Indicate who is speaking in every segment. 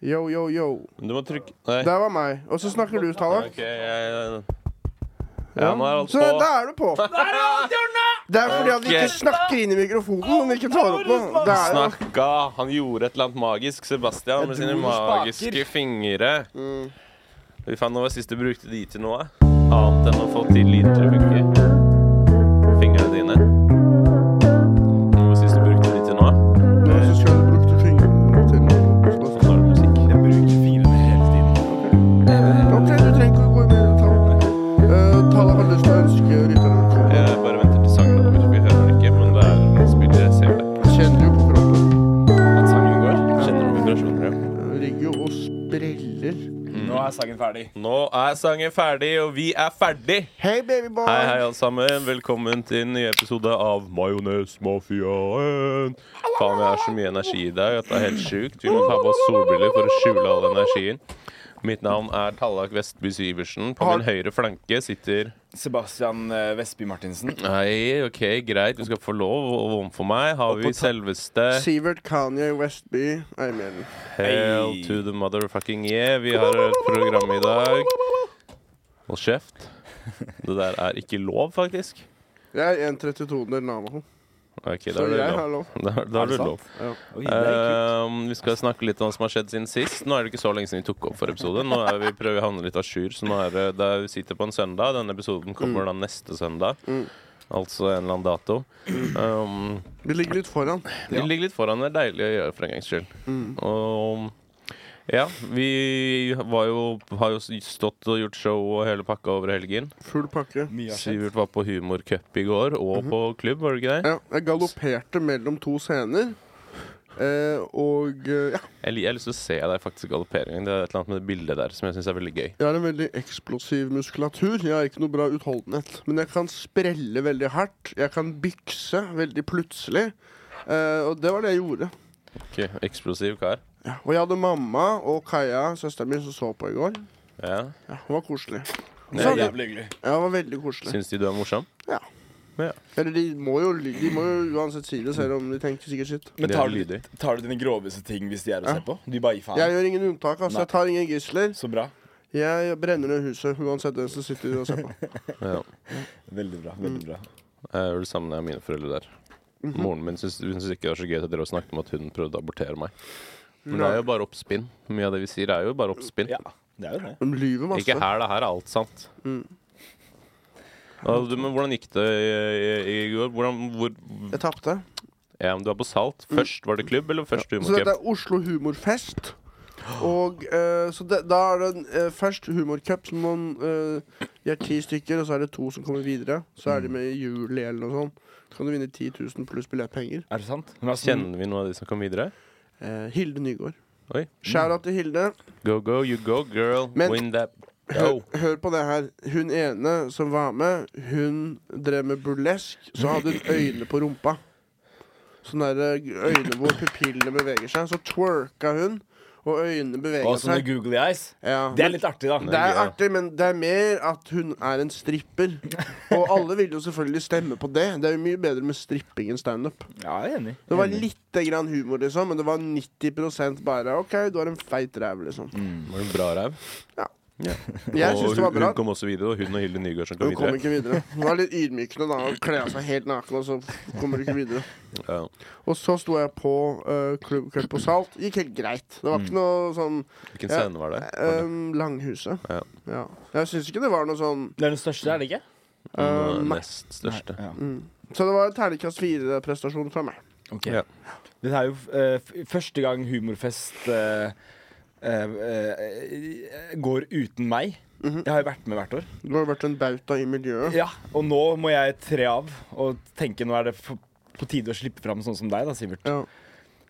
Speaker 1: Yo, yo, yo.
Speaker 2: Men du må trykke Nei.
Speaker 1: Der var meg. Og så snakker du, Tallak.
Speaker 2: Ok, jeg... Ja, nå er alt
Speaker 1: Så da
Speaker 2: på.
Speaker 1: er du på. Det er fordi at vi ikke snakker inn i mikrofonen om vi ikke tar opp noe. Det er jo
Speaker 2: Snakka. Han gjorde et eller annet magisk, Sebastian, med sine magiske fingre. Vi fant noe sist du brukte de til noe. Annet enn å få til lyder til å funke. Fingrene dine. Noe sist du brukte de til noe.
Speaker 1: Jeg synes jo du brukte fingrene til
Speaker 2: Så nå er det musikk.
Speaker 3: Jeg bruker fingrene hele tiden.
Speaker 1: Ok, du trenger ikke å gå mer i detalj. Eh, Tallak har lyst til å ønske rytterne velkommen.
Speaker 2: Jeg bare venter til sangen over. Vi hører den ikke, men det er spillet jeg ser det.
Speaker 1: Jeg kjenner jo på kroppen.
Speaker 2: At sangen går? Kjenner du vibrasjoner? ja.
Speaker 1: Jeg ligger jo og spreller.
Speaker 3: Nå er sangen ferdig.
Speaker 2: Nå er sangen ferdig, og vi er ferdig!
Speaker 1: Hei, babyboy.
Speaker 2: Hei, hei, alle sammen. Velkommen til en ny episode av Majonesmafiaen. Faen, vi har så mye energi i dag at det er helt sjukt. Vi må ta på oss solbriller for å skjule all energien. Mitt navn er Tallak Vestby Syversen. På min høyre flanke sitter
Speaker 3: Sebastian eh, Vestby Martinsen.
Speaker 2: Nei, OK, greit, du skal få lov. Og overfor meg har vi selveste
Speaker 1: Sivert Kanye Westby Eimelen.
Speaker 2: Hell
Speaker 3: Hei.
Speaker 2: to the motherfucking yeah. Vi har et program i dag. Hold kjeft. Det der er ikke lov, faktisk.
Speaker 1: Jeg er 1,32-del navn.
Speaker 2: OK, da
Speaker 1: Så
Speaker 2: er det
Speaker 1: jeg har
Speaker 2: lov.
Speaker 1: lov.
Speaker 2: Da, da
Speaker 3: Er
Speaker 2: er
Speaker 3: det
Speaker 2: det
Speaker 3: sant?
Speaker 2: lov.
Speaker 3: Oi, det er kult.
Speaker 2: Ehm, vi skal snakke litt om hva som har skjedd siden sist. Nå er det ikke så lenge siden vi tok opp for episode. Nå er vi prøver å havne litt à jour. Så nå er det, det er, vi sitter på en søndag. Denne episoden kommer
Speaker 3: Mm.
Speaker 2: da neste søndag. Altså en eller annen dato. Um,
Speaker 1: Vi ligger litt foran.
Speaker 2: Vi ligger litt foran. Det er deilig å gjøre for en gangs skyld.
Speaker 3: Mm.
Speaker 2: Og ja, vi var jo, har jo stått og gjort show og hele pakka over helgen.
Speaker 1: Full pakke.
Speaker 3: Mye har skjedd.
Speaker 2: Sivert var på humorcup i går, og
Speaker 3: Mhm.
Speaker 2: på klubb, var det ikke det?
Speaker 1: Ja, jeg galopperte mellom to scener. Eh, og eh, ja,
Speaker 2: Jeg, li- jeg har lyst til å se deg faktisk galoppere en gang. Det er et eller annet med det bildet der som jeg syns er veldig gøy.
Speaker 1: jeg har en veldig eksplosiv muskulatur. Jeg har ikke noe bra utholdenhet. Men jeg kan sprelle veldig hardt. Jeg kan bykse veldig plutselig. Eh, og det var det jeg gjorde.
Speaker 2: Ok, Eksplosiv kar.
Speaker 1: Ja. Og jeg hadde mamma og Kaja, søsteren min, som så på i går.
Speaker 2: Ja.
Speaker 1: Ja, Hun var koselig.
Speaker 3: Det
Speaker 1: Så
Speaker 3: er
Speaker 1: hadde-
Speaker 3: jævlig hyggelig.
Speaker 1: Ja, hun var veldig koselig.
Speaker 2: Syns de du er morsom?
Speaker 1: Eller de må, jo, li- de må jo uansett si det, selv om de tenker sikkert sitt.
Speaker 3: Men
Speaker 2: Det er
Speaker 3: tar du,
Speaker 2: lydig.
Speaker 3: tar du dine groveste ting hvis de er å se på? Du bare gir
Speaker 1: Jeg
Speaker 3: faen.
Speaker 1: gjør ingen unntak. altså.
Speaker 3: Nei.
Speaker 1: Jeg tar ingen gisler.
Speaker 3: Så bra.
Speaker 1: Jeg brenner ned huset uansett hvem som sitter og ser på.
Speaker 2: Ja.
Speaker 3: Veldig bra. veldig bra
Speaker 2: Jeg er vel sammen med mine foreldre der.
Speaker 1: Mhm.
Speaker 2: Moren min syns hun syns ikke det var så gøy at jeg drev og snakket om at hun prøvde å abortere meg. Men det er jo bare oppspinn. Mye av det vi sier, er jo bare oppspinn.
Speaker 3: Ja, det er jo det.
Speaker 1: De lyver masse. Mm.
Speaker 2: Ikke her, det her er alt sant. Ja, du, men hvordan gikk det i, i, i går? Hvordan, hvor,
Speaker 1: Jeg tapte.
Speaker 2: ja, men du er på salt. Først var det klubb, eller først
Speaker 1: Mm. Så dette
Speaker 2: humorcup?
Speaker 1: er Oslo Humorfest. Og eh, så det, Da er det en, eh, først humorcup. som man eh, De er ti stykker, og så er det to som kommer videre. Så
Speaker 2: Mm.
Speaker 1: er de med i juli eller noe sånt. Så kan du vinne 10 000 pluss billettpenger.
Speaker 3: Er det sant? Men altså,
Speaker 2: Kjenner vi noen av de som kom videre?
Speaker 1: Eh, Hilde Nygård.
Speaker 2: Oi.
Speaker 1: Shout-out til Hilde.
Speaker 2: Go, go, you go, girl.
Speaker 1: Men-
Speaker 2: Win that.
Speaker 1: Hør,
Speaker 2: Go.
Speaker 1: hør på det her. Hun ene som var med, hun drev med burlesk, så hadde hun øyne på rumpa. Sånne der eh, øyne hvor pupillene beveger seg. Så twerka hun, og øynene
Speaker 2: sånn
Speaker 3: og
Speaker 1: beveger
Speaker 3: sånne
Speaker 1: seg.
Speaker 3: googly eyes.
Speaker 1: Ja.
Speaker 3: Det er litt artig, da.
Speaker 1: Det er artig, men det er mer at hun er en stripper. Og alle vil jo selvfølgelig stemme på det. Det er jo mye bedre med stripping enn standup.
Speaker 3: Ja, jeg er enig.
Speaker 1: Det var
Speaker 3: Enig.
Speaker 1: lite grann humor, liksom, men det var 90 bare OK, du har en feit ræv, liksom.
Speaker 2: Var det bra ræv?
Speaker 1: Ja.
Speaker 2: Ja.
Speaker 1: Jeg
Speaker 2: Mm. Og
Speaker 1: syns det
Speaker 2: hun,
Speaker 1: var bra.
Speaker 2: hun kom også videre, og hun og Hilde Nygaard som kom
Speaker 1: Hun kom
Speaker 2: videre.
Speaker 1: ikke videre. Hun var litt ydmykende da. Hun kle av seg helt naken, og så kommer du ikke videre.
Speaker 2: Ja.
Speaker 1: Og så sto jeg på uh, klubbkveld på Salt. Gikk helt greit. Det var ikke noe sånn
Speaker 2: Hvilken
Speaker 1: Ja.
Speaker 2: scene Mm. var det? Var det?
Speaker 1: ehm, Langhuset.
Speaker 2: Ja.
Speaker 1: Ja. Jeg syns ikke det var noe sånn
Speaker 3: Det er den største, er det ikke?
Speaker 2: Den
Speaker 1: ehm,
Speaker 2: eh,
Speaker 1: nei.
Speaker 2: nest største.
Speaker 3: Nei, ja.
Speaker 1: Så det var terningkast fire-prestasjon fra meg.
Speaker 3: Ok.
Speaker 2: Ja.
Speaker 3: Det er jo eh, f- første gang humorfest eh, eh, eh, går uten meg.
Speaker 1: Mhm.
Speaker 3: Jeg har jo vært med hvert år.
Speaker 1: Du har jo vært en bauta i miljøet.
Speaker 3: Ja, Og nå må jeg tre av og tenke nå er det f- på tide å slippe fram sånn som deg, da, Sivert.
Speaker 1: Ja.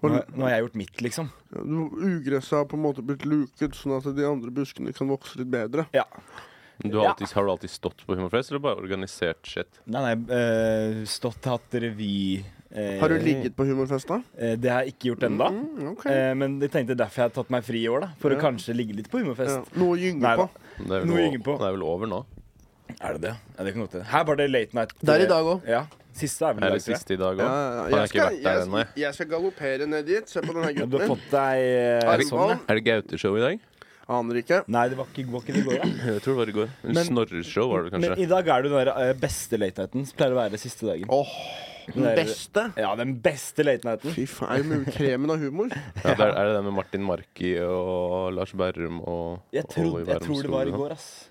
Speaker 3: Nå, nå har jeg gjort mitt, liksom.
Speaker 1: Du- Ugresset har på en måte blitt luket, sånn at de andre buskene kan vokse litt bedre.
Speaker 3: Ja.
Speaker 2: Men Du har,
Speaker 3: Ja.
Speaker 2: alltid, har du alltid stått på Humorfest, eller bare organisert shit?
Speaker 3: Nei, nei, eh, stått hatt revy eh,
Speaker 1: Har du ligget på humorfest, da?
Speaker 3: eh, Det har jeg ikke gjort ennå.
Speaker 1: Mm, ok.
Speaker 3: Eh, men jeg tenkte derfor jeg har tatt meg fri i år, da. For
Speaker 1: Ja.
Speaker 3: å kanskje ligge litt på
Speaker 1: Ja.
Speaker 3: humorfest.
Speaker 1: Noe å gynge
Speaker 3: Nei da.
Speaker 1: på.
Speaker 2: Det er vel,
Speaker 3: Noe å
Speaker 2: o-
Speaker 3: gynge på.
Speaker 2: det er vel over nå?
Speaker 3: Er det det? Ja, det kan godt hende. Her var det late night.
Speaker 1: Det er i dag òg.
Speaker 3: Ja, Siste er vel i
Speaker 2: Er
Speaker 3: dag,
Speaker 2: det
Speaker 3: tror jeg.
Speaker 2: siste i dag òg?
Speaker 1: Ja, ja, ja.
Speaker 2: Han har
Speaker 1: Jeg
Speaker 2: ikke
Speaker 1: skal,
Speaker 2: vært der ennå.
Speaker 1: jeg, jeg skal galoppere ned dit. Se på den her
Speaker 3: Ja, Du har
Speaker 1: gutten.
Speaker 3: fått deg eh,
Speaker 1: Er det-
Speaker 3: sånn, ja.
Speaker 2: Er det Gaute-show i dag?
Speaker 1: Aner ikke.
Speaker 3: Nei, det var ikke, var ikke det i går, da.
Speaker 2: Jeg tror det var i går.
Speaker 3: Men-
Speaker 2: Snorre-show var det
Speaker 3: Men
Speaker 2: kanskje.
Speaker 3: i dag er du den der eh, beste late nighten. som Pleier å være siste dagen.
Speaker 1: Åh, den
Speaker 3: Den der-
Speaker 1: beste.
Speaker 3: Ja, den beste late nighten.
Speaker 1: Fy faen, er det mulig? kremen av humor?
Speaker 2: Ja, der, er det den med Martin Marki og Lars Berrum og
Speaker 3: Jeg,
Speaker 2: og
Speaker 3: trodde,
Speaker 2: Olli
Speaker 3: jeg
Speaker 2: Berrum
Speaker 3: tror det var i
Speaker 2: Skog,
Speaker 3: går, ass.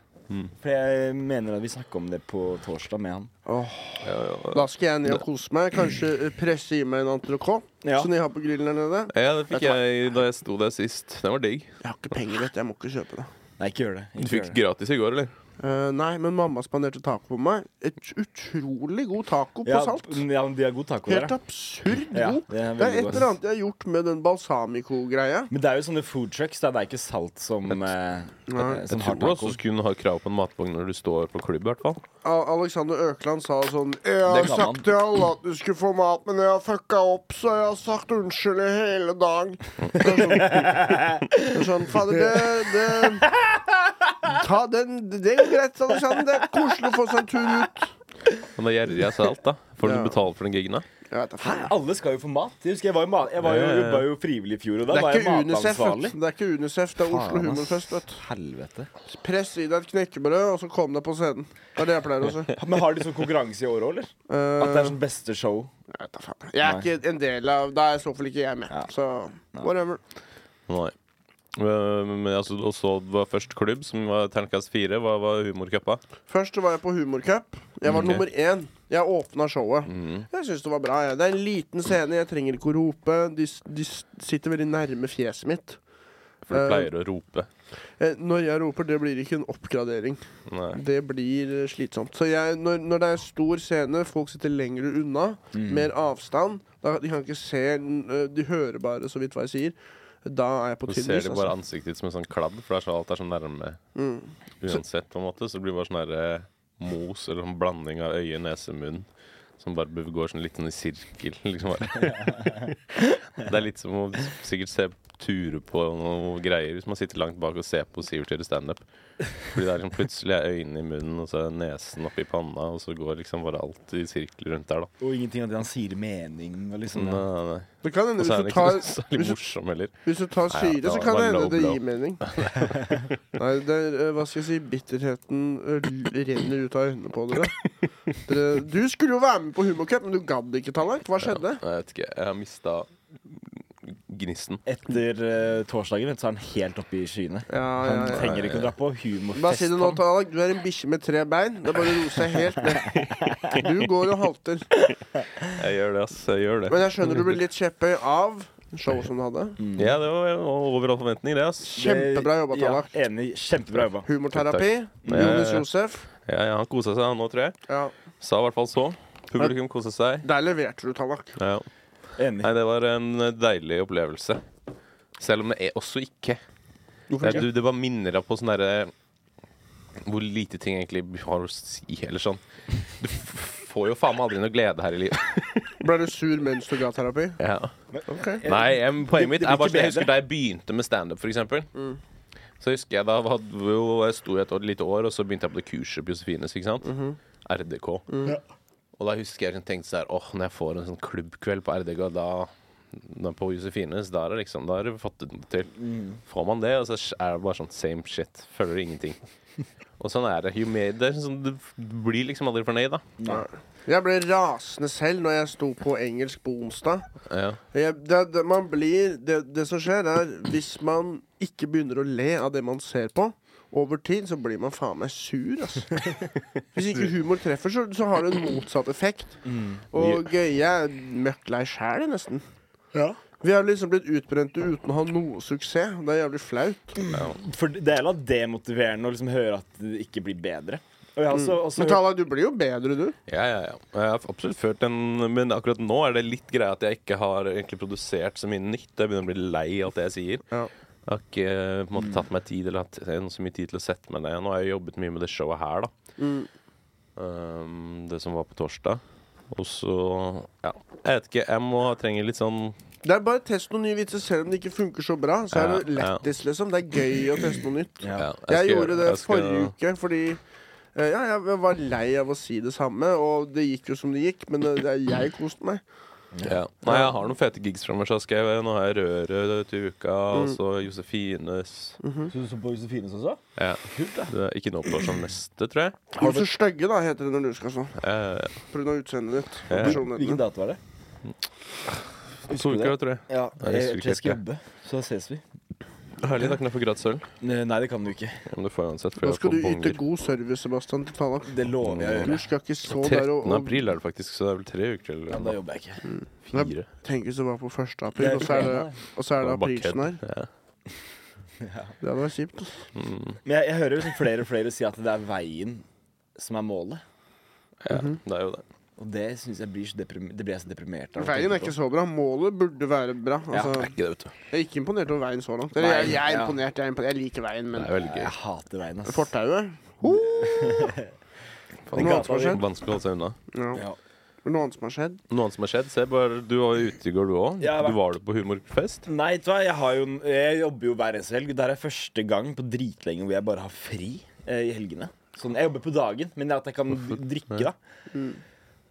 Speaker 3: For jeg mener at vi snakka om det på torsdag med han.
Speaker 1: Åh,
Speaker 2: ja. Ja, ja.
Speaker 1: da skal jeg ned og kose meg. Kanskje eh, presse i meg en entrecôte
Speaker 3: Ja.
Speaker 1: som de har på grillen der nede.
Speaker 2: sånn? Ja, det fikk jeg da jeg sto der sist. Den var digg.
Speaker 1: Jeg har ikke penger, vet du. Jeg må ikke kjøpe det.
Speaker 3: Nei, ikke gjør det.
Speaker 2: Du
Speaker 3: Ikke
Speaker 2: fikk
Speaker 3: gjør det.
Speaker 2: gratis i går, eller?
Speaker 1: Eh, nei, men mamma spanderte taco på meg. Et utrolig god taco på
Speaker 3: Ja,
Speaker 1: salt.
Speaker 3: ja, men de har god taco der,
Speaker 1: Helt
Speaker 3: ja.
Speaker 1: absurd god.
Speaker 3: Ja,
Speaker 1: det,
Speaker 3: det
Speaker 1: er
Speaker 3: er veldig
Speaker 1: et
Speaker 3: godt.
Speaker 1: eller annet jeg har gjort med den balsamico-greia.
Speaker 3: Men det er jo sånne food trucks. Da. Det er ikke salt som, eh,
Speaker 1: Nei.
Speaker 2: Jeg
Speaker 3: som har
Speaker 2: tror
Speaker 3: taco.
Speaker 2: også skulle ha krav på en matvogn når du står på klubb, i hvert fall.
Speaker 1: A- Alexander Økland sa sånn Jeg har
Speaker 3: Det kan
Speaker 1: sagt
Speaker 3: man.
Speaker 1: til alle at du skulle få mat, men jeg har fucka opp, så jeg har sagt unnskyld i hele dag. Det er sånn, det er sånn Fader, det, det Ta den. Det går greit, Alexander. Det er koselig å få seg en tur ut.
Speaker 2: Men da gjerrer jeg seg alt, da. Får du
Speaker 1: Ja.
Speaker 2: betale for den gigen, da?
Speaker 1: Jeg vet da faen.
Speaker 3: Alle skal jo få mat. Jeg husker jeg var jo, ma- jeg var jo,
Speaker 2: Ja, ja, ja.
Speaker 3: jobba jo frivillig i fjor, og da
Speaker 1: Det
Speaker 3: var
Speaker 1: er
Speaker 3: jeg
Speaker 1: ikke UNICEF.
Speaker 3: matansvarlig.
Speaker 1: vet du. Det er ikke UNICEF, det er Oslo
Speaker 3: Faen, ass.
Speaker 1: Humorfest. vet du.
Speaker 3: Helvete.
Speaker 1: Press i deg et knekkebrød, og så kom deg på scenen. Det er det jeg pleier å si.
Speaker 3: Men har de sånn konkurranse i år òg, eller?
Speaker 1: Eh,
Speaker 3: At det er sånn beste show?
Speaker 1: Jeg vet da faen. Jeg er ikke en del av Da er i så fall ikke jeg med.
Speaker 3: Ja.
Speaker 1: Så whatever.
Speaker 2: Nei. Eh, Men altså, og så var først klubb, som var terningkast fire. Hva var humorcupa?
Speaker 1: Først så var jeg på humorcup. Jeg var
Speaker 2: Ok.
Speaker 1: nummer én. Jeg åpna showet. Jeg syns det var bra. Jeg. Det er en liten scene. Jeg trenger ikke å rope. De, s- de s- sitter veldig nærme fjeset mitt.
Speaker 2: For du
Speaker 1: Eh.
Speaker 2: pleier å rope.
Speaker 1: Eh, Når jeg roper, det blir ikke en oppgradering.
Speaker 2: Nei.
Speaker 1: Det blir eh, slitsomt. Så jeg, når, når det er stor scene, folk sitter lenger unna,
Speaker 2: Mm.
Speaker 1: mer avstand da, De kan ikke se n- eh, De hører bare så vidt hva jeg sier. Da er jeg på
Speaker 2: Du
Speaker 1: tynn
Speaker 2: ser
Speaker 1: is.
Speaker 2: det bare
Speaker 1: Altså.
Speaker 2: ansiktet ditt som en sånn kladd, for det er så, alt er så nærme. Uansett, på en måte, så blir det bare sånn derre mos, eller sånn blanding av øye, nese, munn. Som bare be- går sånn litt sånn i sirkel, liksom bare. det er litt som å sikkert se ture på noe greier hvis man sitter langt bak og ser på Sivert gjøre standup. Fordi det er liksom plutselig er øynene i munnen, og så er nesen oppi panna, og så går liksom bare alt i sirkel rundt der, da.
Speaker 3: Og ingenting at han sier mening og liksom
Speaker 2: Nei, nei, nei.
Speaker 1: Det kan hende
Speaker 2: Og så
Speaker 1: hvis
Speaker 2: er den
Speaker 1: du
Speaker 2: ikke
Speaker 1: tar
Speaker 2: noe særlig
Speaker 1: hvis du-
Speaker 2: morsom heller.
Speaker 1: Hvis du tar
Speaker 2: Nei,
Speaker 1: syre,
Speaker 2: det
Speaker 1: så
Speaker 2: var-
Speaker 1: kan
Speaker 2: var
Speaker 1: det hende
Speaker 2: low
Speaker 1: det
Speaker 2: blow.
Speaker 1: gir mening. Nei, det er, eh, hva skal jeg si, bitterheten eh, l- renner ut av øynene på dere. dere. Du skulle jo være med på Humorcup, men du gadd ikke, Tallak. Hva skjedde?
Speaker 2: Nei, Jeg vet ikke, jeg har mista gnisten.
Speaker 3: Etter eh, torsdagen vet du, så er han helt oppe i skyene.
Speaker 1: Ja, ja,
Speaker 3: Han
Speaker 1: ja.
Speaker 3: trenger ikke å dra på
Speaker 1: Bare si
Speaker 3: humorfest.
Speaker 1: det nå, Tallak. Du er en bikkje med tre bein. Det er bare å roe seg helt ned. Du går og halter.
Speaker 2: Jeg gjør det, ass. Jeg gjør det.
Speaker 1: Men jeg skjønner du ble litt kjepphøy av showet som du hadde.
Speaker 2: Ja, det var over all forventning, Mm. det, ass.
Speaker 1: Kjempebra jobba, Tallak.
Speaker 3: Ja, enig. Kjempebra jobba.
Speaker 1: Humorterapi.
Speaker 2: Ja, ja, ja.
Speaker 1: Jonis Josef.
Speaker 2: Ja, ja, han kosa seg han nå, tror jeg.
Speaker 1: Ja.
Speaker 2: Sa i hvert fall så. Publikum kosa seg.
Speaker 1: Der leverte du, Tallak.
Speaker 2: Ja, ja.
Speaker 3: Enig.
Speaker 2: Nei, det var en deilig opplevelse. Selv om det er også ikke.
Speaker 1: Hvorfor
Speaker 2: Det,
Speaker 1: ikke?
Speaker 2: du, det bare minner deg på sånn derre Hvor lite ting egentlig har å si, eller sånn. Du f- får jo faen meg aldri noe glede her i livet.
Speaker 1: Ble du sur mens du ga terapi?
Speaker 2: Ja.
Speaker 1: Ok.
Speaker 2: Nei, em, poenget mitt
Speaker 3: det
Speaker 2: er
Speaker 3: blir
Speaker 2: bare sånn,
Speaker 3: ikke
Speaker 2: Jeg
Speaker 3: bedre. Mm.
Speaker 2: husker da jeg begynte med standup, f.eks. eksempel Så husker jeg da var, jo, jeg sto i et år, lite år, og så begynte jeg på det kurset på Josefines. ikke sant?
Speaker 3: Mhm.
Speaker 2: RDK.
Speaker 3: Mm.
Speaker 2: Og da husker jeg jeg tenkte sånn her, åh, når jeg får en sånn klubbkveld på RDK, da da på Josefines, der er liksom, da har du fått det til.
Speaker 3: Mm.
Speaker 2: Får man det, og så er det bare sånn same shit. Føler du ingenting. Og sånn er det. Jo mer, det er sånn, du blir liksom aldri fornøyd, da.
Speaker 1: Jeg ble rasende selv når jeg sto på engelsk på onsdag.
Speaker 2: Ja.
Speaker 1: Jeg, det, det, man blir, det, det som skjer, er hvis man ikke begynner å le av det man ser på, over tid, så blir man faen meg sur, altså. Hvis ikke humor treffer, så, så har det en motsatt effekt. Og eh, jeg er møkk lei sjæl, jeg, nesten. Vi har liksom blitt utbrente uten å ha noe suksess. Det er jævlig flaut.
Speaker 3: For det er jo da demotiverende å liksom høre at det ikke blir bedre. Og jeg har også,
Speaker 1: Mm.
Speaker 3: også
Speaker 1: Men
Speaker 3: hørt
Speaker 1: Tala, du blir jo bedre, du.
Speaker 2: Ja, ja, ja. Jeg har absolutt følt den, men akkurat nå er det litt greia at jeg ikke har egentlig produsert så mye nytt. Jeg begynner å bli lei av alt det jeg sier.
Speaker 1: Ja.
Speaker 2: Jeg har ikke eh, på en måte, tatt meg tid eller hatt eh, så mye tid til å sette meg ned. Nå har jeg jobbet mye med det showet her, da.
Speaker 1: Mm.
Speaker 2: Um, det som var på torsdag. Og så Ja, jeg vet ikke. Jeg må trenger litt sånn
Speaker 1: Det er bare test noen nye vitser, selv om det ikke funker så bra. Så er
Speaker 2: Ja,
Speaker 1: det lættis, liksom. Det er gøy å teste noe nytt.
Speaker 3: Ja.
Speaker 2: ja,
Speaker 1: Jeg,
Speaker 2: skal
Speaker 1: gjorde
Speaker 2: gjøre-
Speaker 1: det
Speaker 2: jeg skal-
Speaker 1: forrige uke fordi Eh, ja, jeg var lei av å si det samme, og det gikk jo som det gikk, men eh, det, det, jeg koste meg.
Speaker 2: Ja. Nei, jeg har noen fete gigs framover. så skal jeg- Nå har jeg Røret til uka,
Speaker 1: Mm.
Speaker 2: og så Josefines.
Speaker 4: Så du så på Josefines også?
Speaker 2: Ja.
Speaker 4: Kult, da.
Speaker 2: Det er ikke nå på som neste, tror jeg.
Speaker 1: Du så stygge, da, heter det når du skal sånn.
Speaker 2: Eh,
Speaker 1: Pga. utseendet ditt.
Speaker 2: Ja.
Speaker 4: Hvilken
Speaker 1: Personligheten.
Speaker 4: dato er det?
Speaker 2: to
Speaker 4: Husker du
Speaker 2: uker,
Speaker 4: det?
Speaker 2: tror jeg.
Speaker 4: Ja,
Speaker 2: Nei,
Speaker 4: jeg,
Speaker 2: jeg husker
Speaker 4: jeg skal
Speaker 2: ikke.
Speaker 4: jobbe, så ses vi.
Speaker 2: Herlig. Da kan jeg få gratis øl.
Speaker 3: Nei, det kan du ikke.
Speaker 2: Ja, Men du får uansett. for
Speaker 1: Da
Speaker 2: jeg
Speaker 1: skal du
Speaker 2: får
Speaker 1: yte
Speaker 2: bonger.
Speaker 1: god service, Sebastian, til Tallak.
Speaker 3: Det lover jeg å
Speaker 1: Du
Speaker 3: gjøre.
Speaker 1: skal ikke så der og,
Speaker 2: 13.
Speaker 1: og
Speaker 2: april er det faktisk, så det er vel tre uker til.
Speaker 3: Ja, da jobber jeg ikke.
Speaker 2: Fire.
Speaker 1: tenk hvis det var på 1. april,
Speaker 3: Det er
Speaker 1: og så er det,
Speaker 4: ikke
Speaker 1: og så er det
Speaker 2: Og
Speaker 1: aprilsen her.
Speaker 2: Bakked. Ja.
Speaker 1: Det hadde vært kjipt. ass.
Speaker 2: Mm.
Speaker 3: Men jeg, jeg hører liksom flere og flere si at det er veien som er målet.
Speaker 2: ja,
Speaker 1: Mhm.
Speaker 2: det er jo det.
Speaker 3: Og det synes jeg blir så deprim det blir jeg så deprimert av. å
Speaker 1: Veien er
Speaker 3: tenke
Speaker 1: ikke
Speaker 3: på.
Speaker 1: så bra. Målet burde være bra.
Speaker 2: Det er
Speaker 1: Altså,
Speaker 2: ikke det, vet du.
Speaker 1: jeg er ikke imponert over veien så langt. Eller, jeg, jeg er
Speaker 3: Nei, ja.
Speaker 1: imponert, jeg er imponert. Jeg liker veien, men
Speaker 2: Det er veldig gøy.
Speaker 3: Jeg hater veien, ass.
Speaker 1: Fortauet? Ho! Er det noe annet som har skjedd?
Speaker 2: Vanskelig å holde seg unna.
Speaker 1: Ja.
Speaker 3: Ja.
Speaker 1: Er det Noe annet som har skjedd?
Speaker 2: Noe annet som har skjedd? Se bare, Du var jo ute i går, du òg.
Speaker 3: Jeg har vært-
Speaker 2: Du var det på humorfest.
Speaker 3: Nei, vet du hva, jeg, har jo, jeg jobber jo hver eneste helg. Det her er første gang på dritlenge hvor jeg bare har fri eh, i helgene. Sånn, jeg jobber på dagen, men at jeg kan drikke, da.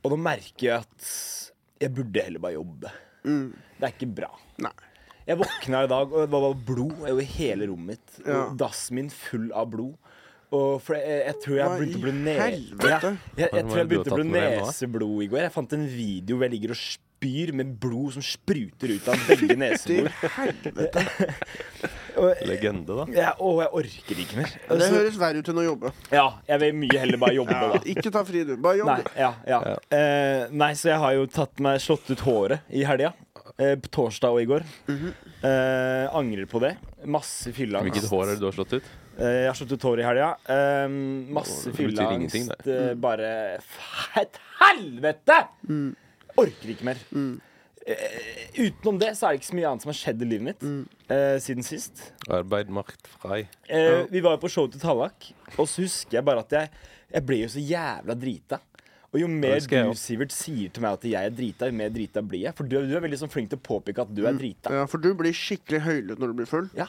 Speaker 3: Og nå merker jeg at jeg burde heller bare jobbe.
Speaker 2: Mm.
Speaker 3: Det er ikke bra.
Speaker 1: Nei.
Speaker 3: Jeg våkna i dag, og det var bare blod over hele rommet mitt. Og
Speaker 1: Ja.
Speaker 3: Dassen min full av blod. Og for jeg, jeg tror jeg
Speaker 1: Hva
Speaker 3: begynte å
Speaker 1: i
Speaker 3: bli ne-
Speaker 1: helvete?
Speaker 3: Ja, jeg, jeg,
Speaker 2: Hva er det
Speaker 3: tror jeg
Speaker 2: du har
Speaker 3: begynte å bli
Speaker 2: tatt med deg nå, da?
Speaker 3: neseblod i går. Jeg fant en video hvor jeg ligger og spyr med blod som spruter ut av begge nesebor.
Speaker 1: Til helvete.
Speaker 3: Og
Speaker 2: Legende, da.
Speaker 3: ja, og jeg orker ikke mer.
Speaker 1: Det
Speaker 3: Så,
Speaker 1: høres verre ut enn å jobbe.
Speaker 3: ja, jeg vil mye heller bare jobbe,
Speaker 1: Ja.
Speaker 3: da.
Speaker 1: Ikke ta fri, du. Bare jobb.
Speaker 3: Nei,
Speaker 1: du.
Speaker 3: ja, ja. Eh, nei, så jeg har jo tatt meg slått ut håret i helga. Eh, på torsdag og i går. eh, angrer på det. Masse fylleangst.
Speaker 2: Hvilket hår er det du har slått ut?
Speaker 3: Eh, jeg har slått ut håret i helga. Eh, masse
Speaker 2: Det betyr ingenting,
Speaker 3: fylleangst.
Speaker 2: det.
Speaker 3: Eh, bare f- Et helvete! Orker ikke mer.
Speaker 2: Mm.
Speaker 3: Eh, utenom det så er det ikke så mye annet som har skjedd i livet mitt
Speaker 2: Mm.
Speaker 3: eh, siden sist.
Speaker 2: Arbeid macht frei.
Speaker 3: Eh, vi var jo på show til Tallak, og så husker jeg bare at jeg, jeg ble jo så jævla drita. Og jo mer
Speaker 2: det skal jeg
Speaker 3: du,
Speaker 2: også.
Speaker 3: Sivert, sier til meg at jeg er drita, jo mer drita blir jeg. For du, du er veldig sånn flink til å påpeke at du
Speaker 2: Mm.
Speaker 3: er drita.
Speaker 1: Ja, for du blir skikkelig høylytt når du blir full.
Speaker 3: Ja.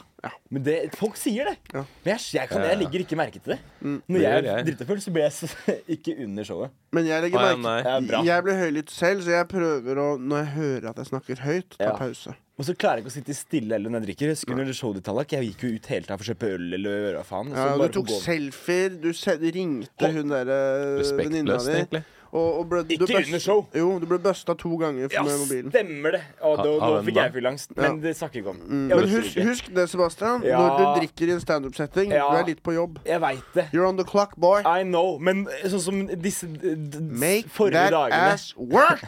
Speaker 3: Men det, folk sier det.
Speaker 1: Ja. Mm.
Speaker 3: Men jeg, jeg, kan, jeg legger ikke merke til det.
Speaker 2: Eh.
Speaker 3: Når
Speaker 2: Det
Speaker 3: jeg
Speaker 2: gjør
Speaker 3: er
Speaker 2: jeg.
Speaker 3: dritafull, så blir jeg så, ikke under showet.
Speaker 1: Men jeg legger
Speaker 2: Å, ja,
Speaker 1: merke
Speaker 2: nei.
Speaker 3: Ja, bra.
Speaker 1: Jeg blir høylytt selv, så jeg prøver å Når jeg hører at jeg snakker høyt, ta
Speaker 3: Ja.
Speaker 1: pause.
Speaker 3: Og så klarer jeg ikke å sitte stille heller når jeg drikker. Jeg husker under showet til Tallak, jeg gikk jo ut hele tida for å kjøpe øl eller gjøre hva faen. og så
Speaker 1: Ja, du
Speaker 3: bare på
Speaker 1: tok
Speaker 3: gulvet.
Speaker 1: selfier, du se- ringte hun derre venninna
Speaker 2: Respektløst,
Speaker 1: di.
Speaker 2: egentlig.
Speaker 1: Og, og ble, du
Speaker 3: Ikke
Speaker 1: bøst-
Speaker 3: under show.
Speaker 1: Jo, du ble busta to ganger
Speaker 3: ja,
Speaker 1: for med mobilen.
Speaker 3: stemmer det! Å, da,
Speaker 2: Ha-
Speaker 3: nå
Speaker 2: har den
Speaker 3: fikk
Speaker 2: da?
Speaker 3: jeg fylleangst.
Speaker 1: Ja. Mm.
Speaker 3: Men det snakker vi ikke om. Jeg
Speaker 1: Men
Speaker 3: orker
Speaker 1: husk,
Speaker 3: ikke.
Speaker 1: husk det, Sebastian.
Speaker 3: Ja.
Speaker 1: Når du drikker i en standup-setting,
Speaker 3: Ja.
Speaker 1: du er litt på jobb.
Speaker 3: Jeg veit det.
Speaker 1: You're on the clock, boy.
Speaker 3: I know, men sånn som disse d- d-
Speaker 1: Make
Speaker 3: forrige
Speaker 1: that
Speaker 3: dagene
Speaker 1: ass work!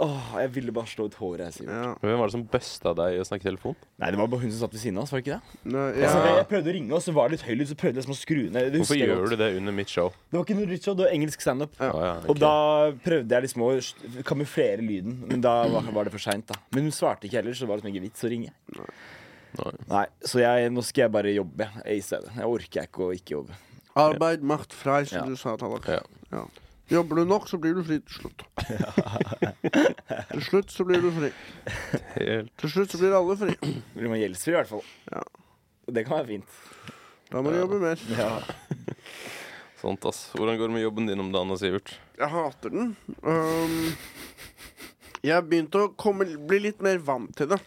Speaker 3: Åh, Jeg ville bare slå ut håret. Jeg, Sivert.
Speaker 1: Ja.
Speaker 2: Hvem var det som busta deg i å snakke i telefon?
Speaker 3: Nei, Det var bare hun som satt ved siden av oss. var det ikke det?
Speaker 1: Nå-
Speaker 3: Jeg,
Speaker 1: ja.
Speaker 3: snakket- jeg prøvde å ringe, og så var det litt høylytt. Så prøvde jeg liksom å skru ned. Det
Speaker 2: Hvorfor
Speaker 3: husker jeg
Speaker 2: gjør
Speaker 3: godt.
Speaker 2: du det under mitt show?
Speaker 3: Det var ikke noe nytt show, det var engelsk standup.
Speaker 1: Ja.
Speaker 2: Å, ja, ok.
Speaker 3: Og da prøvde jeg liksom å st- kamuflere lyden, men da var, var det for seint. Men hun svarte ikke heller, så det var liksom ikke vits å ringe.
Speaker 2: Nei.
Speaker 3: Nei, Så jeg, nå skal jeg bare jobbe i stedet. Jeg orker ikke å ikke jobbe.
Speaker 1: Arbeid, makt, frei, som
Speaker 3: Ja.
Speaker 1: du sa, Tallak.
Speaker 2: Ja.
Speaker 1: Ja. Jobber du nok, så blir du fri til slutt. til slutt så blir du fri.
Speaker 2: Helt
Speaker 1: Til slutt så blir alle fri.
Speaker 3: Blir man gjeldsfri, i hvert fall.
Speaker 1: Ja.
Speaker 3: Og Det kan være fint.
Speaker 1: Da må du jobbe mer.
Speaker 2: sant, ass. Hvordan går det med jobben din om dagen, Sivert?
Speaker 1: Jeg hater den. Um, jeg har begynt å komme, bli litt mer vant til det.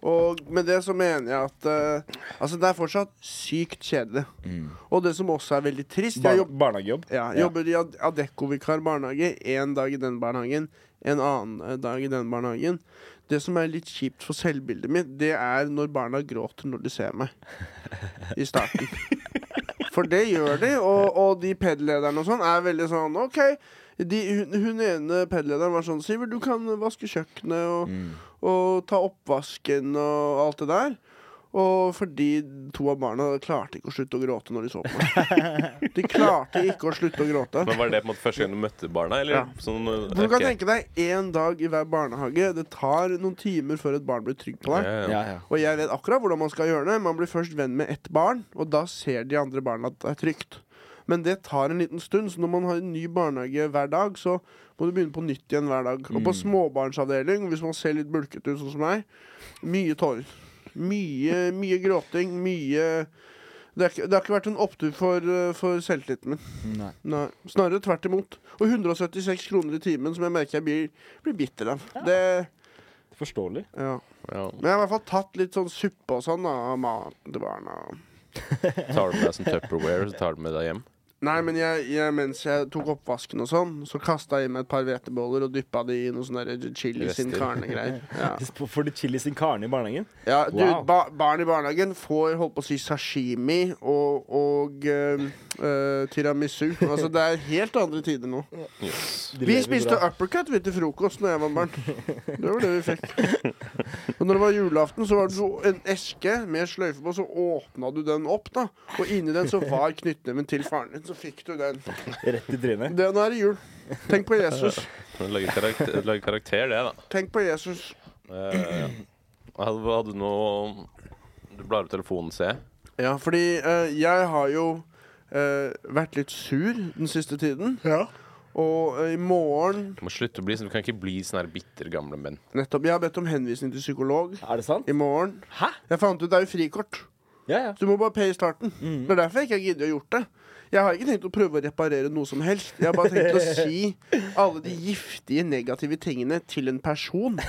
Speaker 1: Og med det så mener jeg at eh, Altså, det er fortsatt sykt kjedelig. Og det som også er veldig trist Jeg
Speaker 3: Bar
Speaker 1: jobb,
Speaker 3: barnehagejobb.
Speaker 1: ja, jeg jobber i Ad- Adecco-vikar barnehage. Én dag i den barnehagen, en annen eh, dag i den barnehagen. Det som er litt kjipt for selvbildet mitt, det er når barna gråter når de ser meg. I starten. For det gjør de, og, og de PED-lederne og sånn er veldig sånn OK. De, hun, hun ene PED-lederen var sånn Sivert, du kan vaske kjøkkenet og, og ta oppvasken og alt det der. Og fordi to av barna klarte ikke å slutte å gråte når de så på meg. De klarte ikke å slutte å gråte.
Speaker 2: Men Var det på en måte første gang du møtte barna? Eller
Speaker 1: Ja.
Speaker 2: sånn
Speaker 1: For du kan
Speaker 2: ok.
Speaker 1: tenke deg én dag i hver barnehage. Det tar noen timer før et barn blir trygg på
Speaker 2: Ja,
Speaker 1: deg.
Speaker 2: ja, ja.
Speaker 3: Ja, ja.
Speaker 1: Og jeg vet akkurat hvordan man skal gjøre det. Man blir først venn med ett barn, og da ser de andre barna at det er trygt. Men det tar en liten stund, så når man har en ny barnehage hver dag, så må du begynne på nytt igjen hver dag. Og på småbarnsavdeling, hvis man ser litt bulket ut, sånn som meg, mye tårer. Mye, mye gråting, mye Det har ikke, det har ikke vært en opptur for, eh, for selvtilliten min.
Speaker 3: Nei.
Speaker 1: Nei. Snarere tvert imot. Og 176 kroner i timen som jeg merker jeg blir, blir bitter av. Det,
Speaker 3: Forståelig.
Speaker 1: ja.
Speaker 2: Ja.
Speaker 1: Men jeg har i hvert fall tatt litt sånn suppe og sånn da, av maten til barna.
Speaker 2: Tar du med deg som Tupperware, så tar du med deg hjem.
Speaker 1: Nei, men jeg, jeg, mens jeg tok oppvasken og sånn, så kasta jeg i meg et par hveteboller og dyppa de i noe sånn der chili sin
Speaker 2: Rester.
Speaker 1: karne-greier. Ja.
Speaker 3: Får du chili sin karne i barnehagen?
Speaker 1: Ja, du,
Speaker 3: Wow.
Speaker 1: ba barn i barnehagen får holdt på å si sashimi og, og eh, eh, tiramisu. Altså, det er helt andre tider nå.
Speaker 2: Yes.
Speaker 3: De
Speaker 1: Vi
Speaker 3: lever
Speaker 1: spiste
Speaker 3: bra.
Speaker 1: uppercut vi, til frokost når jeg var barn. Det var det vi fikk. Og når det var julaften, så var det så en eske med sløyfe på, så åpna du den opp, da. Og inni den så var knyttneven til faren din. Så fikk du den.
Speaker 3: rett i trynet.
Speaker 1: Det nå er det jul. Tenk på Jesus.
Speaker 2: Lage karakter, lage karakter, det, da.
Speaker 1: Tenk på Jesus.
Speaker 2: Eh, hadde, hadde du noe Du blar opp telefonen, ser jeg.
Speaker 1: Ja, fordi eh, jeg har jo eh, vært litt sur den siste tiden. Og eh, i morgen
Speaker 2: Du må slutte å bli sånn. Du kan ikke bli sånn her bitter gamle menn.
Speaker 1: nettopp, Jeg har bedt om henvisning til psykolog
Speaker 3: Er det sant?
Speaker 1: i morgen.
Speaker 3: Hæ?
Speaker 1: Jeg fant ut det er jo frikort.
Speaker 3: Ja, ja.
Speaker 1: Så du må bare pay i starten. Det er derfor jeg ikke har giddet å gjort det. Jeg har ikke tenkt å prøve å reparere noe som helst. Jeg har bare tenkt å si alle de giftige, negative tingene til en person.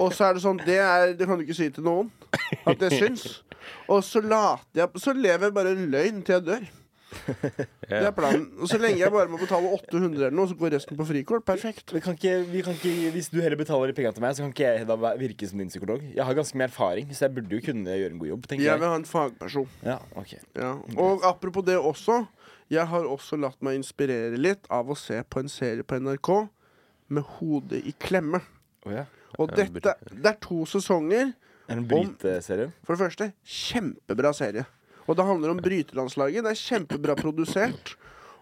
Speaker 1: Og så er det sånn Det, er, det kan du ikke si til noen at jeg syns. Og så later jeg Så lever jeg bare en løgn til jeg dør. Det
Speaker 2: Ja.
Speaker 1: er planen. Og så lenge jeg bare må betale 800 eller noe, så går resten på frikort. Perfekt.
Speaker 3: Vi kan ikke, vi kan ikke, hvis du heller betaler de pengene til meg, så kan ikke jeg da væ- virke som din psykolog. Jeg har ganske mye erfaring, så jeg burde jo kunne gjøre en god jobb. tenker
Speaker 1: Jeg vil
Speaker 3: jeg.
Speaker 1: ha en fagperson.
Speaker 3: Ja, ok.
Speaker 1: Ja. Og apropos det også. Jeg har også latt meg inspirere litt av å se på en serie på NRK med hodet i klemme.
Speaker 3: Å ja.
Speaker 1: Og
Speaker 2: Ja,
Speaker 1: dette Det er to sesonger.
Speaker 3: Er det en bryteserie?
Speaker 1: For det første, kjempebra serie. Og det handler om bryterlandslaget. Det er kjempebra produsert.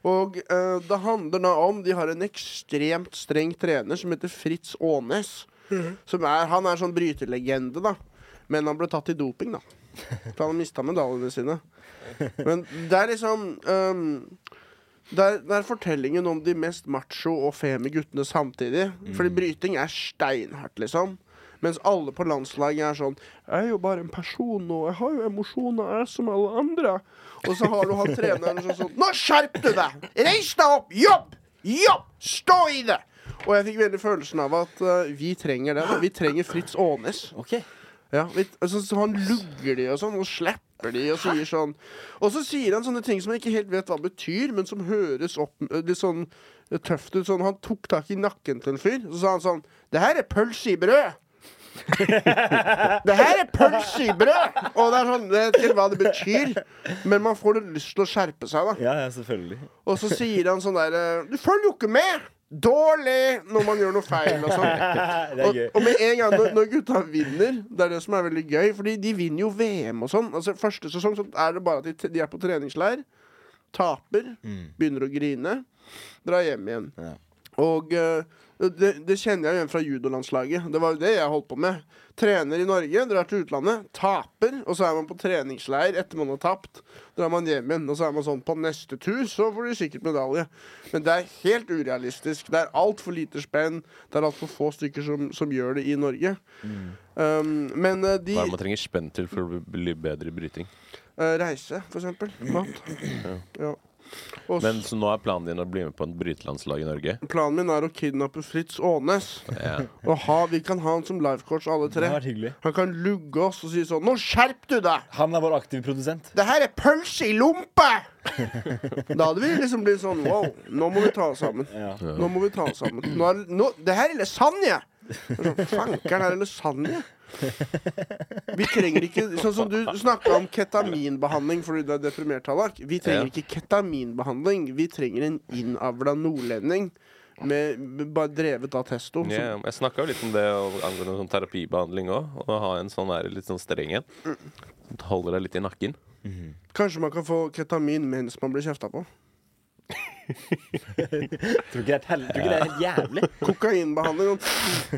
Speaker 1: Og eh, det handler da om De har en ekstremt streng trener som heter Fritz Aanes. Som er, han er sånn bryterlegende, da. Men han ble tatt i doping, da. For han mista medaljene sine. Men det er liksom ehm, det er, det er fortellingen om de mest macho og femi guttene samtidig. Fordi bryting er steinhardt, liksom. Mens alle på landslaget er sånn 'Jeg er jo bare en person, og jeg har jo emosjoner, jeg er som alle andre.' Og så har du han treneren som sånn 'Nå skjerp du deg! Reis deg opp! Jobb! Jobb! Stå i det!' Og jeg fikk veldig følelsen av at eh, vi trenger det. da. Vi trenger Fritz Aanes.
Speaker 3: Ok.
Speaker 1: Ja, vi, altså, så han lugger de og sånn, og slipper de og sier sånn. Og så sier han sånne ting som jeg ikke helt vet hva betyr, men som høres opp ø, litt sånn ø, tøft ut. Sånn, han tok tak i nakken til en fyr, og så sa han sånn Det her er pølse i brød! det her er pølse i brød! Og det er sånn, jeg vet ikke helt hva det betyr, men man får litt lyst til å skjerpe seg, da.
Speaker 3: Ja, ja, selvfølgelig.
Speaker 1: Og så sier han sånn derre Du følger jo ikke med! Dårlig! Når man gjør noe feil og sånn.
Speaker 3: Det er
Speaker 1: Og,
Speaker 3: gøy.
Speaker 1: og med en gang når, når gutta vinner, det er det som er veldig gøy, Fordi de vinner jo VM og sånn. Altså Første sesong så er det bare at de, t- de er på treningsleir, taper,
Speaker 3: Mm.
Speaker 1: begynner å grine, drar hjem igjen.
Speaker 3: Ja.
Speaker 1: Og eh, det, det kjenner jeg jo igjen fra judolandslaget. Det var jo det jeg holdt på med. Trener i Norge, drar til utlandet, taper, og så er man på treningsleir etter man har tapt. Drar man hjem igjen, og så er man sånn På neste tur så får du sikkert medalje. Men det er helt urealistisk. Det er altfor lite spenn. Det er altfor få stykker som, som gjør det i Norge. Um, men eh, de
Speaker 2: Hva er det man trenger spenn til for å bli bedre i bryting?
Speaker 1: eh, Reise, for eksempel. Mat. Ja. Og
Speaker 2: Men så nå er planen din å bli med på en brytelandslag i Norge?
Speaker 1: planen min er å kidnappe Fritz Aanes.
Speaker 2: Ja.
Speaker 1: Og ha, vi kan ha han som livecoach, alle
Speaker 3: Det
Speaker 1: tre.
Speaker 3: har vært hyggelig.
Speaker 1: Han kan lugge oss og si sånn Nå skjerp du deg!
Speaker 3: Han er vår aktive produsent.
Speaker 1: Det her er pølse i lompe! da hadde vi liksom blitt sånn Wow, nå må vi ta oss sammen.
Speaker 3: Ja.
Speaker 1: Nå må vi ta oss sammen. Nå er, nå, det her er lasagne! Sånn, Fankeren, er det lasagne? Vi trenger ikke Sånn som du snakka om ketaminbehandling fordi du er deprimert, Tallak. Vi trenger
Speaker 2: Ja.
Speaker 1: ikke ketaminbehandling. Vi trenger en innavla nordlending med, med, bare drevet av testo. som-
Speaker 2: Ja, jeg snakka litt om det og angående sånn terapibehandling òg. Å ha en sånn der, litt sånn streng en. Som holder deg litt i nakken.
Speaker 1: Kanskje man kan få ketamin mens man blir kjefta på.
Speaker 3: Tror ikke det er, et hel- tror ikke det er helt jævlig.
Speaker 1: Kokainbehandling og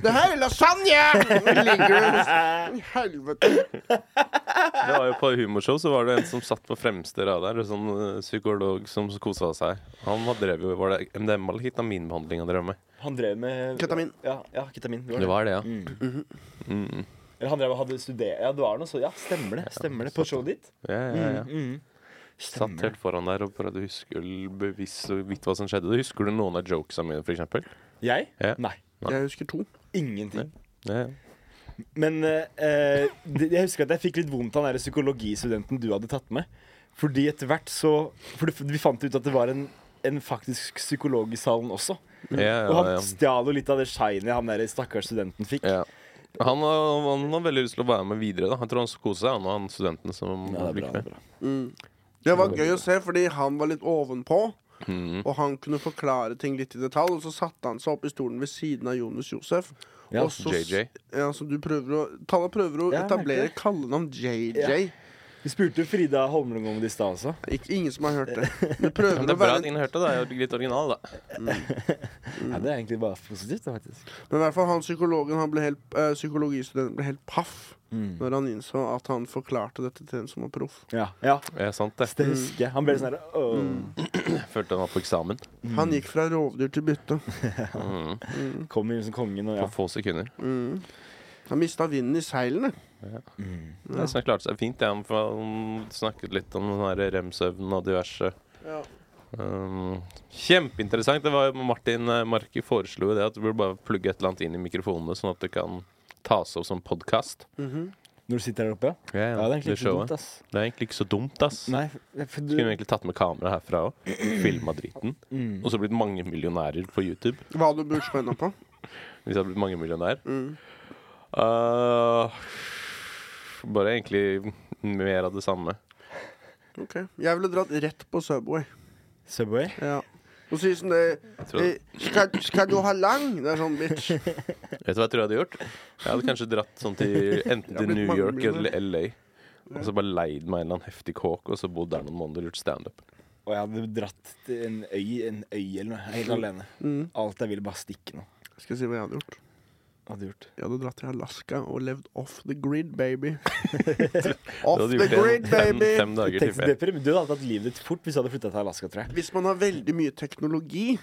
Speaker 1: Det her er lasagne! Og ligger du hos- I helvete.
Speaker 2: Det var jo På humorshow så var det en som satt på fremste rad der, en sånn eh, psykolog som kosa seg. Han var- drev jo Var det MDMA eller ketaminbehandling han drev med?
Speaker 3: Han drev med
Speaker 1: Ketamin. Mhm.
Speaker 3: Ja, ja ketamin. Det var
Speaker 2: Det
Speaker 3: det.
Speaker 2: var det, ja.
Speaker 3: Eller han drev og hadde studert Ja, det var noe så Ja, stemmer det. Stemmer det. På showet ditt.
Speaker 2: Ja, ja, ja. Satt
Speaker 3: Stemmer det.
Speaker 2: helt foran der og prøvde å huske bevisst så vidt hva som skjedde. Husker du noen av jokesa mine, for eksempel?
Speaker 3: Jeg?
Speaker 2: Ja.
Speaker 3: Nei.
Speaker 1: Jeg husker to.
Speaker 3: Ingenting.
Speaker 2: Ja.
Speaker 3: Men eh, eh, det- jeg husker at jeg fikk litt vondt av den der psykologistudenten du hadde tatt med. Fordi etter hvert så For det- vi fant ut at det var en, en faktisk psykolog i salen også.
Speaker 2: Ja, ja,
Speaker 3: Og
Speaker 2: ja.
Speaker 3: han stjal jo litt av det shinet han der stakkars studenten fikk.
Speaker 2: ja. Han har, han har veldig lyst til å være med videre. da Jeg tror han skal kose seg, han og han studenten som
Speaker 3: Ja, det
Speaker 2: fikk
Speaker 3: er bra,
Speaker 2: med.
Speaker 3: bra.
Speaker 1: Det var gøy å se, fordi han var litt ovenpå.
Speaker 2: Mhm.
Speaker 1: Og han kunne forklare ting litt i detalj. Og så satte han seg opp i stolen ved siden av Jonas Josef.
Speaker 3: Ja,
Speaker 1: og så,
Speaker 2: JJ.
Speaker 1: Ja, så du prøver å Talla prøver å
Speaker 3: Ja, jeg
Speaker 1: etablere
Speaker 3: merker det.
Speaker 1: kallenavn JJ.
Speaker 3: Vi spurte jo Frida Holmlund om det i stad også.
Speaker 1: Ikke, ingen som har hørt det. Du prøver
Speaker 2: Men det
Speaker 1: å
Speaker 2: er bra at
Speaker 1: være
Speaker 2: ingen hørte det. Det er jo litt original, da.
Speaker 3: Ja, det er egentlig bare positivt, det, faktisk.
Speaker 1: Men i hvert fall han psykologen han ble helt, eh, psykologistudenten ble helt paff
Speaker 3: Mm.
Speaker 1: når han innså at han forklarte dette til en som var proff.
Speaker 3: Ja, ja
Speaker 2: Ja, sant det.
Speaker 3: det husker jeg. Han ble sånn her «Åh».
Speaker 2: Jeg følte han var på eksamen
Speaker 1: Han gikk fra rovdyr til bytte.
Speaker 3: Kommer inn som kongen og
Speaker 2: på
Speaker 3: ja.
Speaker 2: få sekunder.
Speaker 1: Han mista vinden i seilene.
Speaker 2: Jeg synes han klarte seg fint. Ja. Han snakket litt om den her remsøvnen og diverse.
Speaker 1: Ja.
Speaker 2: Um, kjempeinteressant. Det var jo Martin eh, Marki foreslo jo det at du burde bare plugge et eller annet inn i mikrofonene, sånn at det kan tas opp som podkast.
Speaker 3: Når du sitter der oppe, ja. Ja, det er egentlig ikke så dumt, ass.
Speaker 2: Det er egentlig ikke så dumt, ass.
Speaker 3: Nei, for- for du
Speaker 2: Skulle vi egentlig tatt med kamera herfra òg. Filma dritten.
Speaker 3: Mm.
Speaker 2: Og så blitt mange millionærer på YouTube.
Speaker 1: Hva hadde du brukt spenna på?
Speaker 2: Hvis jeg hadde blitt mange millionær.
Speaker 1: Mm.
Speaker 2: Uh, bare egentlig mer av det samme.
Speaker 1: Ok, Jeg ville dratt rett på Subway.
Speaker 3: Subway?
Speaker 1: Ja. Og så sier sånn det
Speaker 2: tror-
Speaker 1: eh, skal, skal du ha lang? Det er sånn, bitch.
Speaker 2: Vet du hva jeg tror jeg hadde gjort? Jeg hadde kanskje dratt sånn til enten
Speaker 1: Jeg har
Speaker 2: til
Speaker 1: blitt
Speaker 2: New
Speaker 1: mange
Speaker 2: York
Speaker 1: millioner.
Speaker 2: eller LA. Og så bare leid meg en eller annen heftig kåk og så bodd der noen måneder og gjort standup.
Speaker 3: Og jeg hadde dratt til en øy, en øy eller noe, helt alene.
Speaker 1: Mm.
Speaker 3: Alt jeg ville, bare stikke nå.
Speaker 1: Skal jeg si hva jeg hadde gjort?
Speaker 3: Hadde gjort.
Speaker 1: Jeg hadde dratt til Alaska og levd off the grid, baby. off
Speaker 2: Du
Speaker 1: the
Speaker 2: hadde gjort
Speaker 1: grid,
Speaker 2: det fem,
Speaker 1: baby!
Speaker 2: fem dager til
Speaker 3: Tenk så
Speaker 2: ferie.
Speaker 3: deprimert. Du hadde hatt livet ditt fort hvis du hadde flytta til Alaska, tror jeg.
Speaker 1: Hvis man har veldig mye teknologi,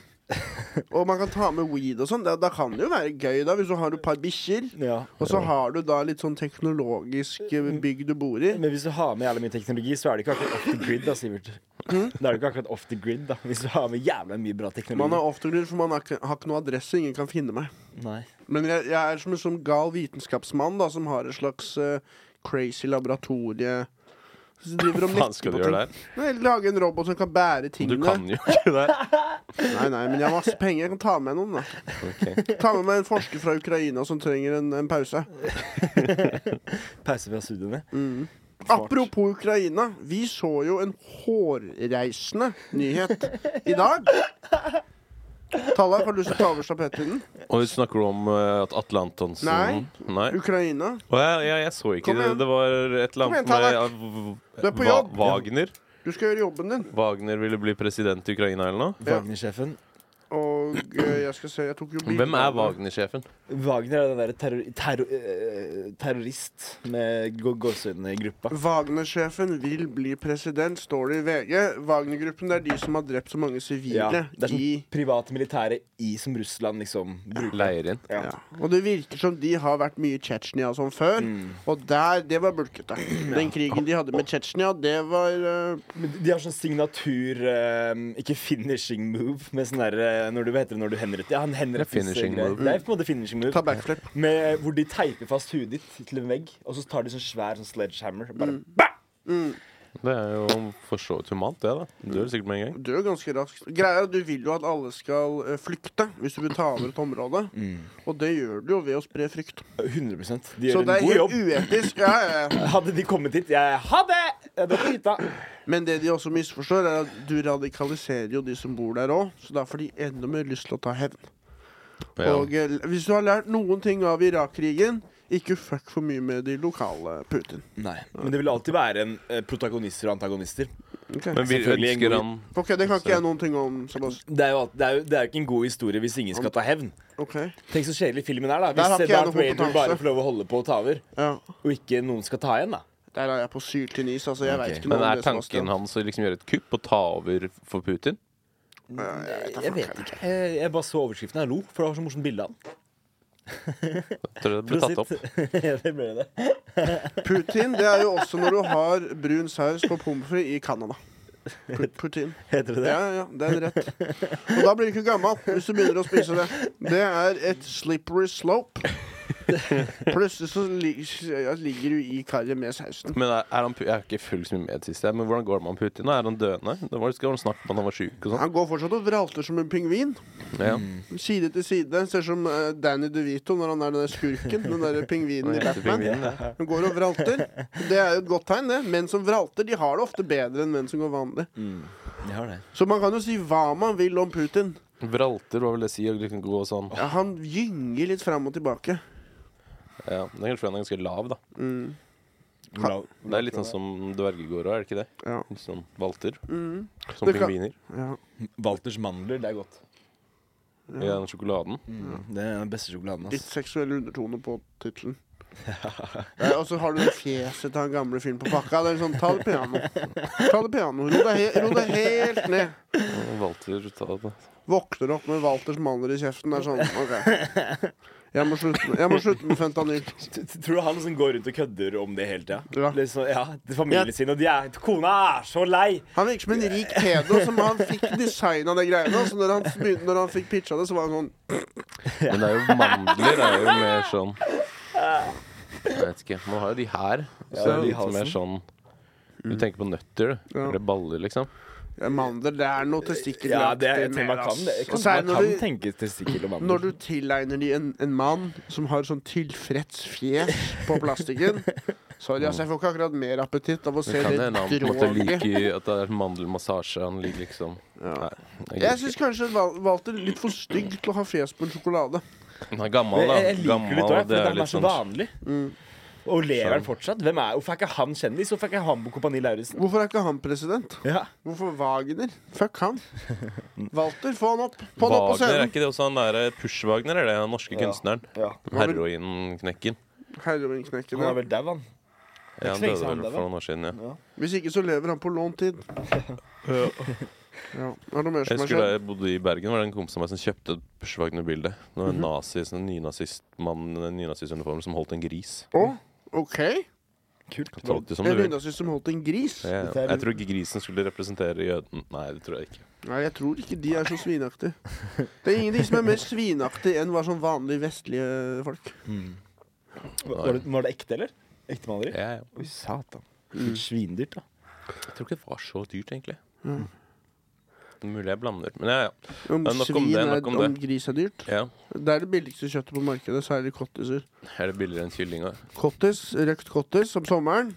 Speaker 1: og man kan ta med weed og sånn, da, da kan det jo være gøy, da, hvis du har et par bikkjer.
Speaker 3: Ja.
Speaker 1: Og så har du da litt sånn teknologisk eh, bygg du bor i.
Speaker 3: Men hvis du har med jævla mye teknologi, så er det ikke akkurat off the grid, da, Sivert. Da er det ikke akkurat off the grid, da. Hvis du har med jævla mye bra
Speaker 1: Mm. Man
Speaker 3: teknologi.
Speaker 1: er off the grid, for man har ikke, har ikke noe adresse, ingen kan finne meg.
Speaker 3: Nei.
Speaker 1: Men jeg, jeg er som en sånn gal vitenskapsmann da, som har et slags eh, crazy laboratorie. Så driver og
Speaker 2: Hva faen skal
Speaker 1: på
Speaker 2: du
Speaker 1: ting.
Speaker 2: gjøre der?
Speaker 1: Nei, Lage en robot som kan bære
Speaker 2: Du
Speaker 1: tingene.
Speaker 2: kan jo ikke det.
Speaker 1: Nei, nei, men jeg har masse penger. Jeg kan ta med noen. da
Speaker 2: Ok.
Speaker 1: Ta med meg en forsker fra Ukraina som trenger en, en pause.
Speaker 3: Pause fra studiene.
Speaker 1: Apropos Ukraina. Vi så jo en hårreisende nyhet i dag. Tallak, har du lyst til å ta over stafettpinnen?
Speaker 2: Og snakker du om eh, at Atle Antonsen
Speaker 1: Nei.
Speaker 2: Nei.
Speaker 1: Ukraina.
Speaker 2: Å, ja, ja, jeg så ikke
Speaker 1: Kom
Speaker 2: det.
Speaker 1: igjen.
Speaker 2: Det var et eller annet
Speaker 1: Kom
Speaker 2: med
Speaker 1: igjen,
Speaker 2: ja,
Speaker 1: Du er på
Speaker 2: Va-
Speaker 1: jobb.
Speaker 2: Wagner.
Speaker 1: Du skal gjøre jobben din.
Speaker 2: Wagner ville bli president i Ukraina eller noe.
Speaker 1: Ja.
Speaker 3: Wagner-sjefen.
Speaker 1: Og eh, jeg skal se Jeg tok jo bilde
Speaker 2: Hvem
Speaker 1: av
Speaker 2: er
Speaker 1: det.
Speaker 2: Wagner-sjefen?
Speaker 3: Wagner er den derre terror, terror, eh, terrorist med gå- gåsehudene-gruppa.
Speaker 1: Wagner-sjefen vil bli president, står det i VG. Wagner-gruppen det er de som har drept så mange
Speaker 3: Ja,
Speaker 1: sivile
Speaker 3: det er sånn
Speaker 1: i
Speaker 3: private militære i som Russland liksom bruker.
Speaker 2: Leier inn.
Speaker 1: ja. Og det virker som de har vært mye i Tsjetsjenia og sånn før.
Speaker 3: Mm.
Speaker 1: Og der, det var bulkete. Den krigen de hadde med Tsjetsjenia, det var eh,
Speaker 3: Men de har sånn signatur eh, Ikke finishing move, men sånn derre Når du hva heter det når du henretter Ja, han henrettes
Speaker 2: Det er finishing
Speaker 3: greier.
Speaker 2: move.
Speaker 3: Det er på en måte finishing move.
Speaker 1: Ta backflip.
Speaker 3: Med, hvor de teiper fast huet ditt til en vegg, og så tar de sånn svær sånn sledgehammer. og Bare
Speaker 1: Mm.
Speaker 3: bang!
Speaker 2: Det er jo for så vidt humant, det. da Dør sikkert med en gang.
Speaker 1: Dør ganske raskt. Greia er at Du vil jo at alle skal eh, flykte hvis du vil ta over et område. Og det gjør du jo ved å spre frykt.
Speaker 3: 100 De
Speaker 1: Så det
Speaker 3: Mm. gjør en
Speaker 1: er
Speaker 3: god
Speaker 1: helt
Speaker 3: jobb.
Speaker 1: uetisk. Ja, ja, ja.
Speaker 3: Hadde de kommet hit Jeg Ha det! Jeg drar på hytta.
Speaker 1: Men det de også misforstår, er at du radikaliserer jo de som bor der òg. Så da får de enda mer lyst til å ta hevn.
Speaker 2: Ja.
Speaker 1: Og eh, hvis du har lært noen ting av Irak-krigen, ikke fuck for mye med de lokale Putin.
Speaker 3: Nei. Men det vil alltid være en eh, protagonister og antagonister.
Speaker 1: Ok?
Speaker 2: Men vi
Speaker 3: Selvfølgelig en
Speaker 2: ønsker
Speaker 3: god-
Speaker 2: han
Speaker 1: Ok, Det kan ikke jeg noen ting om. Sebastian.
Speaker 3: Det er jo, alt- det er jo, det er jo ikke en god historie hvis ingen skal ta hevn.
Speaker 1: Ok,
Speaker 3: Tenk så kjedelig filmen er, da.
Speaker 1: Der har
Speaker 3: Hvis eh,
Speaker 1: ikke jeg
Speaker 3: Darth
Speaker 1: noe
Speaker 3: Vader
Speaker 1: kompetanse.
Speaker 3: bare får lov å holde på og ta over,
Speaker 1: ja
Speaker 3: og ikke noen skal ta igjen, da.
Speaker 1: Der er jeg på syltynn is. Altså, jeg
Speaker 3: Ok.
Speaker 1: vet ikke noe
Speaker 2: Men
Speaker 1: om
Speaker 2: er
Speaker 1: det.
Speaker 2: tanken hans å liksom gjøre et kupp og ta over for Putin?
Speaker 1: Ja, jeg vet da
Speaker 3: Jeg
Speaker 1: faen.
Speaker 3: vet ikke. Jeg, jeg bare så overskriften og lo, for det var så morsomt bilde av den.
Speaker 2: Tror du det ble tatt opp?
Speaker 3: det ble det.
Speaker 1: Putin det er jo også når du har brun saus på pommes frites i Canada. Pu- Putin.
Speaker 3: Heter det det?
Speaker 1: Ja, ja, ja, det er en rett. Og da blir du ikke gammel hvis du begynner å spise det. Det er et slippery slope. Plutselig så lig- ja, ligger du i karret med sausen.
Speaker 2: Men er, er han, pu- jeg har ikke fulgt så mye med sist, jeg, men hvordan går det med han Putin? nå? Er han døende? Det var, skal han snakke om at han var syk og sånn.
Speaker 1: Han går fortsatt og vralter som en pingvin.
Speaker 2: Ja.
Speaker 3: Mm.
Speaker 1: Side til side. Ser ut som eh, Danny DeVito når han er den der skurken. Den der pingvinen i Batman.
Speaker 2: Pingvinen, ja.
Speaker 1: Han går og vralter. Det er jo et godt tegn, det. Menn som vralter, de har det ofte bedre enn menn som går vanlig.
Speaker 3: Jeg har det.
Speaker 1: Så man kan jo si hva man vil om Putin.
Speaker 2: Vralter, hva vil det si? Å liksom gå sånn.
Speaker 1: Ja, han gynger litt fram og tilbake.
Speaker 2: Ja, det er kanskje fordi han er ganske lav, da.
Speaker 1: Mm.
Speaker 2: Det er litt sånn som dvergegårder, er det ikke det?
Speaker 1: Ja.
Speaker 2: Litt Sånn valter.
Speaker 1: Mm.
Speaker 2: Som
Speaker 1: Det kan-
Speaker 2: pingviner.
Speaker 1: ja.
Speaker 3: Walters mandler, det er godt. Mm,
Speaker 2: I den sjokoladen.
Speaker 3: Det er den beste sjokoladen.
Speaker 1: Litt seksuell undertone på tittelen. Eh, Og så har du det fjeset til han gamle fyren på pakka. Det er sånn, Ta det piano. Ta det piano. Ro deg, he ro deg helt ned.
Speaker 3: Mm.
Speaker 2: Valter ta det.
Speaker 1: Våkner opp med Walters maler i kjeften. Det er sånn, OK. Jeg må slutte med, jeg må slutte med fentanyl.
Speaker 3: Tror du han liksom går rundt og kødder om det hele tida?
Speaker 1: Ja.
Speaker 3: Liksom, ja, til familien sin, og de er Kona er så lei!
Speaker 1: Han virker som en rik pedo som han fikk designa de greiene. Så når han, begynte- når han fikk pitcha det, så var han sånn
Speaker 2: Men det er jo mandler er jo mer sånn Jeg vet ikke. Man har jo de her. Så det er
Speaker 3: de i Mm.
Speaker 2: litt mer sånn Du tenker på nøtter, du.
Speaker 1: Ja.
Speaker 2: Eller baller, liksom.
Speaker 1: ja, Mandler, det er noe testikkelaktig
Speaker 3: Ja, det er, jeg
Speaker 1: med
Speaker 3: tror man
Speaker 1: det,
Speaker 3: kan,
Speaker 1: ass.
Speaker 3: det. Jeg
Speaker 1: Og
Speaker 3: Kan,
Speaker 1: så er det
Speaker 3: man
Speaker 1: når
Speaker 3: kan
Speaker 1: du-
Speaker 3: tenke testikkel og
Speaker 1: Når
Speaker 3: mandler.
Speaker 1: du tilegner de en, en mann som har sånn tilfreds fjes på plastikken Sorry, altså, jeg får ikke akkurat mer appetitt av å
Speaker 2: Det
Speaker 1: se
Speaker 2: kan
Speaker 1: det
Speaker 2: hende han på en måte
Speaker 1: droget.
Speaker 2: liker at det er mandelmassasje. Han liker liksom Nei,
Speaker 1: Jeg
Speaker 2: jeg gidder
Speaker 1: syns kanskje Val- Walter er litt for stygg til å ha fjes på en sjokolade.
Speaker 2: ikke. Han er gammel,
Speaker 3: Jeg,
Speaker 2: da.
Speaker 3: jeg liker
Speaker 2: Gammel,
Speaker 3: litt òg,
Speaker 2: og det
Speaker 3: for
Speaker 2: er
Speaker 3: han
Speaker 2: litt
Speaker 3: er så
Speaker 2: sånn
Speaker 3: vanlig. Og lever han fortsatt? Hvem er, hvorfor er ikke han kjendis? Hvorfor er ikke han på Kompani Lauritzen?
Speaker 1: Hvorfor er ikke han president?
Speaker 3: Ja.
Speaker 1: Hvorfor Wagner? Fuck han. Walter, få han opp. Få han opp på sånn-
Speaker 2: Wagner, er
Speaker 1: scenen.
Speaker 2: ikke det også han derre Push-Wagner? Er det den norske kunstneren?
Speaker 3: Ja.
Speaker 2: Heroinknekken.
Speaker 3: Han
Speaker 1: Heroinknekkende.
Speaker 3: er vel dau, han.
Speaker 2: Ja,
Speaker 3: så
Speaker 2: han døde
Speaker 3: lenge siden
Speaker 2: vel
Speaker 3: han
Speaker 2: for noen år siden, ja.
Speaker 1: Hvis ikke så lever han på lånt tid. Ja. Er det noe mer
Speaker 2: Jeg
Speaker 1: som har
Speaker 2: husker da
Speaker 1: skjedd?
Speaker 2: jeg bodde i Bergen, var det en kompis av meg som kjøpte et Pushwagner-bilde. Det var en nazi, sånn en nynazistmann i en nynazistuniform som holdt en gris.
Speaker 1: Å, OK.
Speaker 3: Kult.
Speaker 2: Tolk det som du
Speaker 1: En
Speaker 2: vil.
Speaker 1: hundasys som holdt en gris.
Speaker 2: Jeg,
Speaker 3: Dette er-
Speaker 2: jeg tror ikke grisen skulle representere jøden. Nei, det tror jeg ikke.
Speaker 1: Nei, jeg tror ikke de er så svinaktige. Det er ingenting som er mer svinaktig enn hva sånn vanlige vestlige folk.
Speaker 3: Var det, var det ekte, eller? Ekte maleri?
Speaker 2: Jeg,
Speaker 3: Oi, satan. Svindyrt, da.
Speaker 2: jeg tror ikke det var så dyrt, egentlig.
Speaker 1: Mm.
Speaker 2: Mulig jeg blander. Men ja, ja.
Speaker 1: Om
Speaker 2: Ja, nok om
Speaker 1: svin
Speaker 2: det,
Speaker 1: er,
Speaker 2: nok om
Speaker 1: om, gris er dyrt.
Speaker 2: ja.
Speaker 1: Det er det billigste kjøttet på markedet, særlig cottiser.
Speaker 2: Er det billigere enn kylling? også?
Speaker 1: Cottis, røkt cottis om sommeren.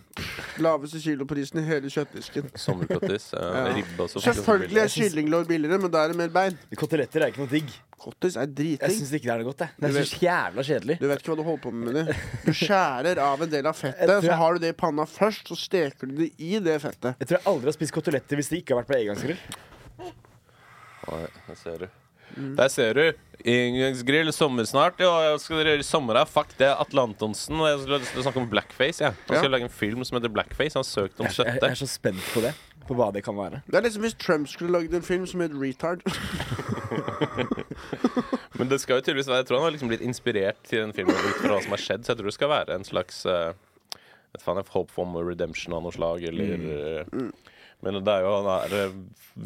Speaker 1: Laveste kiloprisen i hele kjøttdisken.
Speaker 2: Sommerkottis? Ja.
Speaker 1: Ja.
Speaker 2: Ribbe også.
Speaker 1: Selvfølgelig er
Speaker 3: Jeg synes-
Speaker 1: kyllinglår billigere, men da er det mer bein.
Speaker 3: Koteletter er ikke noe digg.
Speaker 1: Cottis er
Speaker 3: Jeg
Speaker 1: driting.
Speaker 3: syns ikke det er noe godt. Jeg. Det
Speaker 1: Du
Speaker 3: er
Speaker 1: vet-
Speaker 3: så jævla kjedelig.
Speaker 1: Du vet ikke hva du holder på med, med det. Du skjærer av en del av fettet,
Speaker 3: Jeg tror
Speaker 1: så
Speaker 3: jeg-
Speaker 1: har du det i panna først, så steker du det i det fettet.
Speaker 3: Jeg tror jeg aldri har spist koteletter hvis det ikke har vært på engangsgrill.
Speaker 2: Nei, der ser du. Der ser du. Inngangsgrill, sommer snart. Jo, jeg skal dere gjøre i sommer her. Fuck det, Atle Antonsen. Og Jeg skulle lyst til å snakke om blackface. Ja. Han skal
Speaker 1: Ja.
Speaker 2: lage en film som heter Blackface. Han har søkt om
Speaker 3: Jeg, jeg,
Speaker 2: støtte.
Speaker 3: er så spent på det. På hva det kan være.
Speaker 1: Det er liksom hvis Trump skulle lagd en film som het Retard.
Speaker 2: Men det skal jo tydeligvis være Jeg tror han har liksom blitt inspirert til den filmen ut fra hva som har skjedd, så jeg tror det skal være en slags eh, vet faen, jeg, Hope for more redemption av noe slag, eller eh, Men det er jo han er eh,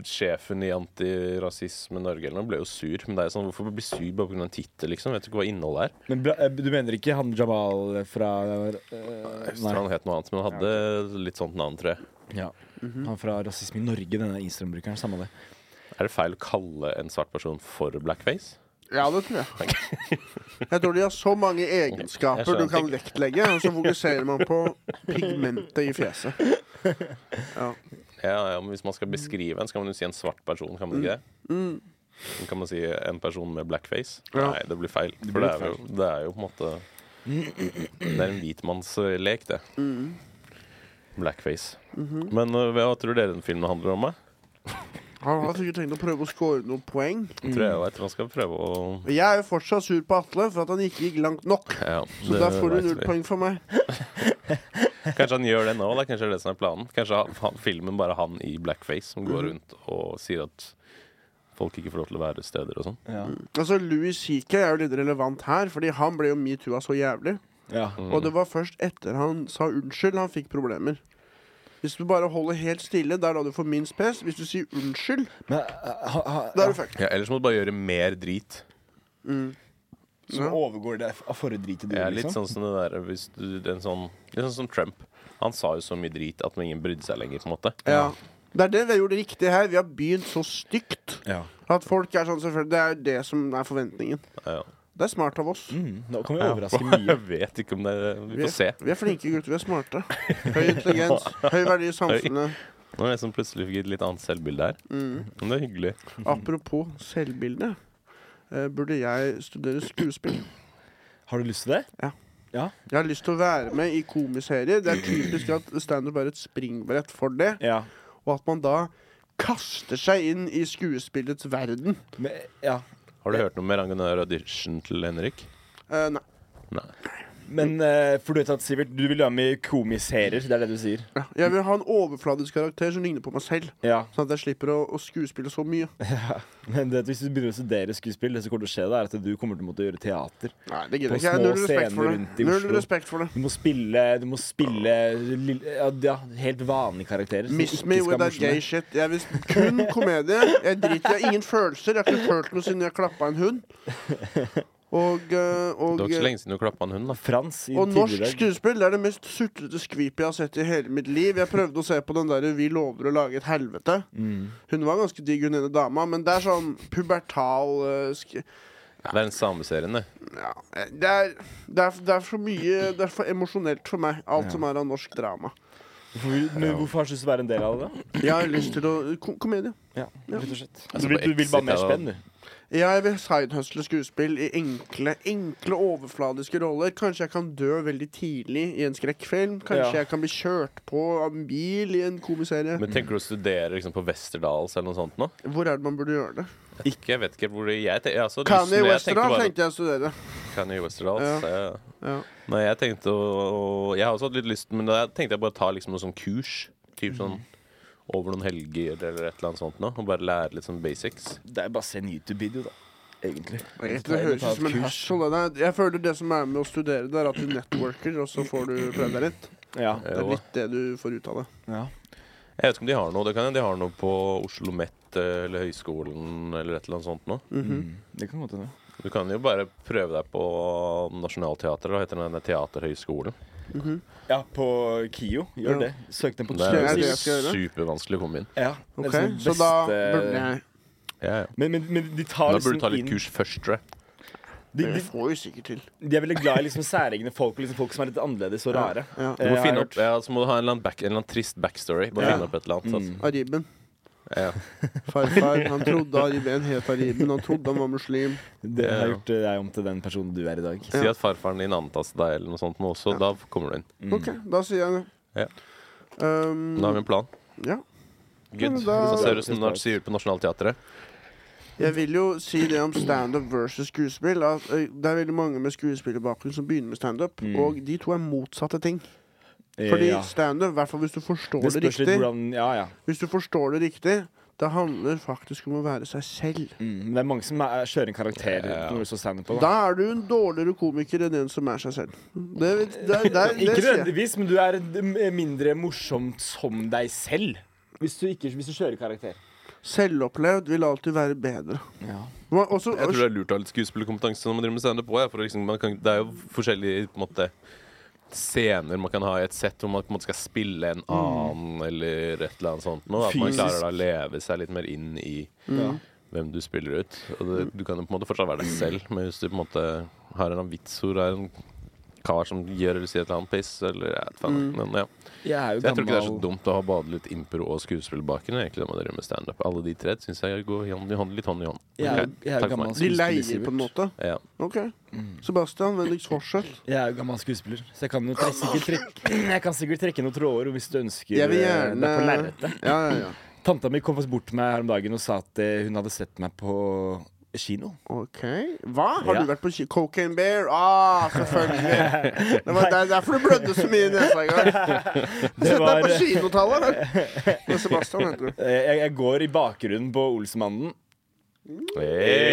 Speaker 2: sjefen i Antirasisme Norge eller noe, ble jo sur. Men det er jo sånn, hvorfor bli sur bare pga. en tittel, liksom? Vet du ikke hva innholdet er?
Speaker 3: Men bla- eh, du mener ikke han Jamal fra eh,
Speaker 2: Jeg
Speaker 3: Nei.
Speaker 2: tror han het noe annet, men han hadde litt sånt navn, tror jeg.
Speaker 3: Ja. Mhm. Han fra Rasisme i Norge, denne Instagram-brukeren. Samme det.
Speaker 2: Er det feil å kalle en svart person for blackface?
Speaker 1: Ja, det tror jeg. Jeg tror de har så mange
Speaker 2: Jeg
Speaker 1: egenskaper
Speaker 2: skjønner
Speaker 1: du kan
Speaker 2: ikke.
Speaker 1: vektlegge, og så fokuserer man på pigmentet i fjeset.
Speaker 2: Ja, ja, men Hvis man skal beskrive en, så kan man jo si en svart person, kan man ikke det?
Speaker 1: Mm.
Speaker 2: Men Kan man si en person med blackface?
Speaker 1: Ja.
Speaker 2: Nei, det blir feil. For
Speaker 3: blir
Speaker 2: det, er jo, det er jo på en måte Det er en hvitmannslek, det.
Speaker 1: Mm.
Speaker 2: Blackface.
Speaker 1: Mhm.
Speaker 2: Men øh, hva tror dere den filmen handler om? da?
Speaker 1: Han har sikkert tenkt å prøve å score noen poeng.
Speaker 2: Jeg tror jeg vet man skal prøve å
Speaker 1: Og Jeg er jo fortsatt sur på Atle for at han ikke gikk langt nok.
Speaker 2: ja,
Speaker 1: Så
Speaker 2: det
Speaker 1: der får
Speaker 2: vet
Speaker 1: du null
Speaker 2: vi.
Speaker 1: poeng for meg.
Speaker 2: Kanskje han gjør det nå? Da. Kanskje det er Mhm. det som er planen? Kanskje han, han, filmen bare han i blackface som går rundt og sier at folk ikke får lov til å være steder og sånn.
Speaker 3: Ja.
Speaker 1: Altså, Louis CK er jo litt relevant her, fordi han ble jo metoo-a så jævlig.
Speaker 3: Ja.
Speaker 2: Mm.
Speaker 1: Og det var først etter han sa unnskyld, han fikk problemer. Hvis du bare holder helt stille, det er da du får minst pes. Hvis du sier unnskyld,
Speaker 3: Men eh, ha, ha,
Speaker 1: da er du fucked.
Speaker 2: Ja, ellers må du bare gjøre mer drit.
Speaker 3: Som
Speaker 1: Ja.
Speaker 3: overgår det av forrige drit i
Speaker 2: Jeg
Speaker 3: det,
Speaker 2: er litt
Speaker 3: liksom?
Speaker 2: sånn som det der hvis du, en sånn, Litt sånn som Trump. Han sa jo så mye drit at ingen brydde seg lenger. på en måte
Speaker 1: Ja. Det er det vi har gjort riktig her. Vi har begynt så stygt
Speaker 3: Ja.
Speaker 1: at folk er sånn selvfølgelig Det er jo det som er forventningen.
Speaker 2: Ja.
Speaker 1: Det er smart av oss.
Speaker 3: Mm, nå kan vi
Speaker 2: Ja.
Speaker 3: overraske mye.
Speaker 2: Jeg vet ikke om det Vi
Speaker 1: Vi
Speaker 2: får se.
Speaker 1: er, vi er flinke gutter. Vi er smarte. Høy intelligens. Høy verdi i samfunnet.
Speaker 2: Nå er det jeg som plutselig fikk et litt annet selvbilde her.
Speaker 1: Mm.
Speaker 2: Men det er hyggelig.
Speaker 1: Apropos selvbilde. eh, Burde jeg studere skuespill?
Speaker 3: Har du lyst til det?
Speaker 1: Jeg har lyst til å være med i komiserier. Det er typisk at standup er et springbrett for det.
Speaker 3: Ja.
Speaker 1: Og at man da kaster seg inn i skuespillets verden.
Speaker 3: Men, ja.
Speaker 2: Har du hørt noe mer angående audition til Henrik?
Speaker 1: Eh, nei.
Speaker 2: Nei.
Speaker 3: Men eh, for du vet at, Sivert, du vil være med i komiserier. Det er det du sier.
Speaker 1: Ja, Jeg vil ha en overfladisk karakter som ligner på meg selv.
Speaker 3: Ja.
Speaker 1: Sånn at jeg slipper å, å skuespille så mye.
Speaker 3: Men det, at hvis du begynner å studere skuespill, det som kommer til å skje, da, er at du kommer til å måtte gjøre teater.
Speaker 1: Nei, det gidder jeg ikke.
Speaker 3: På
Speaker 1: Jeg har
Speaker 3: små
Speaker 1: null respekt for
Speaker 3: scener rundt i
Speaker 1: det. Null
Speaker 3: Oslo.
Speaker 1: respekt for det.
Speaker 3: Du må spille, du må spille lille, ja, ja, helt vanlige karakterer. som
Speaker 1: Miss
Speaker 3: ikke
Speaker 1: me
Speaker 3: skal
Speaker 1: with that
Speaker 3: morsomme.
Speaker 1: gay shit. Jeg vil kun komedie. Jeg driter jeg har ingen følelser. Jeg har ikke følt noe siden jeg klappa en hund. Og, eh,
Speaker 2: Det
Speaker 1: og,
Speaker 2: var ikke så lenge siden du klappa en hund, da.
Speaker 3: Frans i
Speaker 1: og norsk
Speaker 3: tidligere dag.
Speaker 1: skuespill det er det mest sutrete skvipet jeg har sett i hele mitt liv. Jeg prøvde å se på den der 'Vi lover å lage et helvete'.
Speaker 3: Mm.
Speaker 1: Hun var ganske digg, hun ene dama, men det er sånn pubertal eh, sk
Speaker 2: Det er en sameserien, det.
Speaker 1: ja. eh, det, er, det, er, det er for mye Det er for emosjonelt for meg, alt som er av norsk drama.
Speaker 3: Hvorfor, vil- men hvorfor har du lyst til å være en del av det? da?
Speaker 1: Jeg har lyst til å kom Komedie.
Speaker 3: Ja, rett og slett.
Speaker 2: Altså,
Speaker 3: Du vil,
Speaker 2: på
Speaker 3: du vil bare
Speaker 2: Exit
Speaker 3: mer
Speaker 2: er det-
Speaker 3: spenn, du.
Speaker 1: Jeg vil sidehustle skuespill i enkle, enkle overfladiske roller. Kanskje jeg kan dø veldig tidlig i en skrekkfilm. Kanskje
Speaker 3: Ja.
Speaker 1: jeg kan bli kjørt på av en bil i en komiserie.
Speaker 2: Men tenker du å studere liksom, på Westerdals eller noe sånt nå?
Speaker 1: Hvor er det man burde gjøre det?
Speaker 2: Ikke, jeg vet ikke hvor det jeg, te- jeg, altså,
Speaker 1: Kanye
Speaker 2: lysten- jeg
Speaker 1: West,
Speaker 2: tenkte
Speaker 1: da,
Speaker 2: bare-
Speaker 1: tenkte jeg å studere.
Speaker 2: Kanye Westerdals.
Speaker 1: Ja.
Speaker 2: Ja.
Speaker 1: Ja.
Speaker 2: Nei, jeg tenkte å, å Jeg har også hatt litt lyst, men da tenkte jeg bare ta liksom noe sånn kurs. Typ sånn
Speaker 1: Mm.
Speaker 2: over noen helger eller et eller annet sånt nå, og bare lære litt sånn basics.
Speaker 3: Det er bare å se en YouTube-video, da. Egentlig.
Speaker 1: Det høres ut som en hustle. Det er, jeg føler det som er med å studere, det er at du networker, og så får du prøvd deg litt.
Speaker 3: Ja.
Speaker 1: Det er
Speaker 2: Jo.
Speaker 1: litt det du får ut av det.
Speaker 3: ja.
Speaker 2: Eh, Jeg vet ikke om de har noe. Det kan hende de har noe på Oslo Met eh, eller Høgskolen eller et eller annet sånt nå.
Speaker 1: Mhm. Mm-hmm.
Speaker 3: Mm, Det kan godt hende.
Speaker 2: Du kan jo bare prøve deg på Nationaltheatret, da heter den der Teaterhøgskolen.
Speaker 3: Ja, på KIO. Gjør
Speaker 1: Ja.
Speaker 3: det. Søk den på
Speaker 2: Det
Speaker 3: KIO.
Speaker 1: er
Speaker 2: er
Speaker 1: det
Speaker 2: jo
Speaker 1: jeg skal gjøre.
Speaker 2: supervanskelig å komme inn.
Speaker 3: Ja, det er
Speaker 1: Ok,
Speaker 3: liksom
Speaker 1: Så da
Speaker 3: beste-
Speaker 1: burde jeg
Speaker 2: Ja, ja.
Speaker 3: men, men, men de tar
Speaker 2: Da burde
Speaker 3: liksom
Speaker 2: du ta litt
Speaker 3: inn
Speaker 2: kurs først, tror jeg.
Speaker 3: De,
Speaker 1: Det
Speaker 3: de,
Speaker 1: får vi sikkert til.
Speaker 3: de er veldig glad i liksom særegne folk, og liksom folk som er litt annerledes og rare.
Speaker 1: Ja.
Speaker 2: Du må
Speaker 3: Eh,
Speaker 2: finne
Speaker 3: har
Speaker 2: opp,
Speaker 3: jeg hørt. mm.
Speaker 2: ja, så må du ha en eller annen, back, en eller annen trist backstory. Bare
Speaker 1: Ja.
Speaker 2: finne opp et eller annet. Altså.
Speaker 1: Ariben.
Speaker 2: Ja.
Speaker 1: Farfar. Han trodde Ariben het Ariben. Han trodde han var muslim.
Speaker 3: Det har
Speaker 2: Ja.
Speaker 3: gjort eh, deg om til den personen du er i dag.
Speaker 2: Si at farfaren din antastet deg eller noe sånt nå også. Da kommer du inn.
Speaker 3: Mm.
Speaker 1: Ok, da sier jeg det.
Speaker 2: Ja.
Speaker 1: Um,
Speaker 2: Da har vi en plan.
Speaker 1: ja.
Speaker 2: Good.
Speaker 1: Ja, men da-
Speaker 2: Så ser det ut som når det sier ut på Nationaltheatret.
Speaker 1: Jeg vil jo si det om standup versus skuespill. At ø, det er veldig mange med skuespillerbakgrunn som begynner med standup. Og de to er motsatte ting.
Speaker 3: Eh,
Speaker 1: Fordi
Speaker 3: Mm. ja.
Speaker 1: standup, i hvert fall hvis du forstår
Speaker 3: Det
Speaker 1: det,
Speaker 3: spørs litt
Speaker 1: riktig,
Speaker 3: hvordan Ja, ja.
Speaker 1: Hvis du forstår det riktig, det handler faktisk om å være seg selv.
Speaker 3: Mm. Men det er mange som er, kjører en karakter
Speaker 2: Ja.
Speaker 3: når du står standup på.
Speaker 1: Da
Speaker 3: Da.
Speaker 1: er du en dårligere komiker enn en som er seg selv. Det, det, det, det, det
Speaker 3: Ikke
Speaker 1: sier jeg.
Speaker 3: nødvendigvis, men du er d- mindre morsomt som deg selv. Hvis du, ikke, hvis du kjører karakter.
Speaker 1: Selvopplevd vil alltid være bedre.
Speaker 3: Ja.
Speaker 1: Man, også,
Speaker 2: Jeg tror det er lurt å ha litt skuespillerkompetanse når man driver med standup òg. For liksom, man kan- det er jo forskjellige på en måte, scener man kan ha i et sett hvor man på en måte skal spille en annen eller et eller annet sånt. Nå, at man
Speaker 3: Fysisk. Mm.
Speaker 2: klarer da å leve seg litt mer inn i
Speaker 3: Ja.
Speaker 2: hvem du spiller ut. Og det, du kan jo på en måte fortsatt være deg selv, men hvis du på en måte har en eller annen vits hvor det er en kar som gjør eller sier et eller annet piss, eller jeg vet faen. Men, ja.
Speaker 3: Jeg er jo
Speaker 2: Så jeg tror ikke det er så
Speaker 3: Mm. gammel.
Speaker 2: dumt å ha både litt impro og skuespillbakgrunn. egentlig, når man driver med stand-up. Alle de tre syns jeg går hånd i hånd, litt hånd i hånd.
Speaker 3: Jeg er,
Speaker 2: Ok,
Speaker 3: jeg
Speaker 2: takk
Speaker 3: er
Speaker 2: for
Speaker 3: gammel
Speaker 2: meg.
Speaker 1: De
Speaker 3: skuespiller,
Speaker 1: leier
Speaker 3: Sivert.
Speaker 1: på en måte.
Speaker 2: Ja.
Speaker 1: Ok.
Speaker 3: Mm.
Speaker 1: Sebastian, Vennligst fortsett.
Speaker 3: Jeg er jo gammel skuespiller, så jeg kan jo tre- sikkert trekke, jeg kan sikkert trekke noen tråder hvis du ønsker
Speaker 1: Jeg vil
Speaker 3: eh,
Speaker 1: gjerne
Speaker 3: det er på lerretet.
Speaker 1: Ja, ja, ja.
Speaker 3: Tanta mi kom faktisk bort til meg her om dagen og sa at eh, hun hadde sett meg på kino.
Speaker 1: Ok. Hva? Har
Speaker 3: Ja.
Speaker 1: du vært på ki- Cocaine Bear? Ah, selvfølgelig. Det var der, derfor du blødde så mye i nesa i går.
Speaker 3: Det
Speaker 1: Sett deg
Speaker 3: var,
Speaker 1: på
Speaker 3: eh,
Speaker 1: kinotallet, da. Det er Sebastian, heter du.
Speaker 3: jeg, jeg går i bakgrunnen på Olsmannen.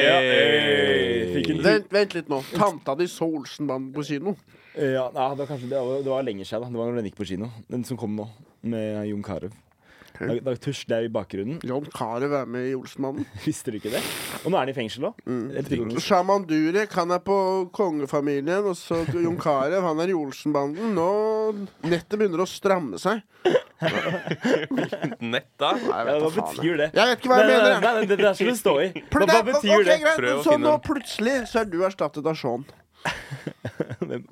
Speaker 2: Hey.
Speaker 3: Fikk en-
Speaker 1: Vent, vent litt nå. Tanta di så Olsenbanden på kino.
Speaker 3: Eh, Ja, nei, det, var kanskje, det, var, det var lenger siden. da Det var når den gikk på kino. Den som kom nå, med Jon Carew. Da, da tusler jeg i bakgrunnen.
Speaker 1: John Carew er med i Olsenbanden.
Speaker 3: Visste du ikke det? Og nå er han i fengsel òg.
Speaker 1: Mm. Shaman Durek han er på kongefamilien, og så Jon Carew han er i Olsenbanden. Nå Nettet begynner å stramme seg.
Speaker 2: Nett, da?
Speaker 1: Nei, jeg
Speaker 3: Ja, hva
Speaker 1: vet da faen. jeg.
Speaker 3: betyr det?
Speaker 1: Jeg vet ikke hva jeg
Speaker 3: Nei, nei,
Speaker 1: mener. jeg.
Speaker 3: Nei, nei, det, det er som det står i. Hva,
Speaker 1: Pl-
Speaker 3: hva
Speaker 1: det-
Speaker 3: betyr det?
Speaker 1: ok, greit,
Speaker 2: Prøv å
Speaker 1: Så
Speaker 2: finne
Speaker 1: nå
Speaker 2: den.
Speaker 1: plutselig så er du erstattet av Sean.
Speaker 3: Hvem?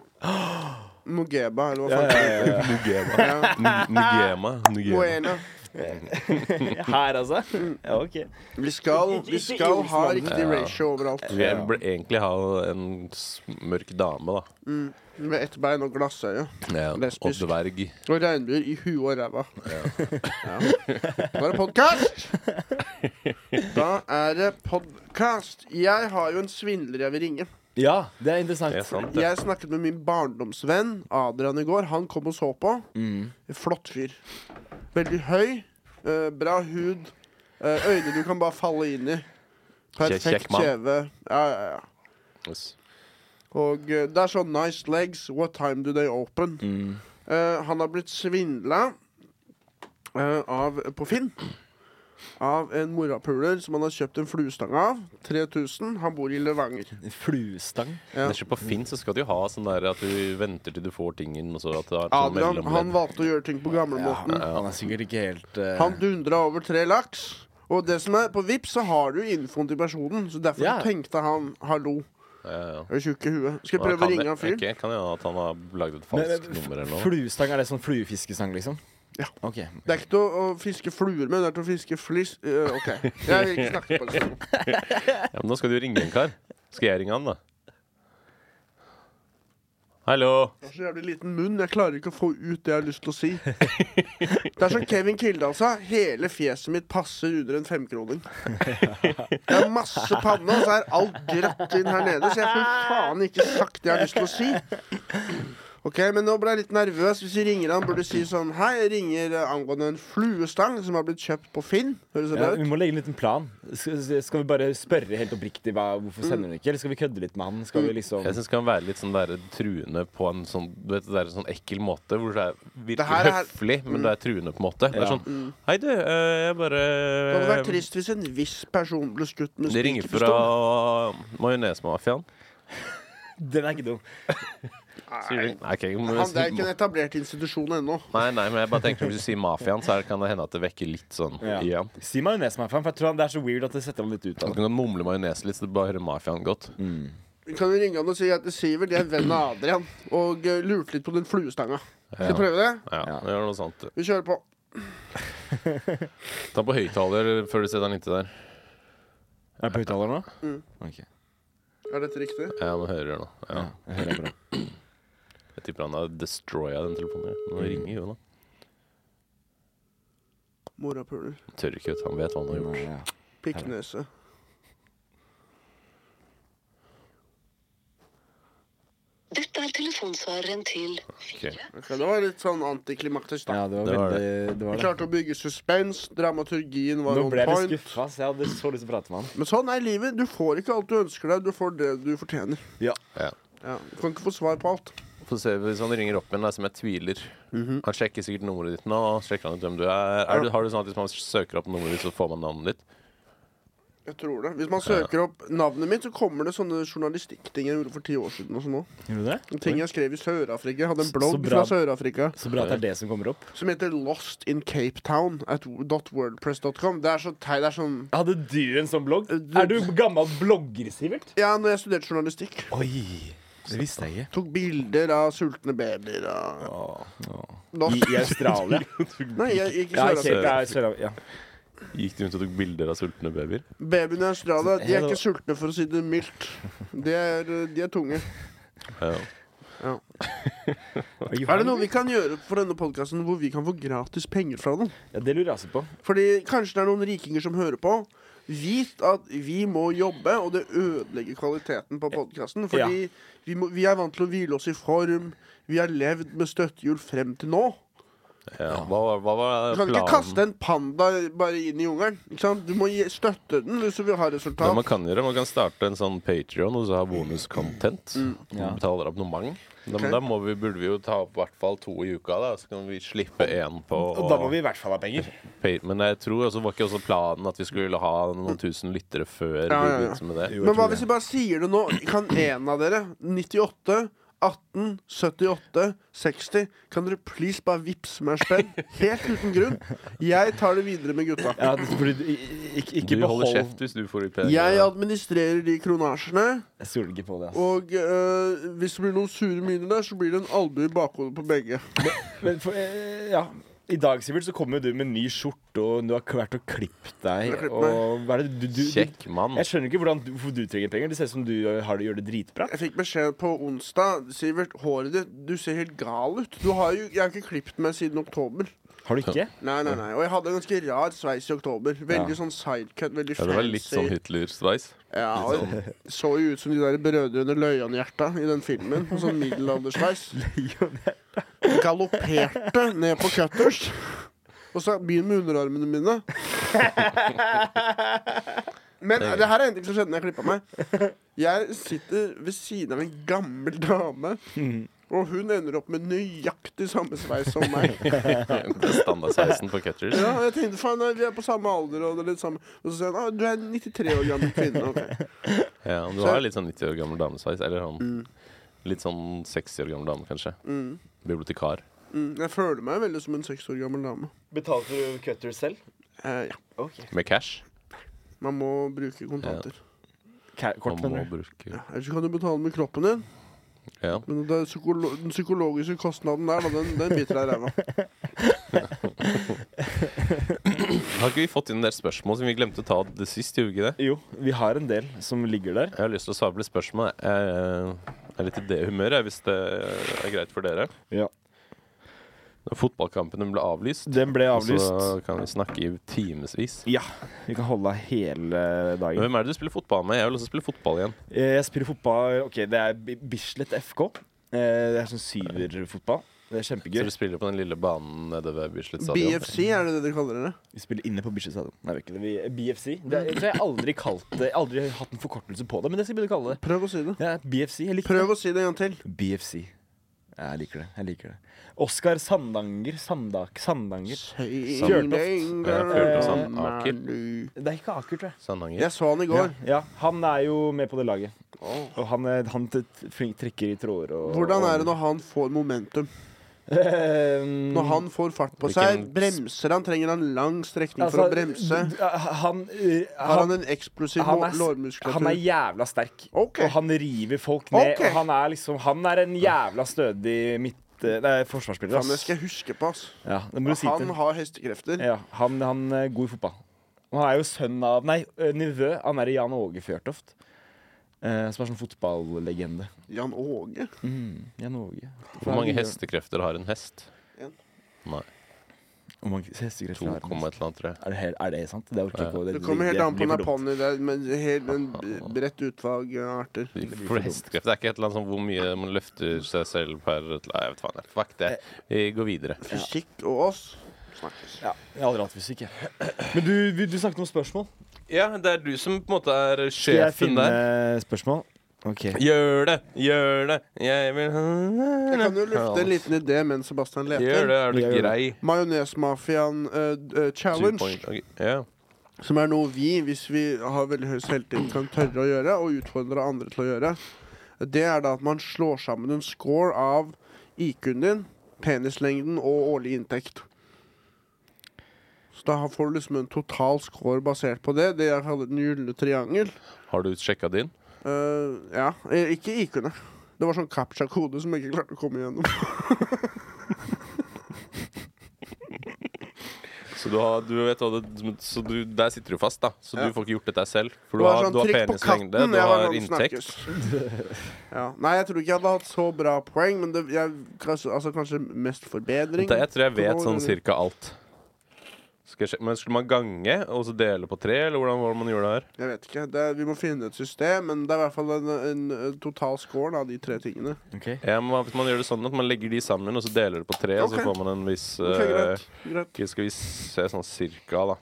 Speaker 1: Mogeba, eller hva
Speaker 3: Ja,
Speaker 1: faen.
Speaker 3: ja, ja, ja.
Speaker 2: Nugema.
Speaker 1: Ja.
Speaker 2: Nugema. Nugema.
Speaker 1: Moena.
Speaker 3: Her, altså? Ja, ok.
Speaker 1: Vi skal,
Speaker 3: Ikke-
Speaker 1: vi
Speaker 3: ikke
Speaker 1: skal ha
Speaker 3: Olsenbanden.
Speaker 1: riktig ratio overalt.
Speaker 2: Jeg burde egentlig ha en s- mørk dame, da.
Speaker 1: Med ett bein og glassøye.
Speaker 2: Ja, og
Speaker 1: Lesbisk.
Speaker 2: dverg.
Speaker 1: Og regnbuer i huet og ræva. Ja. Da er det podkast! Da er det podkast. Jeg har jo en svindler jeg vil ringe.
Speaker 3: Ja, det er interessant.
Speaker 2: Det er sant, det.
Speaker 1: Jeg snakket med min barndomsvenn Adrian i går. Han kom og så på.
Speaker 2: Mm.
Speaker 1: Flott fyr. Veldig høy. eh, bra hud. eh, øyne du kan bare falle inn i. Perfekt
Speaker 2: kjekk mann.
Speaker 1: kjeve. Ja, ja, ja.
Speaker 2: Yes.
Speaker 1: Og eh, det er sånn nice legs, what time do they open?
Speaker 2: Mm.
Speaker 1: Eh, han har blitt svindla eh, av på Finn. Av en morapuler som han har kjøpt en fluestang av. 3000. Han bor i Levanger.
Speaker 3: Fluestang.
Speaker 1: Ja.
Speaker 2: Men ikke på Finn så skal du jo ha sånn der at du venter til du får tingen, og så at det er sånn
Speaker 1: Adrian han
Speaker 2: mellomledd.
Speaker 1: valgte å gjøre ting på gamlemåten.
Speaker 3: Han er sikkert ikke helt eh,
Speaker 1: Han dundra over tre laks. Og det som er på Vips så har du jo infoen til personen. Så derfor
Speaker 3: Ja.
Speaker 1: tenkte han 'hallo'.
Speaker 2: Ja, ja.
Speaker 1: Jeg er tjukk i huet. Skal jeg
Speaker 2: Men
Speaker 1: prøve å
Speaker 2: kan
Speaker 1: ringe
Speaker 2: det-
Speaker 1: han fyren?
Speaker 2: ok, kan det hende at han har lagd et
Speaker 3: Men,
Speaker 2: falskt
Speaker 3: men, f-
Speaker 2: nummer eller noe?
Speaker 3: Fluestang, er det sånn fluefiskestang, liksom?
Speaker 1: Ja.
Speaker 3: Ok.
Speaker 1: Det er ikke til å, å fiske fluer med, det er til å fiske flis... øh, OK. Jeg vil ikke snakke på det.
Speaker 2: Ja, men nå skal du ringe en kar. Skal jeg ringe han, da? Hallo?
Speaker 1: Jeg har så jævlig liten munn. Jeg klarer ikke å få ut det jeg har lyst til å si. Det er som Kevin Kildahl sa. Hele fjeset mitt passer under en femkroning. Det er masse panne, og så er alt grøtt inn her nede. Så jeg får faen ikke sagt det jeg har lyst til å si. Ok, Men nå ble jeg litt nervøs. Hvis vi ringer han, burde du si sånn Hei, jeg ringer eh, angående en fluestang som har blitt kjøpt på Finn. Høres det
Speaker 3: Ja,
Speaker 1: bra
Speaker 3: vi
Speaker 1: ut?
Speaker 3: må legge en liten plan. Skal, skal vi bare spørre helt oppriktig hva, hvorfor sender hun ikke? Eller skal vi kødde litt med han? Skal vi liksom
Speaker 2: Jeg syns han kan være litt sånn der, truende på en sånn du vet, det der, sånn ekkel måte. Hvor det er
Speaker 1: Det
Speaker 2: virkelig
Speaker 1: her er- Mm.
Speaker 2: høflig, men det er truende på en måte. Det er
Speaker 3: Ja.
Speaker 2: sånn Hei, du, eh, jeg bare
Speaker 1: Det hadde vært trist hvis en viss person ble skutt med
Speaker 2: Det ringer
Speaker 1: spikerpistol.
Speaker 2: fra majonesmafiaen.
Speaker 3: Den er ikke dum.
Speaker 2: Sier du- Nei, ok, men-
Speaker 1: Han, det er ikke en etablert institusjon ennå.
Speaker 2: Nei, nei, men jeg bare tenker hvis du sier mafiaen, så her kan det hende at det vekker litt sånn
Speaker 3: Ja.
Speaker 2: igjen.
Speaker 3: Si majones, meg, for jeg tror han, det er så weird at det setter ham litt ut
Speaker 2: Du
Speaker 3: av det.
Speaker 2: kan mumle majones litt, så du bare hører mafiaen godt.
Speaker 1: Mm.
Speaker 3: Mm.
Speaker 1: Vi kan jo ringe han og si at Sivert er venn av Adrian og eh, lurte litt på den fluestanga. Skal vi prøve det?
Speaker 2: Ja,
Speaker 3: Ja.
Speaker 2: det er noe sånt.
Speaker 1: Vi kjører på.
Speaker 2: Ta på høyttaler før du setter den inntil der.
Speaker 3: Er jeg på høyttaler nå?
Speaker 1: Mm.
Speaker 3: Ok.
Speaker 1: Er dette riktig?
Speaker 2: Ja, nå hører jeg nå. Ja.
Speaker 3: Jeg hører bra.
Speaker 2: Jeg tipper han har destroya den telefonen. her. Nå
Speaker 1: Mm.
Speaker 2: ringer jo, da.
Speaker 1: Morapuler.
Speaker 2: Tør ikke, vet du. Han vet hva han har gjort.
Speaker 3: Ja.
Speaker 1: Pikknese.
Speaker 5: Dette er telefonsvareren til
Speaker 2: Ok.
Speaker 1: Ok, det var litt sånn antiklimaktisk, da.
Speaker 3: ja, det var
Speaker 2: Det var
Speaker 3: veldig Det
Speaker 1: Vi
Speaker 3: var det.
Speaker 1: klarte å bygge suspens. Dramaturgien var
Speaker 3: Nå
Speaker 1: on
Speaker 3: ble jeg litt
Speaker 1: point.
Speaker 3: skuffa, så jeg hadde så lyst til å prate med han.
Speaker 1: Men sånn er livet. Du får ikke alt du ønsker deg. Du får det du fortjener.
Speaker 3: Ja.
Speaker 2: Ja.
Speaker 1: Ja. Du kan ikke få svar på alt.
Speaker 2: Få se hvis han ringer opp igjen, da, som jeg tviler.
Speaker 1: Mhm.
Speaker 2: Han sjekker sikkert nummeret ditt nå. Sjekker han ut hvem du er. er du, har du sånn at hvis man søker opp nummeret ditt, så får man navnet ditt?
Speaker 1: Jeg tror det. Hvis man søker opp navnet mitt, så kommer det sånne journalistikkting jeg gjorde for ti år siden. og sånn også.
Speaker 3: Gjorde du det?
Speaker 1: Ting jeg skrev i Sør-Afrika. Jeg Hadde en
Speaker 3: Så
Speaker 1: blogg
Speaker 3: bra.
Speaker 1: fra Sør-Afrika.
Speaker 3: Så bra at det er det som kommer opp.
Speaker 1: som heter Lost in Cape Town at .wordpress.com. Det er så teit. Det er sånn
Speaker 3: Hadde du en sånn blogg?
Speaker 1: Eh,
Speaker 3: Er du gammel blogger, Sivert?
Speaker 1: Ja, når jeg studerte journalistikk.
Speaker 3: Oi. Det visste jeg ikke.
Speaker 1: Tok bilder av sultne babyer og
Speaker 3: I,
Speaker 1: Lost.
Speaker 3: i Australia?
Speaker 1: Nei, jeg gikk i
Speaker 3: Ja, i
Speaker 1: Sør-Afrika.
Speaker 3: Cape, ja, i Sør- ja.
Speaker 2: Gikk du rundt og tok bilder av sultne babyer?
Speaker 1: Babyene i Australia de er ikke sultne, for å si det mildt. De er, eh, de er tunge.
Speaker 2: Ja.
Speaker 1: Er det noe vi kan gjøre for denne podkasten hvor vi kan få gratis penger fra den?
Speaker 3: Ja, det lurer jeg også på.
Speaker 1: Fordi kanskje det er noen rikinger som hører på. Vit at vi må jobbe, og det ødelegger kvaliteten på podkasten. Fordi vi, må, vi er vant til å hvile oss i form. Vi har levd med støttehjul frem til nå.
Speaker 2: Ja, hva, var- hva var
Speaker 1: Du kan ikke kaste
Speaker 2: planen?
Speaker 1: en panda bare inn i jungelen. Ikke sant? Du må gi, støtte den hvis du vil ha
Speaker 2: Det man
Speaker 1: resultat.
Speaker 2: kan gjøre, man kan starte en sånn Patreon og så ha bonuscontent.
Speaker 4: Ja.
Speaker 2: Man Betaler abonnement. Da,
Speaker 1: Ok.
Speaker 2: men da må vi, burde vi jo ta opp i hvert fall to i uka, da. Så kan vi slippe én på
Speaker 3: Og da må vi i hvert fall ha penger.
Speaker 2: Pa- Men jeg tror også var ikke også planen at vi skulle ha noen tusen lyttere før
Speaker 1: Ja,
Speaker 2: vi
Speaker 1: ja, ja.
Speaker 2: begynte med det.
Speaker 1: Men hva hvis vi bare sier det nå? Kan en av dere, 98, 18, 78, 60 Kan dere please bare vippse meg en spenn? Helt uten grunn. Jeg tar det videre med gutta.
Speaker 3: Ja, fordi du, i- ikke, ikke
Speaker 2: Du holder
Speaker 3: behold-
Speaker 2: kjeft hvis du får litt penger.
Speaker 1: Jeg administrerer de kronasjene.
Speaker 3: Jeg stoler ikke på det. altså. ass.
Speaker 1: Og eh, hvis det blir noen sure miner der, så blir det en albue i bakhodet på begge.
Speaker 3: Men for, eh, ja. I dag Sivert, så kommer du med en ny skjorte, og du har k- vært og klippet
Speaker 1: Jeg har
Speaker 3: deg.
Speaker 1: klippet
Speaker 3: Og hva er det du, du, du
Speaker 2: Kjekk mann.
Speaker 3: Jeg skjønner ikke hvordan du, hvorfor du trenger penger. Det ser ut som du har det, gjør det dritbra.
Speaker 1: Jeg fikk beskjed på onsdag. Sivert, håret ditt Du ser helt gal ut. Du har jo, jeg har ikke klippet meg siden oktober.
Speaker 3: Har du ikke?
Speaker 1: Nei, nei, nei. Og jeg hadde en ganske rar sveis i oktober. Veldig
Speaker 3: Ja.
Speaker 1: sånn sidecut. Veldig
Speaker 2: Ja,
Speaker 1: fancy.
Speaker 2: det var litt sånn Hitler-sveis.
Speaker 1: Ja, og jeg så jo ut som de der Brødrene Løjan-hjerta i den filmen. og Sånn middelaldersveis. Galopperte ned på cutters. Og så begynn med underarmene mine. Men det her er en ting som skjedde når jeg klippa meg. Jeg sitter ved siden av en gammel dame. Og hun ender opp med nøyaktig samme sveis som meg.
Speaker 2: Standardsveisen på Cutters.
Speaker 1: Ja, og jeg tenkte faen, nei, vi er på samme alder og det er litt samme Og så sier han ah, du er en 93 år gammel kvinne. ok.
Speaker 2: Ja, men du har jo litt sånn 90 år gammel damesveis. Eller sånn litt sånn 60 år gammel dame, kanskje. Bibliotekar.
Speaker 1: Mm, jeg føler meg veldig som en seks år gammel dame.
Speaker 3: Betalte du cutter selv?
Speaker 1: Eh, ja.
Speaker 2: Med cash.
Speaker 1: Man må bruke kontanter.
Speaker 3: Kort,
Speaker 2: Man må
Speaker 3: mener du?
Speaker 2: bruke
Speaker 1: Ja. Ellers så kan du betale med kroppen din,
Speaker 2: Ja.
Speaker 1: men det er psykolo den psykologiske kostnaden der, da, den, den biter deg i ræva.
Speaker 2: Har ikke vi fått inn en del spørsmål som vi glemte å ta det sist? Gjorde vi ikke det?
Speaker 3: Jo, vi har en del som ligger der.
Speaker 2: Jeg har lyst til å svare på litt spørsmål. Jeg eh, er litt i det humøret, jeg, hvis det er greit for dere.
Speaker 3: Ja.
Speaker 2: Når Fotballkampen ble avlyst,
Speaker 3: Den ble avlyst.
Speaker 2: så kan vi snakke i timevis.
Speaker 3: Ja, vi kan holde av hele
Speaker 2: Men
Speaker 3: dagen.
Speaker 2: Hvem er det du spiller fotball med? Jeg vil også spille fotball igjen.
Speaker 3: Eh, Jeg spiller fotball Ok, det er Bi- Bislett FK. Eh, Det er sånn syverfotball. Det er
Speaker 2: Så
Speaker 3: kjempegøy.
Speaker 2: du spiller på den lille banen nede ved Bislett stadion?
Speaker 1: BFC, er det det dere kaller det?
Speaker 3: Vi spiller inne på Bislett stadion. Nei, vi gjør ikke det. Vi, BFC. Det er, jeg tror jeg aldri kalt det Aldri hatt en forkortelse på det, men det skal jeg begynne å kalle det.
Speaker 1: Prøv å si det.
Speaker 3: Det er BFC. Jeg liker
Speaker 1: Prøv å si det en gang til.
Speaker 3: det. BFC. Jeg liker det. jeg liker det Oskar Sandanger. Sandak, Sandanger. Det er ikke Aker, tror jeg.
Speaker 2: Sandanger.
Speaker 1: Jeg så han i går.
Speaker 3: Ja, Han er jo med på det laget. Og han, er, han t- flink- trekker i tråder og
Speaker 1: Hvordan er det når han får momentum?
Speaker 3: Eh,
Speaker 1: Når han får fart på seg,
Speaker 2: Hvilken-
Speaker 1: bremser han? Trenger han lang strekning for å bremse?
Speaker 3: altså, Han, eh,
Speaker 1: Har
Speaker 3: han,
Speaker 1: han en eksplosiv
Speaker 3: han,
Speaker 1: lå-
Speaker 3: er, han er
Speaker 1: lårmuskulatur?
Speaker 3: jævla sterk.
Speaker 1: Ok.
Speaker 3: Og han river folk ned.
Speaker 1: Ok.
Speaker 3: Og han er liksom Han er en jævla stødig midt... eh, Nei, forsvarsspiller.
Speaker 1: Han
Speaker 3: ass.
Speaker 1: skal jeg huske på, ass.
Speaker 3: Ja, det må du si til
Speaker 1: Han har hestekrefter.
Speaker 3: Ja, han, han er god i fotball. Han er jo sønn av Nei, ø, nevø. Han er Jan Åge Fjørtoft. eh, som er sånn fotballegende.
Speaker 1: Jan Åge.
Speaker 3: Jan Åge.
Speaker 2: Hvor mange hestekrefter har en hest?
Speaker 1: En.
Speaker 2: Nei,
Speaker 3: Hvor mange hestekrefter
Speaker 2: 2,
Speaker 3: har han?
Speaker 2: et eller annet, tror jeg.
Speaker 3: Er det, helt- er det sant? Det orker jeg ikke. å-
Speaker 1: Det kommer helt
Speaker 3: det
Speaker 1: an på
Speaker 3: blir
Speaker 1: om
Speaker 3: for
Speaker 1: det er
Speaker 3: dumt.
Speaker 1: ponni der, men helt en b- bredt utvalg av arter.
Speaker 2: For hestekreft det er ikke et eller annet sånn hvor mye man løfter seg selv per Nei, jeg vet faen. jeg. Fuck det. Vi går videre.
Speaker 1: Fysikk og oss snakkes.
Speaker 3: Ja, jeg har aldri hatt fysikk, jeg. Men du, vi- du snakket om spørsmål.
Speaker 2: Ja, det er du som på en måte er
Speaker 3: Skal jeg
Speaker 2: sjefen der.
Speaker 3: finne spørsmål? Ok.
Speaker 2: Gjør det, gjør det, jeg vil
Speaker 1: Jeg kan jo lufte en liten idé mens Sebastian
Speaker 2: Gjør
Speaker 1: leter.
Speaker 2: det, er du
Speaker 3: Jeg gjør det.
Speaker 2: grei?
Speaker 1: Majonesmafiaen eh, d- eh,
Speaker 2: Two
Speaker 1: challenge,
Speaker 2: point. Ok, Ja.
Speaker 1: som er noe vi, hvis vi har veldig høy selvtillit, kan tørre å gjøre, og utfordre andre til å gjøre, det er da at man slår sammen en score av IQ-en din, penislengden og årlig inntekt. Så da får du liksom en total score basert på det. Det jeg kaller den gylne triangel.
Speaker 2: Har du sjekka din?
Speaker 1: Eh, ja, eh, ikke IQ-ene. Det var sånn captcha-kode som jeg ikke klarte å komme igjennom.
Speaker 2: Så, du har, du vet, hva det- så du, der sitter du fast, da. Så
Speaker 1: Ja.
Speaker 2: du får ikke gjort dette selv. For
Speaker 1: Det
Speaker 2: du
Speaker 1: var
Speaker 2: har,
Speaker 1: sånn
Speaker 2: du har
Speaker 1: trykk på katten,
Speaker 2: penislengde, du
Speaker 1: jeg var
Speaker 2: har
Speaker 1: sånn,
Speaker 2: inntekt.
Speaker 1: snakkes. ja. Nei, jeg tror ikke jeg hadde hatt så bra poeng, men det, jeg, kanskje, altså, kanskje mest forbedring.
Speaker 2: Det, jeg tror jeg vet
Speaker 1: Kontroll,
Speaker 2: sånn
Speaker 1: eller-
Speaker 2: cirka alt. Skal jeg sjekke- men skulle man gange og så dele på tre, eller hvordan var det man gjorde det her?
Speaker 1: Jeg vet ikke. Det er, vi må finne et system, men det er i hvert fall en, en, en total score da, av de tre tingene.
Speaker 2: Ja, men hva hvis man gjør det sånn at man legger de sammen, og så deler det på tre,
Speaker 1: Ok.
Speaker 2: og så får man en viss
Speaker 1: Ok,
Speaker 2: eh,
Speaker 1: greit. greit.
Speaker 2: ok, Skal vi se sånn cirka, da.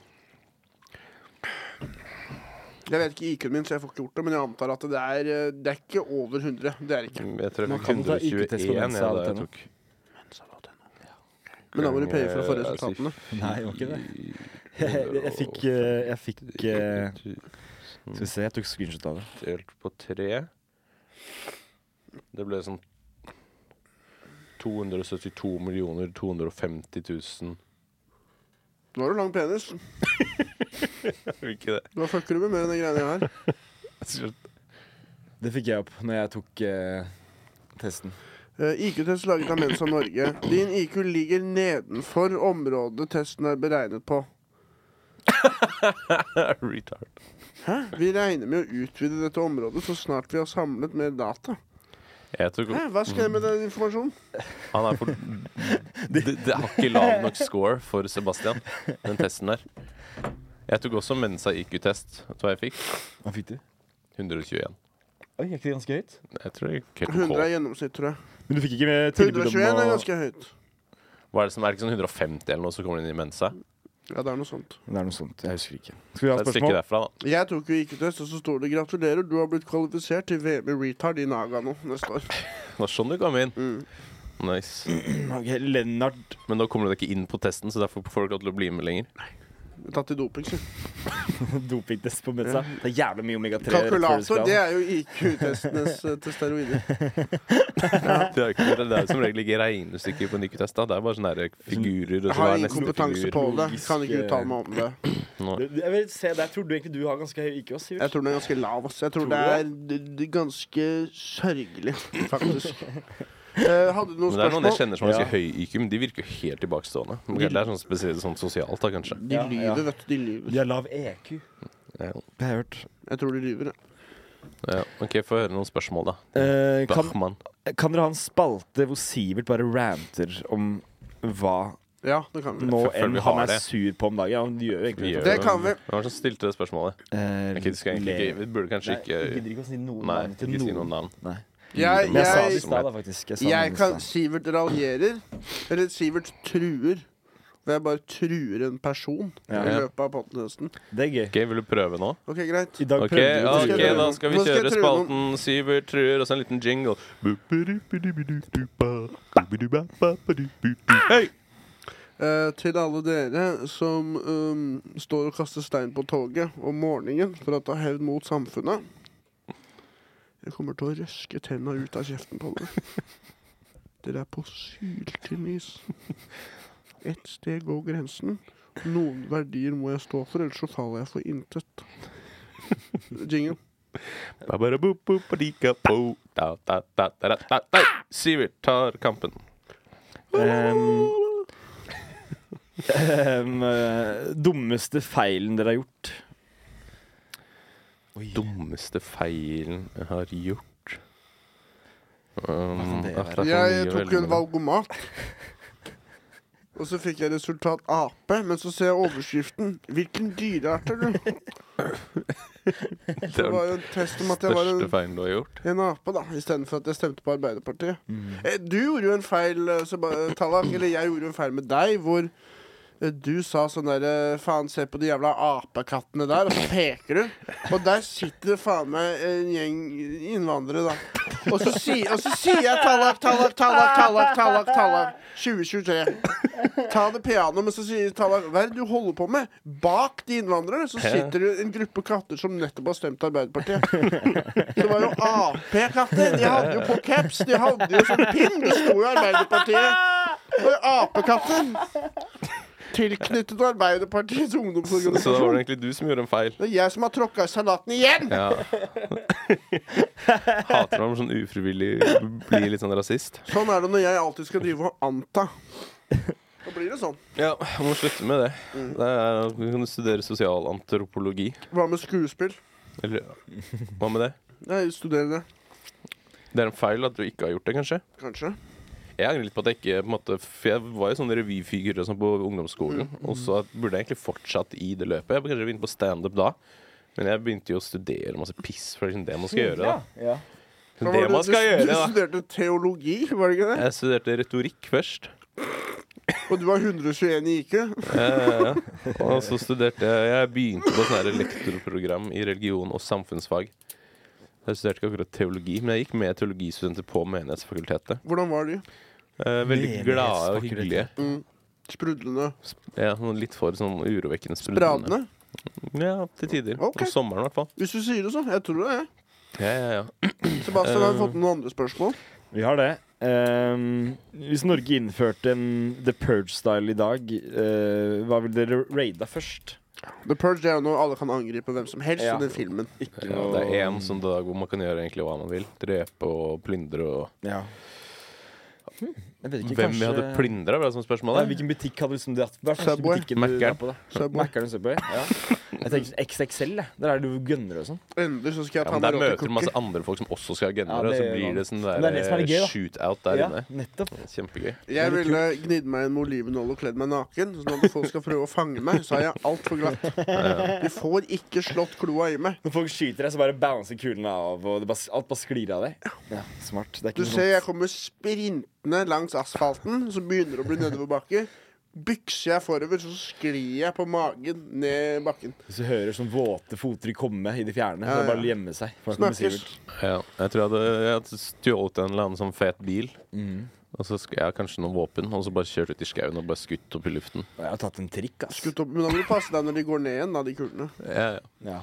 Speaker 1: Jeg vet ikke IQ-en min, så jeg får ikke gjort det, men jeg antar at det er, eh, det er ikke over 100. Det er det ikke.
Speaker 2: Jeg tror jeg
Speaker 3: Man
Speaker 2: fikk
Speaker 3: kan ta
Speaker 2: 121
Speaker 3: IQ-test på
Speaker 2: jeg, da jeg
Speaker 3: mensa.no.
Speaker 2: tok.
Speaker 1: Men da må du paye for å få
Speaker 2: Ganger, eh,
Speaker 1: resultatene.
Speaker 3: Nei, det var ikke det. Jeg,
Speaker 2: Jeg- jeg fikk,
Speaker 3: fikk eh, Jeg fikk eh, Skal vi se, jeg tok screenshot av det.
Speaker 2: delt på tre. Det ble sånn 272 millioner 250 000.
Speaker 1: Nå har du lang penis.
Speaker 2: Ikke det?
Speaker 1: Hva fucker du med mer enn de greiene jeg har?
Speaker 3: Det fikk jeg opp når jeg tok eh, testen.
Speaker 1: Eh, IQ-test laget av Mensa Norge. Din IQ ligger nedenfor området testen er beregnet på.
Speaker 2: Retard.
Speaker 1: Vi regner med å utvide dette området så snart vi har samlet mer data.
Speaker 2: Jeg tok
Speaker 1: Hæ, hva skal jeg med den informasjonen?
Speaker 2: Han er for det, det har ikke lav nok score for Sebastian, den testen der. Jeg tok også Mensa IQ-test. Vet du hva jeg fikk?
Speaker 3: Hva fikk du?
Speaker 2: 121.
Speaker 4: Oi, gikk det ganske høyt?
Speaker 2: Jeg tror jeg gikk helt
Speaker 1: 100 er
Speaker 2: ok.
Speaker 1: gjennomsnitt, tror jeg.
Speaker 3: Men du fikk ikke med tilbud om
Speaker 1: 121
Speaker 3: å
Speaker 1: er ganske høyt.
Speaker 2: Hva er det som er det ikke sånn 150 eller noe, så kommer du inn i Mensa?
Speaker 1: Ja, det er noe sånt.
Speaker 3: Det er noe sånt. Jeg husker ikke. Skal vi
Speaker 2: Det er
Speaker 3: ha
Speaker 2: et stykke
Speaker 3: spørsmål?
Speaker 2: derfra, da.
Speaker 1: Jeg tok jo IQ-test, og så står det 'Gratulerer, du har blitt kvalifisert til VM i retard i Nagano neste år'.
Speaker 2: Det var sånn du kom inn.
Speaker 1: Mm.
Speaker 2: Nice.
Speaker 3: Ok, Lennart
Speaker 2: Men da kommer du deg ikke inn på testen, så derfor får du ikke lov til å bli med lenger.
Speaker 1: Tatt i doping, si.
Speaker 3: dopingtest på Mensa. Det er jævlig mye omega-3. rett før du
Speaker 1: Kalkulator,
Speaker 3: skal.
Speaker 1: det er jo IQ-testenes eh, til steroider.
Speaker 2: Det er, jo ikke, det er jo som regel ikke regnestykker på en IQ-test. da. Det er bare sånne der figurer.
Speaker 1: Jeg
Speaker 2: Og så hva
Speaker 1: har
Speaker 2: er
Speaker 1: ingen
Speaker 2: neste
Speaker 1: kompetanse
Speaker 2: figur?
Speaker 1: på det.
Speaker 3: logisk,
Speaker 1: Kan ikke uttale meg om det.
Speaker 2: Nå.
Speaker 3: Du- Jeg vil se der. Tror du egentlig du har ganske høy IQ? Sivert?
Speaker 1: Jeg tror den er ganske lav. Ass. Jeg tror,
Speaker 3: Tror
Speaker 1: det
Speaker 3: du
Speaker 1: er d- d- ganske sørgelig, faktisk. Eh, hadde du noen
Speaker 2: Men det er noen jeg
Speaker 1: spørsmål?
Speaker 2: kjenner som har ganske høy IQ, men de virker jo helt tilbakestående. Ok, Det er sånn spesielt sånn sosialt, da, kanskje.
Speaker 1: De
Speaker 3: Ja, ja.
Speaker 1: lyver, vet du. De lyver.
Speaker 3: De har lav EQ.
Speaker 2: Ja.
Speaker 3: Det har jeg hørt.
Speaker 1: Jeg tror de lyver. ja.
Speaker 2: Ja, ok, Få høre noen spørsmål, da.
Speaker 3: Eh, kan,
Speaker 2: Bachmann.
Speaker 3: kan dere ha en spalte hvor Sivert bare ranter om hva
Speaker 1: Ja, det kan vi.
Speaker 3: nå
Speaker 2: Jeg føler
Speaker 3: enn
Speaker 2: vi har
Speaker 3: han er
Speaker 2: det.
Speaker 3: sur på om dagen? Ja, han gjør jo egentlig
Speaker 2: Vi gjør
Speaker 1: Det kan vi.
Speaker 2: Hvem var det som stilte det spørsmålet?
Speaker 3: Eh,
Speaker 2: Ok, du skal egentlig
Speaker 3: le-
Speaker 2: ikke, vi burde kanskje
Speaker 4: Nei,
Speaker 2: ikke
Speaker 4: jeg gidder ikke å si noen
Speaker 2: Nei,
Speaker 4: navn til
Speaker 2: ikke si
Speaker 4: noen.
Speaker 2: noen navn.
Speaker 1: Jeg,
Speaker 3: Men jeg sa det i
Speaker 1: jeg,
Speaker 3: stad, da, faktisk. Jeg sa det
Speaker 1: jeg
Speaker 3: i
Speaker 1: kan
Speaker 3: stad.
Speaker 1: Sivert raljerer. Eller Sivert truer. Hvor jeg bare truer en person
Speaker 3: Ja.
Speaker 1: i løpet av podkasten.
Speaker 3: Det er gøy.
Speaker 2: Ok, Vil du prøve nå?
Speaker 1: OK, greit.
Speaker 3: I dag
Speaker 2: Ok,
Speaker 3: prøvde vi
Speaker 2: ja,
Speaker 3: å
Speaker 1: skal
Speaker 2: ok,
Speaker 1: jeg
Speaker 3: true.
Speaker 2: Da
Speaker 1: prøve.
Speaker 2: skal vi
Speaker 1: Nå skal jeg
Speaker 2: kjøre
Speaker 1: prøve
Speaker 2: spalten Syver truer, og så en liten jingle. Hei!
Speaker 1: Eh, til alle dere som um, står og kaster stein på toget om morgenen for å ta hevn mot samfunnet. Jeg kommer til å røske tenna ut av kjeften på dere. Dere er på syltynnis. Ett steg over grensen. Noen verdier må jeg stå for, ellers så faller jeg for intet. Jingle.
Speaker 2: Ba-ba-da-bo-bo-ba-dika-po. Da-da-da-da-da-da. Syver tar kampen.
Speaker 3: Ehm, ehm, eh, dummeste feilen dere har gjort?
Speaker 2: Dummeste feilen jeg har gjort um,
Speaker 3: Hva kan det
Speaker 2: ah,
Speaker 3: være?
Speaker 2: det
Speaker 1: Jeg
Speaker 2: er for mye
Speaker 1: tok
Speaker 2: veldig
Speaker 1: en
Speaker 2: mye.
Speaker 1: valgomat. Og så fikk jeg resultat ape, men så ser jeg overskriften 'Hvilken dyreart er du?'
Speaker 2: Det
Speaker 1: Det var
Speaker 2: var
Speaker 1: jo en test om
Speaker 2: den
Speaker 1: at jeg var en,
Speaker 2: største feilen du har gjort.
Speaker 1: en ape, da, istedenfor at jeg stemte på Arbeiderpartiet. Eh, Du gjorde jo en feil, eh, Seba- eh, Tallak, eller jeg gjorde jo en feil med deg, hvor eh, du sa sånn derre Faen, se på de jævla apekattene der, og så peker du. Og der sitter det faen meg en gjeng innvandrere, da. Og så, si, og så sier jeg Tallak, Tallak, Tallak, Tallak, Tallak, Tallak 2023. Ta det piano, men så sier Tallak Hva er det du holder på med? Bak de innvandrerne så sitter det en gruppe katter som nettopp har stemt Arbeiderpartiet. Det var jo Ap-katter. De hadde jo på caps. De hadde jo sånn pinn. Det sto jo Arbeiderpartiet. Det var jo Apekatter. Tilknyttet Arbeiderpartiets
Speaker 2: Så, så da var
Speaker 1: ungdomsorganisasjon.
Speaker 2: det egentlig du som gjorde en feil.
Speaker 1: Det er jeg som har tråkka i salaten igjen!
Speaker 2: Ja. Hater når man sånn ufrivillig blir litt sånn rasist.
Speaker 1: Sånn er det når jeg alltid skal drive og anta. Da blir det sånn.
Speaker 2: Ja, må slutte med det. det er, du kan studere sosialantropologi.
Speaker 1: Hva med skuespill?
Speaker 2: Eller hva med det?
Speaker 1: Nei, studere det.
Speaker 2: Det er en feil at du ikke har gjort det, kanskje?
Speaker 1: Kanskje.
Speaker 2: Jeg angrer litt på at jeg ikke på en måte, For jeg var jo sånn revyfigur og sånn på ungdomsskolen. Og så burde jeg egentlig fortsatt i det løpet. Jeg burde kanskje begynt på standup da. Men jeg begynte jo å studere masse piss, for det er liksom det man skal gjøre. da
Speaker 4: Ja.
Speaker 1: Hva
Speaker 2: Det
Speaker 1: var
Speaker 2: man skal
Speaker 1: du, du,
Speaker 2: gjøre,
Speaker 1: du
Speaker 2: da.
Speaker 1: studerte teologi, var det ikke det?
Speaker 2: Jeg studerte retorikk først.
Speaker 1: Og du var 121 i IQ.
Speaker 2: Eh, og så studerte jeg Jeg begynte på sånn her lektorprogram i religion og samfunnsfag. Jeg studerte ikke akkurat teologi, men jeg gikk med teologistudenter på Menighetsfakultetet.
Speaker 1: Hvordan var de?
Speaker 2: Eh, veldig glade og hyggelige.
Speaker 3: Menighetsfakultetet.
Speaker 1: Sprudlende.
Speaker 2: Ja, sånn litt for sånn urovekkende sprudlende.
Speaker 1: Bradene?
Speaker 2: Ja, til tider.
Speaker 1: Ok.
Speaker 2: Om sommeren, i hvert fall.
Speaker 1: Hvis du sier det, så. Jeg tror det. jeg.
Speaker 2: Ja, ja, ja.
Speaker 1: Sebastian, har vi
Speaker 2: Eh.
Speaker 1: fått noen andre spørsmål?
Speaker 3: Vi har det. Ehm, hvis Norge innførte en The Purge-style i dag, eh, hva ville dere raida først?
Speaker 1: The Purge det er jo noe alle kan angripe hvem som helst
Speaker 3: Ja.
Speaker 1: i den filmen.
Speaker 3: Ikke
Speaker 2: Ja, det er én sånn dag hvor man kan gjøre egentlig hva man vil. Drepe og plyndre og
Speaker 3: Ja. Hm, Jeg vet ikke,
Speaker 2: Hvem vi
Speaker 3: kanskje-
Speaker 2: hadde plyndra, var det som var
Speaker 3: Nei,
Speaker 2: spørsmålet?
Speaker 3: Hvilken butikk hadde liksom dratt Hva er første
Speaker 1: Subway.
Speaker 3: butikken du
Speaker 2: Mac'eren.
Speaker 3: drar på? da?
Speaker 1: Subway.
Speaker 3: Mac'eren og Subway? Ja. Jeg tenker sånn XXL. jeg. Der er det jo gønnere og sånn.
Speaker 1: Endelig så skal jeg
Speaker 2: Ja,
Speaker 1: ta
Speaker 2: men
Speaker 1: meg
Speaker 2: Der
Speaker 1: råd
Speaker 2: møter
Speaker 1: til
Speaker 2: du masse andre folk som også skal ha
Speaker 3: Ja,
Speaker 2: gennere, og
Speaker 3: det
Speaker 2: så
Speaker 3: gjør
Speaker 2: blir
Speaker 3: man.
Speaker 2: det sånn
Speaker 3: Men det er det som er
Speaker 2: der
Speaker 3: gøy, da.
Speaker 2: shootout der
Speaker 3: Ja,
Speaker 2: inne.
Speaker 3: nettopp.
Speaker 2: Kjempegøy.
Speaker 1: Jeg ville gnidd meg inn med olivenål og kledd meg naken. Sånn at folk skal prøve å fange meg, så er jeg altfor glatt. De får ikke slått kloa i meg.
Speaker 3: Når folk skyter deg, så bare bouncer kulene av, og det bare, alt bare sklir av deg. Ja, smart. Det er ikke
Speaker 1: Du
Speaker 3: noe
Speaker 1: ser jeg
Speaker 3: sånt.
Speaker 1: kommer sprintende langs asfalten, som begynner å bli nedoverbakke. Bykser jeg forover, så sklir jeg på magen ned bakken.
Speaker 3: Hvis du hører sånn våte fottrykk komme i det fjerne, så
Speaker 1: Ja,
Speaker 3: er det bare å
Speaker 1: ja.
Speaker 3: gjemme seg. for det kommer
Speaker 1: Snakkes.
Speaker 3: Sivert.
Speaker 2: Ja, jeg tror jeg hadde, jeg hadde stjålet en eller annen sånn fet bil.
Speaker 3: Mm.
Speaker 2: Og så skal jeg ha kanskje noen våpen, og så bare kjørt ut i skauen og bare skutt opp i luften.
Speaker 3: Jeg har tatt en trikk, ass.
Speaker 1: Skutt opp, men da må du passe deg når de går ned igjen, da, de kulene.
Speaker 2: Ja, ja.
Speaker 3: Ja,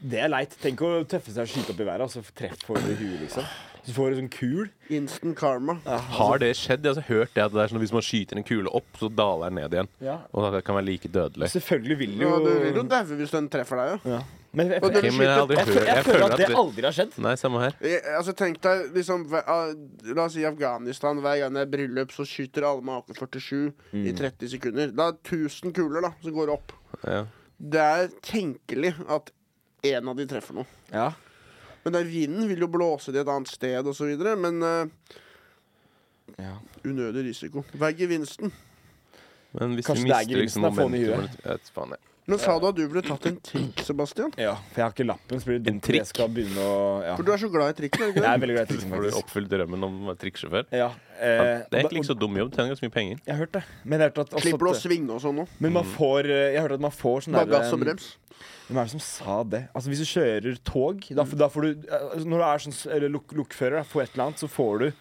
Speaker 3: Det er leit. Tenk å tøffe seg og skyte opp i været, og så treffe folk i huet, liksom. Så får du sånn kul.
Speaker 1: Instant karma.
Speaker 2: Har det skjedd? Jeg har altså hørt det at det er sånn at hvis man skyter en kule opp, så daler den ned igjen.
Speaker 3: Ja.
Speaker 2: Og at det kan være like dødelig.
Speaker 3: Selvfølgelig vil
Speaker 1: Ja,
Speaker 3: jo
Speaker 1: du vil jo daue hvis den treffer deg, ja.
Speaker 3: Ja. Men jeg,
Speaker 1: Og
Speaker 3: jeg,
Speaker 1: du
Speaker 2: Ok, men jeg har aldri
Speaker 3: jeg,
Speaker 2: hørt jeg
Speaker 3: føler
Speaker 2: føler
Speaker 3: at det
Speaker 2: at
Speaker 3: aldri har skjedd.
Speaker 2: Nei, samme her.
Speaker 1: Jeg, altså Tenk deg liksom hver- ah, La oss si Afghanistan. Hver gang det er bryllup, så skyter alle med AK-47 i
Speaker 3: Mm.
Speaker 1: 30 sekunder. Da er det 1000 kuler da som går opp.
Speaker 2: Ja.
Speaker 1: Det er tenkelig at én av de treffer noe.
Speaker 3: Ja.
Speaker 1: Men der vinden vil jo blåse det et annet sted osv. Men eh,
Speaker 3: Ja.
Speaker 1: unødig risiko. Hva er gevinsten?
Speaker 2: Men hvis
Speaker 3: Kanskje
Speaker 2: du
Speaker 3: det er
Speaker 2: mister liksom
Speaker 3: gevinsten å få den i
Speaker 2: momentum
Speaker 3: huet.
Speaker 2: eller- Jeg vet faen, jeg.
Speaker 1: Nå sa du at du ville tatt en trikk, Sebastian.
Speaker 3: For jeg har ikke lappen, så blir det
Speaker 2: En
Speaker 3: dumt hvis
Speaker 2: trikk?
Speaker 3: jeg skal begynne å ja.
Speaker 1: For du er så glad i trikken. er du
Speaker 3: Jeg
Speaker 1: ikke
Speaker 3: er
Speaker 1: det?
Speaker 3: veldig glad i
Speaker 2: Så
Speaker 3: trikken,
Speaker 2: får du
Speaker 3: faktisk.
Speaker 2: oppfylt drømmen om å være trikksjåfør.
Speaker 3: Ja, eh,
Speaker 2: Det er
Speaker 3: og da-
Speaker 2: egentlig ikke så dum jobb. Tjener ganske mye penger.
Speaker 3: Jeg har hørt det. Men jeg har hørt at også
Speaker 1: Slipper å
Speaker 3: at-
Speaker 1: svinge og sånn nå.
Speaker 3: Men man får, eh, jeg har hørt at man får sånn
Speaker 1: Bare
Speaker 3: der,
Speaker 1: gass og
Speaker 3: eh,
Speaker 1: brems.
Speaker 3: Hvem er det som sa det? Altså Hvis du kjører tog da, f- da får du, eh, Når du er sånn, s- eller lok lokfører da, for et eller annet, så får du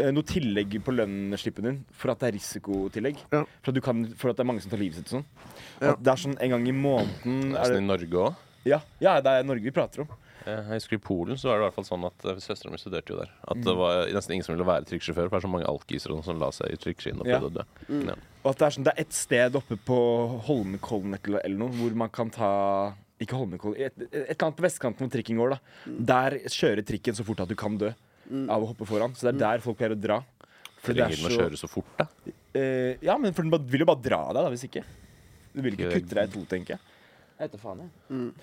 Speaker 3: eh, noe tillegg på lønnsslippen din for at det er risikotillegg.
Speaker 1: Ja.
Speaker 3: For, at du kan, for at det er mange som tar livet sitt og sånn.
Speaker 1: Ja.
Speaker 3: At det er sånn en gang i måneden
Speaker 2: Det er
Speaker 3: er
Speaker 2: sånn
Speaker 3: det,
Speaker 2: i Norge òg.
Speaker 3: ja, ja, det er Norge vi prater om.
Speaker 2: Jeg husker I Polen så var det i hvert fall sånn at eh, søstera mi studerte jo der. At
Speaker 3: Mm.
Speaker 2: det var nesten ingen som ville være trikksjåfør, for det er så mange alkiser og sånn som la seg i trikkskien og
Speaker 3: Ja.
Speaker 2: prøvde å dø. Ja.
Speaker 3: Og at det er, sånn, det er et sted oppe på Holmenkollen et eller eller noe, hvor man kan ta Ikke Holmenkollen, et, et eller annet på vestkanten hvor trikken går. da Der kjører trikken så fort at du kan dø av å hoppe foran. Så det er der folk pleier å dra. For det er
Speaker 2: Trenger den å
Speaker 3: så-
Speaker 2: kjøre så fort, da?
Speaker 3: Eh, ja, men for den bare- vil jo bare dra deg, da, hvis ikke. Du vil ikke
Speaker 2: Gjør-
Speaker 3: kutte deg i to, tenker jeg. Jeg vet faen, jeg.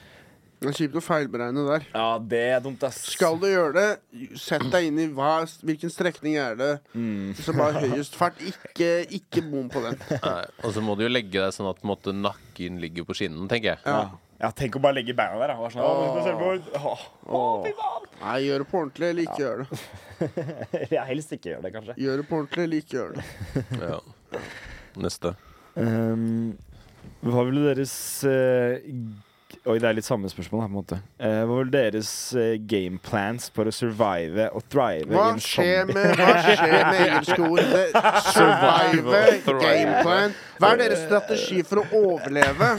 Speaker 1: Det er kjipt å feilberegne der.
Speaker 3: Ja, det er dumt, ass.
Speaker 1: Skal du gjøre det, sett deg inn i hva, hvilken strekning er det
Speaker 3: Mm.
Speaker 1: som har høyest fart. Ikke, ikke bom på den.
Speaker 2: Nei. Og så må du jo legge deg sånn at på en måte, nakken ligger på skinnen, tenker jeg.
Speaker 3: ja. ja, tenk å bare legge beina der. da. Bare Sånn, «Å, selvmord». Åh.
Speaker 1: Nei, gjør det på ordentlig eller ikke gjør det.
Speaker 3: Jeg helst ikke gjør det, kanskje.
Speaker 1: Gjør det på ordentlig eller ikke gjør det.
Speaker 2: Ja. Neste.
Speaker 3: Ehm, hva ville deres eh, g- Oi, det er litt samme spørsmål, da, på en måte. Eh, hva ville deres eh, game plans for å survive og thrive
Speaker 1: Hva
Speaker 3: i en
Speaker 1: skjer
Speaker 3: zombie?
Speaker 1: med, hva skjer med engelske ord? Det- Survive,
Speaker 2: Thrive.
Speaker 1: gameplan. Hva er deres strategi for å overleve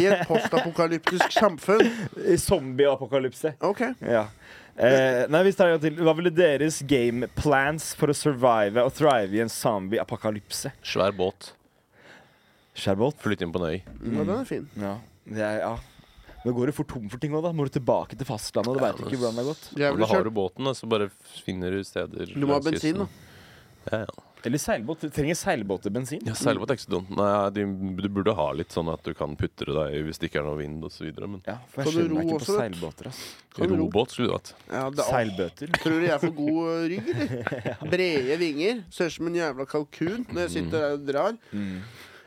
Speaker 1: i et postapokalyptisk samfunn?
Speaker 3: I Zombie-apokalypse.
Speaker 1: OK.
Speaker 3: Ja. Eh, nei, vi tar en gang til. Hva ville deres game plans for å survive og thrive i en zombie-apokalypse?
Speaker 2: Svær båt.
Speaker 3: Skjærbåt?
Speaker 2: Flytte inn på en øy.
Speaker 1: Ja, den er fin.
Speaker 3: Ja. Det er, ja. Nå går du for tom for ting òg, da. Må du tilbake til fastlandet, og du veit ikke hvordan det har gått.
Speaker 1: Jeg
Speaker 2: Men
Speaker 1: ville
Speaker 2: da har du
Speaker 1: kjørt.
Speaker 2: båten, da, så bare finner du steder
Speaker 1: Du må ha
Speaker 2: langs
Speaker 1: bensin,
Speaker 2: kysten. Ja, ja.
Speaker 3: Eller seilbåt. Du trenger seilbåt til bensin.
Speaker 2: Ja, Seilbåt er ikke så dumt. Nei, de, du burde ha litt sånn at du kan putre deg i hvis det ikke er noe vind osv. Men
Speaker 3: Ja, for
Speaker 1: Kan
Speaker 3: jeg
Speaker 1: du
Speaker 3: skjønner meg
Speaker 1: ro
Speaker 3: ikke på
Speaker 1: også, vet du?
Speaker 3: seilbåter. ass.
Speaker 1: Kan du ro?
Speaker 2: robåt skulle du hatt.
Speaker 1: Ja, det er
Speaker 3: Seilbøter.
Speaker 1: Tror du jeg får god eh, rygg, eller? Brede vinger. Ser ut som en jævla kalkun når jeg sitter der og drar.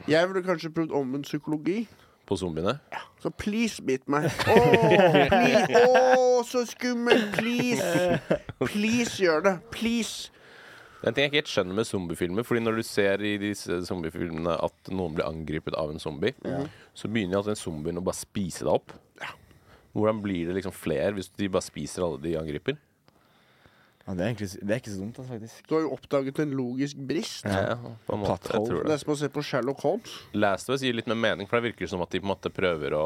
Speaker 1: Jeg ville kanskje prøvd omvendt psykologi.
Speaker 2: På zombiene.
Speaker 1: Så please bit meg. Åh, please. Åh, så skummelt! Please! Please gjør det. Please!
Speaker 2: Det er en ting jeg ikke helt skjønner med zombiefilmer. Fordi når du ser i disse zombiefilmene at noen blir angrepet av en zombie, så begynner altså den zombien å bare spise deg opp. Hvordan blir det liksom flere hvis de bare spiser alle de angriper?
Speaker 3: Ja, det, er egentlig, det er ikke så dumt, ass, faktisk.
Speaker 1: Du har jo oppdaget en logisk brist.
Speaker 2: Ja, på en måte, jeg
Speaker 3: Platthold.
Speaker 2: tror
Speaker 1: Det
Speaker 2: det.
Speaker 1: er som å se på Sherlock Holmes.
Speaker 2: Last of Us gir litt mer mening, for det virker som at de på en måte prøver å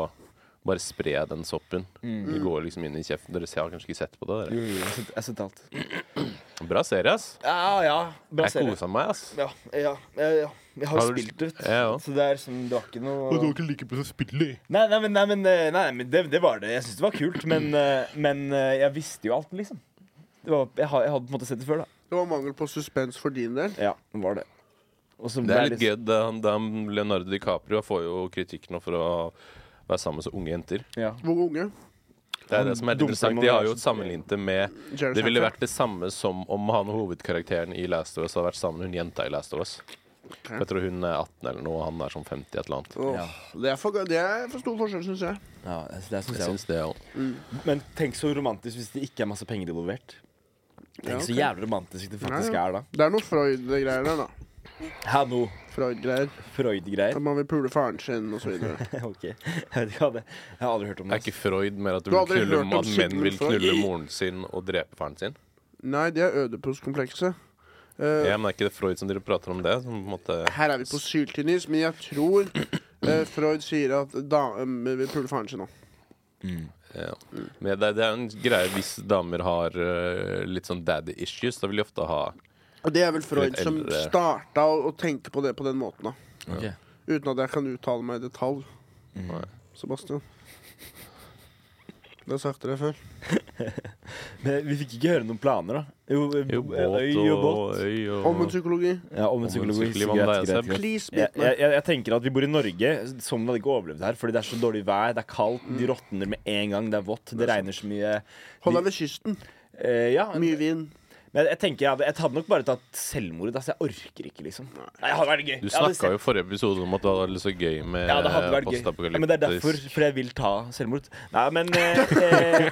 Speaker 2: bare spre den soppen. De går liksom inn i kjeften. Dere har kanskje ikke sett på det?
Speaker 3: Jo, jo, jeg har sett- jeg har sett alt.
Speaker 2: Dere. Bra serie, ass.
Speaker 3: Ja, ja. Bra
Speaker 2: Jeg
Speaker 3: serie.
Speaker 2: kosa meg, ass.
Speaker 3: Ja, ja, ja, ja. Jeg har
Speaker 2: Har
Speaker 3: jo
Speaker 2: du-
Speaker 3: spilt det, vet du.
Speaker 2: Ja, ja.
Speaker 3: Så det er som, det var ikke noe
Speaker 4: ikke like på som spiller.
Speaker 3: Nei, nei, men, nei, men, eh, nei, men det, det var det. Jeg syntes det var kult, men, eh, men eh, jeg visste jo alt, liksom. Det var, jeg, har- jeg hadde på en måte sett det før, da.
Speaker 1: Det var mangel på suspens for din del.
Speaker 3: Ja, det var det. Og så
Speaker 2: Det
Speaker 3: ble
Speaker 2: er
Speaker 3: jeg
Speaker 2: litt gøy. Da, da Leonardo DiCaprio får jo kritikk nå for å være sammen med så unge jenter.
Speaker 3: Ja.
Speaker 1: Hvor unge?
Speaker 2: Det er det som er litt
Speaker 3: Dumt,
Speaker 2: interessant.
Speaker 3: man
Speaker 2: De
Speaker 3: må
Speaker 2: har
Speaker 3: være
Speaker 2: jo sammenlignet det med
Speaker 1: Jared
Speaker 2: Det ville
Speaker 1: Seinfeld.
Speaker 2: vært det samme som om han hovedkarakteren i Last of Us hadde vært sammen med hun jenta i Last of Us. For Jeg tror hun er 18 eller noe, og han er sånn 50 et eller annet.
Speaker 1: Åh, det, er for, gøy. det er for stor forskjell, syns jeg.
Speaker 3: ja det, det synes
Speaker 2: Jeg
Speaker 3: jeg
Speaker 2: synes det er jo-
Speaker 3: også. Men tenk så romantisk hvis det ikke er masse penger involvert. Tenk
Speaker 1: Ja, ok.
Speaker 3: så jævlig romantisk det faktisk
Speaker 1: Ja, ja.
Speaker 3: er da.
Speaker 1: Det er noe Freud-greier der, da.
Speaker 3: Hæ, nå?
Speaker 1: Freud-greier.
Speaker 3: Freud-greier?
Speaker 1: At man vil pule faren sin, og så videre.
Speaker 3: ok. Jeg vet ikke hva det Jeg har aldri hørt om
Speaker 2: Er
Speaker 3: det. altså.
Speaker 2: ikke Freud mer at, du
Speaker 1: Du har
Speaker 2: vil
Speaker 1: aldri hørt
Speaker 2: knulle,
Speaker 1: om
Speaker 2: at menn vil
Speaker 1: Sigmund Freud?
Speaker 2: knulle moren sin og drepe faren sin?
Speaker 1: Nei, det er ødepuskomplekset. Eh,
Speaker 2: Ja, men er ikke det Freud som driver og prater om det? Som på en måte
Speaker 1: Her er vi på syltynnis, men jeg tror eh, Freud sier at eh, damer vil pule faren sin òg.
Speaker 2: Ja. Men det, det er jo en greie hvis damer har eh, litt sånn daddy issues. Da vil de ofte ha
Speaker 1: Og det er vel Freud
Speaker 2: Litt
Speaker 1: som
Speaker 2: eldre.
Speaker 1: starta å, å tenke på det på den måten, da.
Speaker 3: Ok.
Speaker 1: Uten at jeg kan uttale meg i detalj.
Speaker 2: Nei.
Speaker 1: Sebastian. Det har jeg sagt til deg før.
Speaker 3: Men vi fikk ikke høre noen planer, da. Jo, eh,
Speaker 2: jo,
Speaker 3: eh,
Speaker 2: båt
Speaker 3: øy og båt.
Speaker 2: og øy og
Speaker 1: Omvendt psykologi.
Speaker 3: Ja, om en psykologisk
Speaker 2: psykologi,
Speaker 3: greit,
Speaker 2: mann, det er
Speaker 3: greit,
Speaker 2: Seb.
Speaker 3: greit.
Speaker 1: Please,
Speaker 3: Jeg,
Speaker 1: bit
Speaker 3: jeg,
Speaker 1: meg.
Speaker 3: jeg jeg tenker at vi bor i Norge. Som hadde ikke overlevd her, fordi det er så dårlig vær. Det er kaldt, de råtner med en gang, det er vått, Mm. det regner så mye.
Speaker 1: Hold deg ved kysten.
Speaker 3: Eh, ja, men
Speaker 1: Mye vind.
Speaker 3: jeg, jeg tenker jeg hadde, jeg hadde nok bare tatt selvmord. Altså, jeg orker ikke, liksom. Nei, det hadde vært gøy.
Speaker 2: Du
Speaker 3: Jeg hadde
Speaker 2: snakka jo i forrige episode om at det hadde vært så gøy med
Speaker 3: Ja, det hadde vært gøy. Ja, men det er derfor,
Speaker 2: postapokalyptisk.
Speaker 3: for jeg vil ta selvmord. Nei, men eh, eh,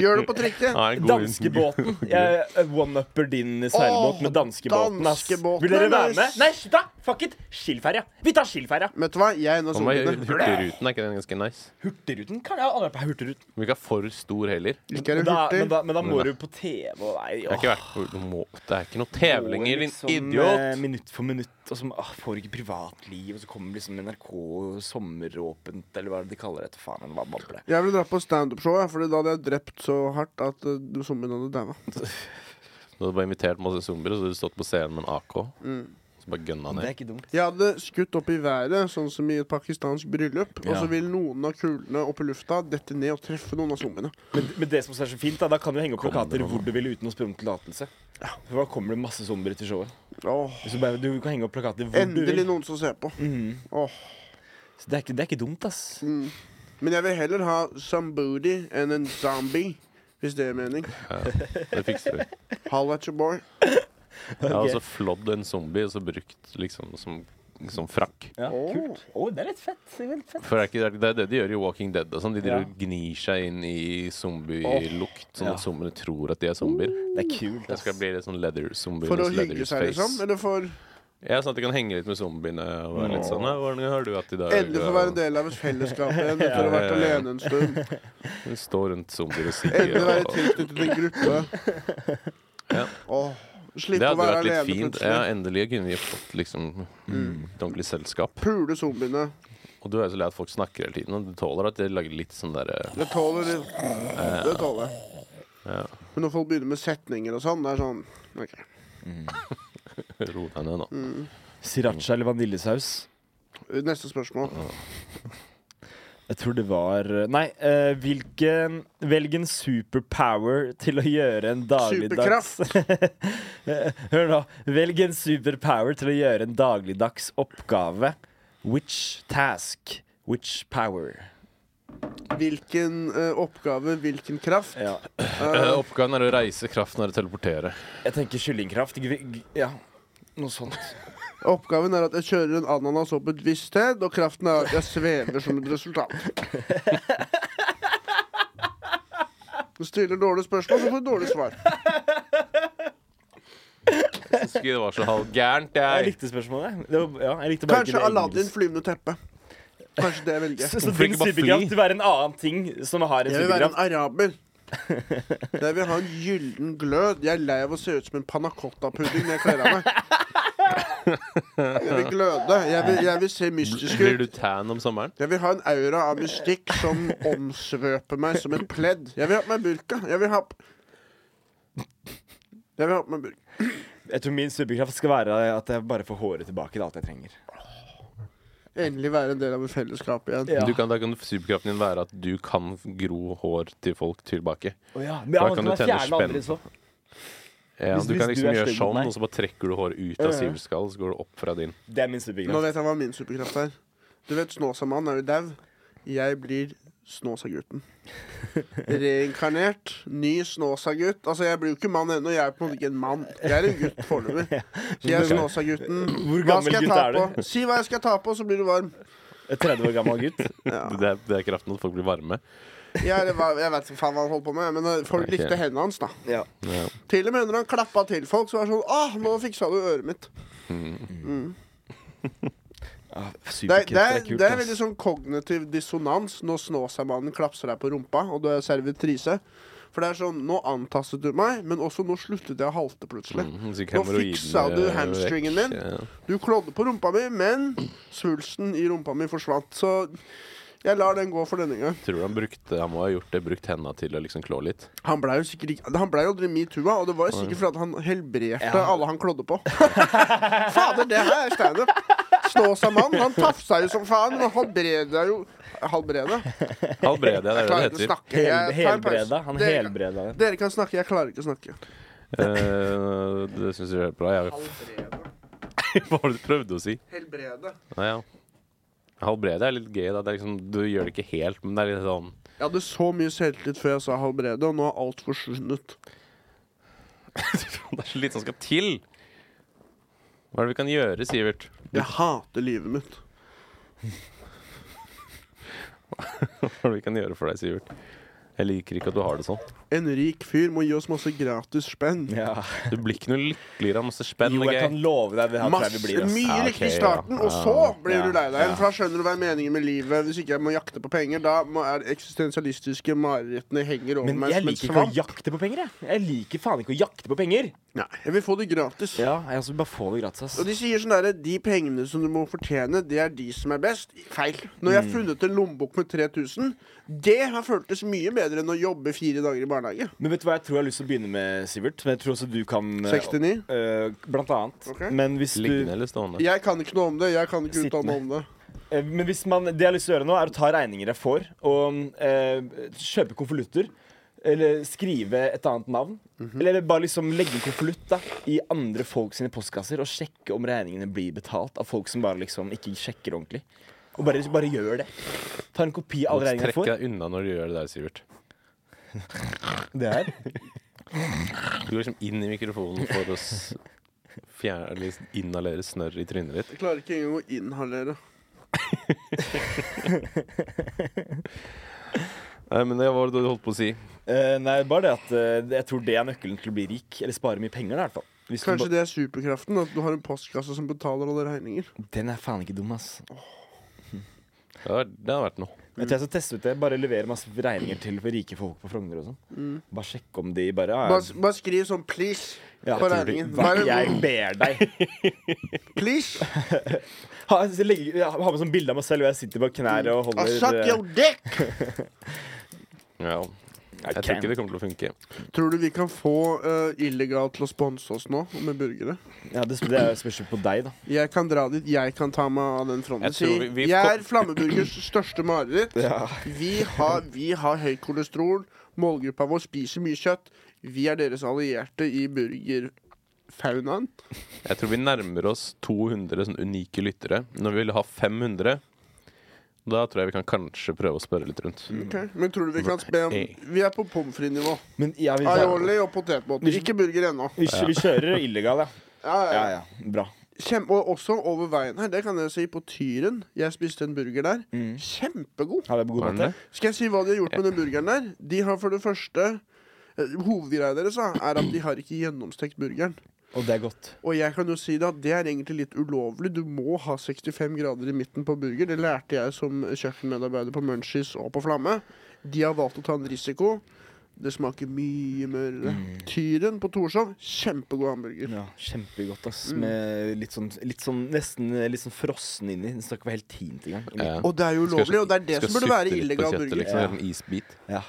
Speaker 1: Gjør det på trikket.
Speaker 2: Ja, en god-
Speaker 3: danskebåten. Jeg eh, one-upper din seilbåt med danskebåten, ass.
Speaker 1: danskebåten
Speaker 3: Vil dere
Speaker 1: er
Speaker 3: være
Speaker 1: nice.
Speaker 3: med? Nei, slutt, da! Fuck it! Skilferja. Vi tar skilferja.
Speaker 1: Vet du hva? Jeg er en av
Speaker 2: Hva med
Speaker 1: zombiene.
Speaker 2: Hurtigruten, er ikke den ganske nice?
Speaker 3: Hurtigruten? Kan jeg har aldri vært på Hurtigruten?
Speaker 2: Men ikke for stor heller.
Speaker 1: Ikke er
Speaker 3: Men
Speaker 1: det
Speaker 3: da,
Speaker 1: hurtig.
Speaker 3: men, da, men da må
Speaker 2: Men da-
Speaker 3: du på TV og nei,
Speaker 2: Jeg har ikke vært på, du må, det er ikke noen tevlinger, din
Speaker 3: eh,
Speaker 2: idiot!
Speaker 3: Minutt for minutt, og så ah, får du ikke privatliv, og så kommer liksom NRK sommeråpent, eller hva er det de kaller det? etter Faen, hva babler
Speaker 1: Jeg ville dratt på standup-show, ja, Fordi da hadde jeg drept så hardt at uh, zombiene hadde daua.
Speaker 2: Du hadde bare invitert masse zombier, og så hadde du stått på scenen med en AK.
Speaker 1: Mm.
Speaker 2: Så bare gønna
Speaker 3: Det
Speaker 2: ned.
Speaker 3: er ikke dumt.
Speaker 1: Jeg hadde skutt opp i været, sånn som i et pakistansk bryllup. Og
Speaker 3: Ja.
Speaker 1: så vil noen av kulene opp i lufta dette ned og treffe noen av zombiene.
Speaker 3: Men, men det som er så fint, da, da kan du henge opp plakater hvor du vil uten å spørre om tillatelse. For da kommer det masse zombier til showet.
Speaker 1: Åh,
Speaker 3: Så bare, du kan henge opp plakater hvor
Speaker 1: endelig
Speaker 3: du vil.
Speaker 1: noen som ser på.
Speaker 2: Mhm.
Speaker 1: Åh.
Speaker 3: Så det er, ikke, det er ikke dumt, ass.
Speaker 1: Men jeg vil heller ha some booty enn en zombie. Hvis det er mening.
Speaker 2: Det fikser du.
Speaker 1: Holla at your boy.
Speaker 2: Jeg har også flådd en zombie og så brukt liksom som, som frakk.
Speaker 3: Ja,
Speaker 1: Åh.
Speaker 3: kult. Å, det er litt fett. Det er veldig fett.
Speaker 2: For det er, ikke, det er det de gjør i Walking Dead. Og sånn. De driver
Speaker 3: Ja.
Speaker 2: og gnir seg inn i zombielukt, sånn
Speaker 3: Ja.
Speaker 2: at zombiene tror at de er zombier.
Speaker 3: Det er kult,
Speaker 2: Jeg
Speaker 3: ass.
Speaker 2: skal bli litt sånn leather zombie
Speaker 1: For å
Speaker 2: miss leather
Speaker 1: hygge seg,
Speaker 2: face.
Speaker 1: liksom? Eller for
Speaker 2: Ja, sånn at jeg kan henge litt med zombiene og være litt sånn «Ja, Hvordan har du hatt i dag?
Speaker 1: endelig få være en del av et fellesskap igjen etter å ha vært
Speaker 2: Ja, ja, ja.
Speaker 1: alene en stund.
Speaker 2: Og Stå rundt zombier og sier
Speaker 1: Endelig være
Speaker 2: og-
Speaker 1: tilknyttet en gruppe.
Speaker 2: Ja.
Speaker 1: Åh,
Speaker 2: Det
Speaker 1: slippe å
Speaker 2: hadde
Speaker 1: være
Speaker 2: vært litt
Speaker 1: alene
Speaker 2: fint.
Speaker 1: plutselig. Mm.
Speaker 2: Ja, endelig kunne vi fått liksom et ordentlig selskap.
Speaker 1: Pule zombiene.
Speaker 2: Og du er jo så lei at folk snakker hele tiden, og du tåler at de lager litt sånn derre
Speaker 1: Det tåler det. Det tåler jeg. Men når folk begynner med setninger og sånn, det er sånn OK.
Speaker 2: Ro deg ned nå.
Speaker 1: Mm.
Speaker 3: Sriracha eller vaniljesaus?
Speaker 1: Neste spørsmål.
Speaker 3: Jeg tror det var Nei, eh, hvilken Velg en superpower til å gjøre en dagligdags Hør nå. Velg en superpower til å gjøre en dagligdags oppgave. Which task? Which power?
Speaker 1: Hvilken eh, oppgave, hvilken kraft?
Speaker 3: Ja.
Speaker 1: Eh,
Speaker 2: oppgaven er å reise, kraften er å teleportere.
Speaker 3: Jeg tenker kyllingkraft. Gr- gr- Ja, noe sånt.
Speaker 1: oppgaven er at jeg kjører en ananas opp et visst sted, og kraften er at jeg svever som et resultat. Du stiller dårlige spørsmål, så får du dårlige svar.
Speaker 2: Skulle det var så halvgærent,
Speaker 3: Jeg
Speaker 2: jeg.
Speaker 3: likte spørsmålet. Det var, ja, jeg likte bare ikke
Speaker 1: Kanskje
Speaker 3: det
Speaker 1: Aladdin
Speaker 3: engelske.
Speaker 1: flyvende teppe. Kanskje det velger jeg.
Speaker 3: Så, så
Speaker 2: Hvorfor
Speaker 3: din
Speaker 2: ikke bare fly?
Speaker 3: superkraft vil være en annen ting som har en
Speaker 1: Jeg vil være en
Speaker 3: superkraft?
Speaker 1: araber. Jeg vil ha en gyllen glød. Jeg er lei av å se ut som en pannacotta-pudding når jeg kler av meg. Jeg vil gløde. Jeg vil, jeg vil se mystisk
Speaker 2: Blir
Speaker 1: ut.
Speaker 2: du tan om sommeren?
Speaker 1: Jeg vil ha en aura av mystikk som omsvøper meg som et pledd. Jeg vil ha på meg burka. Jeg vil ha p- Jeg vil ha på meg burka.
Speaker 3: Jeg tror min superkraft skal være at jeg bare får håret tilbake. Det er alt jeg trenger.
Speaker 1: Endelig være en del av et fellesskap igjen.
Speaker 3: Ja.
Speaker 2: Du kan, da kan superkraften din være at du kan gro hår til folk tilbake.
Speaker 4: Å ja.
Speaker 2: Da
Speaker 4: Men han
Speaker 2: kan
Speaker 4: kan
Speaker 2: du
Speaker 4: være
Speaker 2: tenne
Speaker 4: fjerne andre
Speaker 2: spenn.
Speaker 4: så.
Speaker 2: Ja,
Speaker 4: Hvis-
Speaker 2: du kan
Speaker 4: hvis
Speaker 2: liksom
Speaker 4: du er
Speaker 2: gjøre
Speaker 4: stygg mot
Speaker 2: sånn,
Speaker 4: meg.
Speaker 2: og så bare trekker du håret ut av sivskallen, så går det opp fra din.
Speaker 3: Det er min
Speaker 1: Nå
Speaker 3: superkraft.
Speaker 1: vet jeg hva min superkraft er. Du vet Snåsamannen er jo dau. Jeg blir Snåsagutten. Reinkarnert, ny Snåsagutt. Altså, jeg blir jo ikke mann ennå. Jeg er på en måte ikke en mann. Jeg er en gutt foreløpig. Så Jeg er Snåsagutten.
Speaker 3: Hvor
Speaker 1: Hva
Speaker 3: gammel
Speaker 1: skal jeg
Speaker 3: gutt
Speaker 1: ta
Speaker 3: er
Speaker 1: på?
Speaker 3: du?
Speaker 1: Si hva jeg skal ta på, så blir du varm.
Speaker 3: En 30 år gammel gutt?
Speaker 1: Ja.
Speaker 2: Det, er, det er kraften at folk blir varme.
Speaker 1: Jeg, er- jeg vet ikke faen hva han holdt på med, men eh, folk
Speaker 2: Ok.
Speaker 1: likte hendene hans, da.
Speaker 3: Ja.
Speaker 2: Ja.
Speaker 1: Til og med når han klappa til folk, så var det sånn Åh, nå fiksa du øret mitt.
Speaker 3: Ah,
Speaker 1: Det er,
Speaker 3: superkraft
Speaker 1: det, er, det er
Speaker 3: ass.
Speaker 1: veldig sånn kognitiv dissonans når Snåsamannen klapser deg på rumpa, og du er servitrise. For det er sånn Nå antastet du meg, men også nå sluttet jeg å halte plutselig.
Speaker 2: Mm, så
Speaker 1: Nå
Speaker 2: hemoroidene
Speaker 1: fiksa du
Speaker 2: er
Speaker 1: hamstringen
Speaker 2: vekk.
Speaker 1: din.
Speaker 2: Ja.
Speaker 1: Du klådde på rumpa mi, men svulsten i rumpa mi forsvant. Så jeg lar den gå for denne gang.
Speaker 2: Tror du han brukte Han må ha gjort det, brukt henda til å liksom klå litt.
Speaker 1: Han blei jo sikkert ikke- Han ble jo aldri metoo-a, og det var jo sikkert fordi at han helbredte
Speaker 3: Ja.
Speaker 1: alle han klådde på. Fader, det her er standup! Snåsamannen, han tafsa jo som faen, men han helbreda jo Halbreda.
Speaker 2: Halvbrede, det
Speaker 1: Jeg
Speaker 2: er det
Speaker 1: klarer
Speaker 2: det
Speaker 1: ikke å
Speaker 2: heter.
Speaker 1: snakke.
Speaker 3: Hel,
Speaker 1: Jeg tar en pause.
Speaker 3: helbreda. Han
Speaker 1: Dere-
Speaker 3: helbreda den.
Speaker 1: Dere kan snakke, jeg klarer ikke å snakke.
Speaker 2: Eh, det syns jeg er bra. Jeg, hva var det du prøvde å si?
Speaker 1: Helbrede.
Speaker 2: Nei, ja. Halvbrede er litt gøy. da det er liksom, Du gjør det ikke helt, men det er litt sånn
Speaker 1: Jeg hadde så mye selvtillit før jeg sa halbrede, og nå har alt forsvunnet.
Speaker 2: Det er så lite som skal til! Hva er det vi kan gjøre, Sivert?
Speaker 1: Jeg hater livet mitt.
Speaker 2: Hva er det vi kan gjøre for deg, Sivert? Jeg liker ikke at du har det sånn.
Speaker 1: En rik fyr må gi oss masse gratis spenn.
Speaker 3: Ja.
Speaker 2: Du blir ikke noe lykkeligere av masse spenn.
Speaker 3: Jo,
Speaker 2: og
Speaker 3: jeg
Speaker 2: gøy.
Speaker 3: kan love deg det her tror jeg
Speaker 1: Masse,
Speaker 3: vi blir. ass.
Speaker 1: mye
Speaker 2: Ja, ok,
Speaker 1: riktig i starten,
Speaker 2: ja.
Speaker 1: og så blir
Speaker 3: Ja,
Speaker 1: du lei deg igjen.
Speaker 3: ja.
Speaker 1: For da skjønner du hva er meningen med livet. Hvis ikke jeg må jakte på penger, da må, er det eksistensialistiske marerittene henger over
Speaker 3: Men
Speaker 1: meg som
Speaker 3: jeg
Speaker 1: et
Speaker 3: liker ikke å
Speaker 1: svamp.
Speaker 3: jakte på penger, jeg. Jeg liker faen ikke å jakte på penger.
Speaker 1: Nei, jeg vil få det gratis.
Speaker 3: Ja, jeg også vil bare få det gratis, ass.
Speaker 1: Og de sier sånn derre De pengene som du må fortjene, det er de som er best. Feil. Når
Speaker 3: Mm.
Speaker 1: jeg har funnet en lommebok med 3000, det har føltes mye bedre enn å jobbe fire dager i barnehage.
Speaker 3: Men vet du hva jeg tror jeg har lyst til å begynne med, Sivert? Men jeg tror også du kan eh,
Speaker 1: 69.
Speaker 3: eh, blant annet.
Speaker 1: Ok.
Speaker 3: Men hvis du
Speaker 2: Liggende eller stående?
Speaker 1: Jeg kan ikke noe om det. Jeg kan ikke
Speaker 3: Sittende.
Speaker 1: utdanne om det.
Speaker 3: eh, Men hvis man Det jeg har lyst til å gjøre nå, er å ta regninger jeg får, og eh, kjøpe konvolutter. Eller skrive et annet navn. Eller bare liksom legge en konvolutt da, i andre folk sine postkasser og sjekke om regningene blir betalt av folk som bare liksom ikke sjekker ordentlig. Og bare, bare gjør det. Ta en kopi av alle regningene jeg
Speaker 2: Trekk
Speaker 3: får.
Speaker 2: deg unna når du gjør det der, Sivert.
Speaker 3: Det her.
Speaker 2: Du går liksom inn i mikrofonen for å s- fjerne, eller inhalere snørr i trynet ditt.
Speaker 1: Jeg klarer ikke engang å inhalere.
Speaker 2: Nei, men det var det du holdt på å si.
Speaker 3: Eh, nei, bare det at eh, jeg tror det er nøkkelen til å bli rik. Eller spare mye penger, da, i hvert fall. Hvis du
Speaker 1: Kanskje det er superkraften? At du har en postkasse som betaler alle regninger?
Speaker 3: ba- Den er faen ikke dum, ass.
Speaker 2: Det har, vært- det har vært noe.
Speaker 3: Jeg tror jeg skal teste ut det. Bare levere masse regninger til rike folk på Frogner og sånn. Bare sjekke om de bare ja,
Speaker 1: Mm. Bare, bare skriv sånn 'please'
Speaker 3: ja,
Speaker 1: på
Speaker 3: tror du-
Speaker 1: regningen.
Speaker 3: Hva er det
Speaker 1: Bare
Speaker 3: jeg ber deg.
Speaker 1: 'please'.
Speaker 3: Ha, så legge, ja, ha med
Speaker 1: Ah,
Speaker 3: sånn eh, bilde av meg selv hvor jeg sitter på knær og
Speaker 1: I
Speaker 3: holder
Speaker 1: suck
Speaker 3: eh,
Speaker 1: your dick!
Speaker 2: Ja. Jeg tror ikke det kommer til å funke.
Speaker 1: Tror du vi kan få uh, Illegal til å sponse oss nå med burgere?
Speaker 3: Ja, det, det er spørsmål på deg, da.
Speaker 1: Jeg kan dra dit, jeg kan ta meg av den fronten.
Speaker 2: Jeg tror vi- vi-
Speaker 1: Si, jeg er flammeburgers største mareritt.
Speaker 3: Ja.
Speaker 1: Vi, har, vi har høyt kolesterol. Målgruppa vår spiser mye kjøtt. Vi er deres allierte i burgerfaunaen.
Speaker 2: Jeg tror vi nærmer oss 200 sånn unike lyttere. Når vi vil ha 500, da tror jeg vi kan kanskje prøve å spørre litt rundt.
Speaker 3: Mm.
Speaker 1: Ok, Men tror du vi kan spe om Vi er på pommes frites-nivå.
Speaker 3: Men jeg vil
Speaker 1: Aioli og potetbåter. Ikke burger ennå.
Speaker 3: vi, vi kjører illegal, ja.
Speaker 1: Ja, ja,
Speaker 3: Ja,
Speaker 1: ja.
Speaker 3: ja. Bra.
Speaker 1: Kjem, og også over veien her, det kan jeg si, på Tyren. Jeg spiste en burger der.
Speaker 2: Mm.
Speaker 1: Kjempegod.
Speaker 3: Har jeg god
Speaker 2: Var den
Speaker 3: måte?
Speaker 2: det?
Speaker 1: Skal jeg si hva de har gjort med den burgeren der? De har for det første eh, Hovedgreia deres da, er at de har ikke gjennomstekt burgeren.
Speaker 3: Og det er godt.
Speaker 1: Og jeg kan jo si det at det er egentlig litt ulovlig. Du må ha 65 grader i midten på burger. Det lærte jeg som kjøkkenmedarbeider på Munchies og på Flamme. De har valgt å ta en risiko. Det smaker mye mørere.
Speaker 2: Mm.
Speaker 1: Tyren på Torshov, kjempegod hamburger.
Speaker 3: Ja, Kjempegodt, ass.
Speaker 1: Mm.
Speaker 3: Med litt sånn, litt sånn nesten eh, litt sånn frossen inni. Den skal ikke være helt tint engang.
Speaker 2: Ja.
Speaker 1: Og det er jo
Speaker 2: Skal-
Speaker 1: ulovlig, og det er det
Speaker 2: skal
Speaker 1: som burde være
Speaker 2: sutte litt på
Speaker 1: illegal
Speaker 2: kjøttet,
Speaker 1: burger.
Speaker 2: Liksom, gjøre en isbit.
Speaker 3: Ja.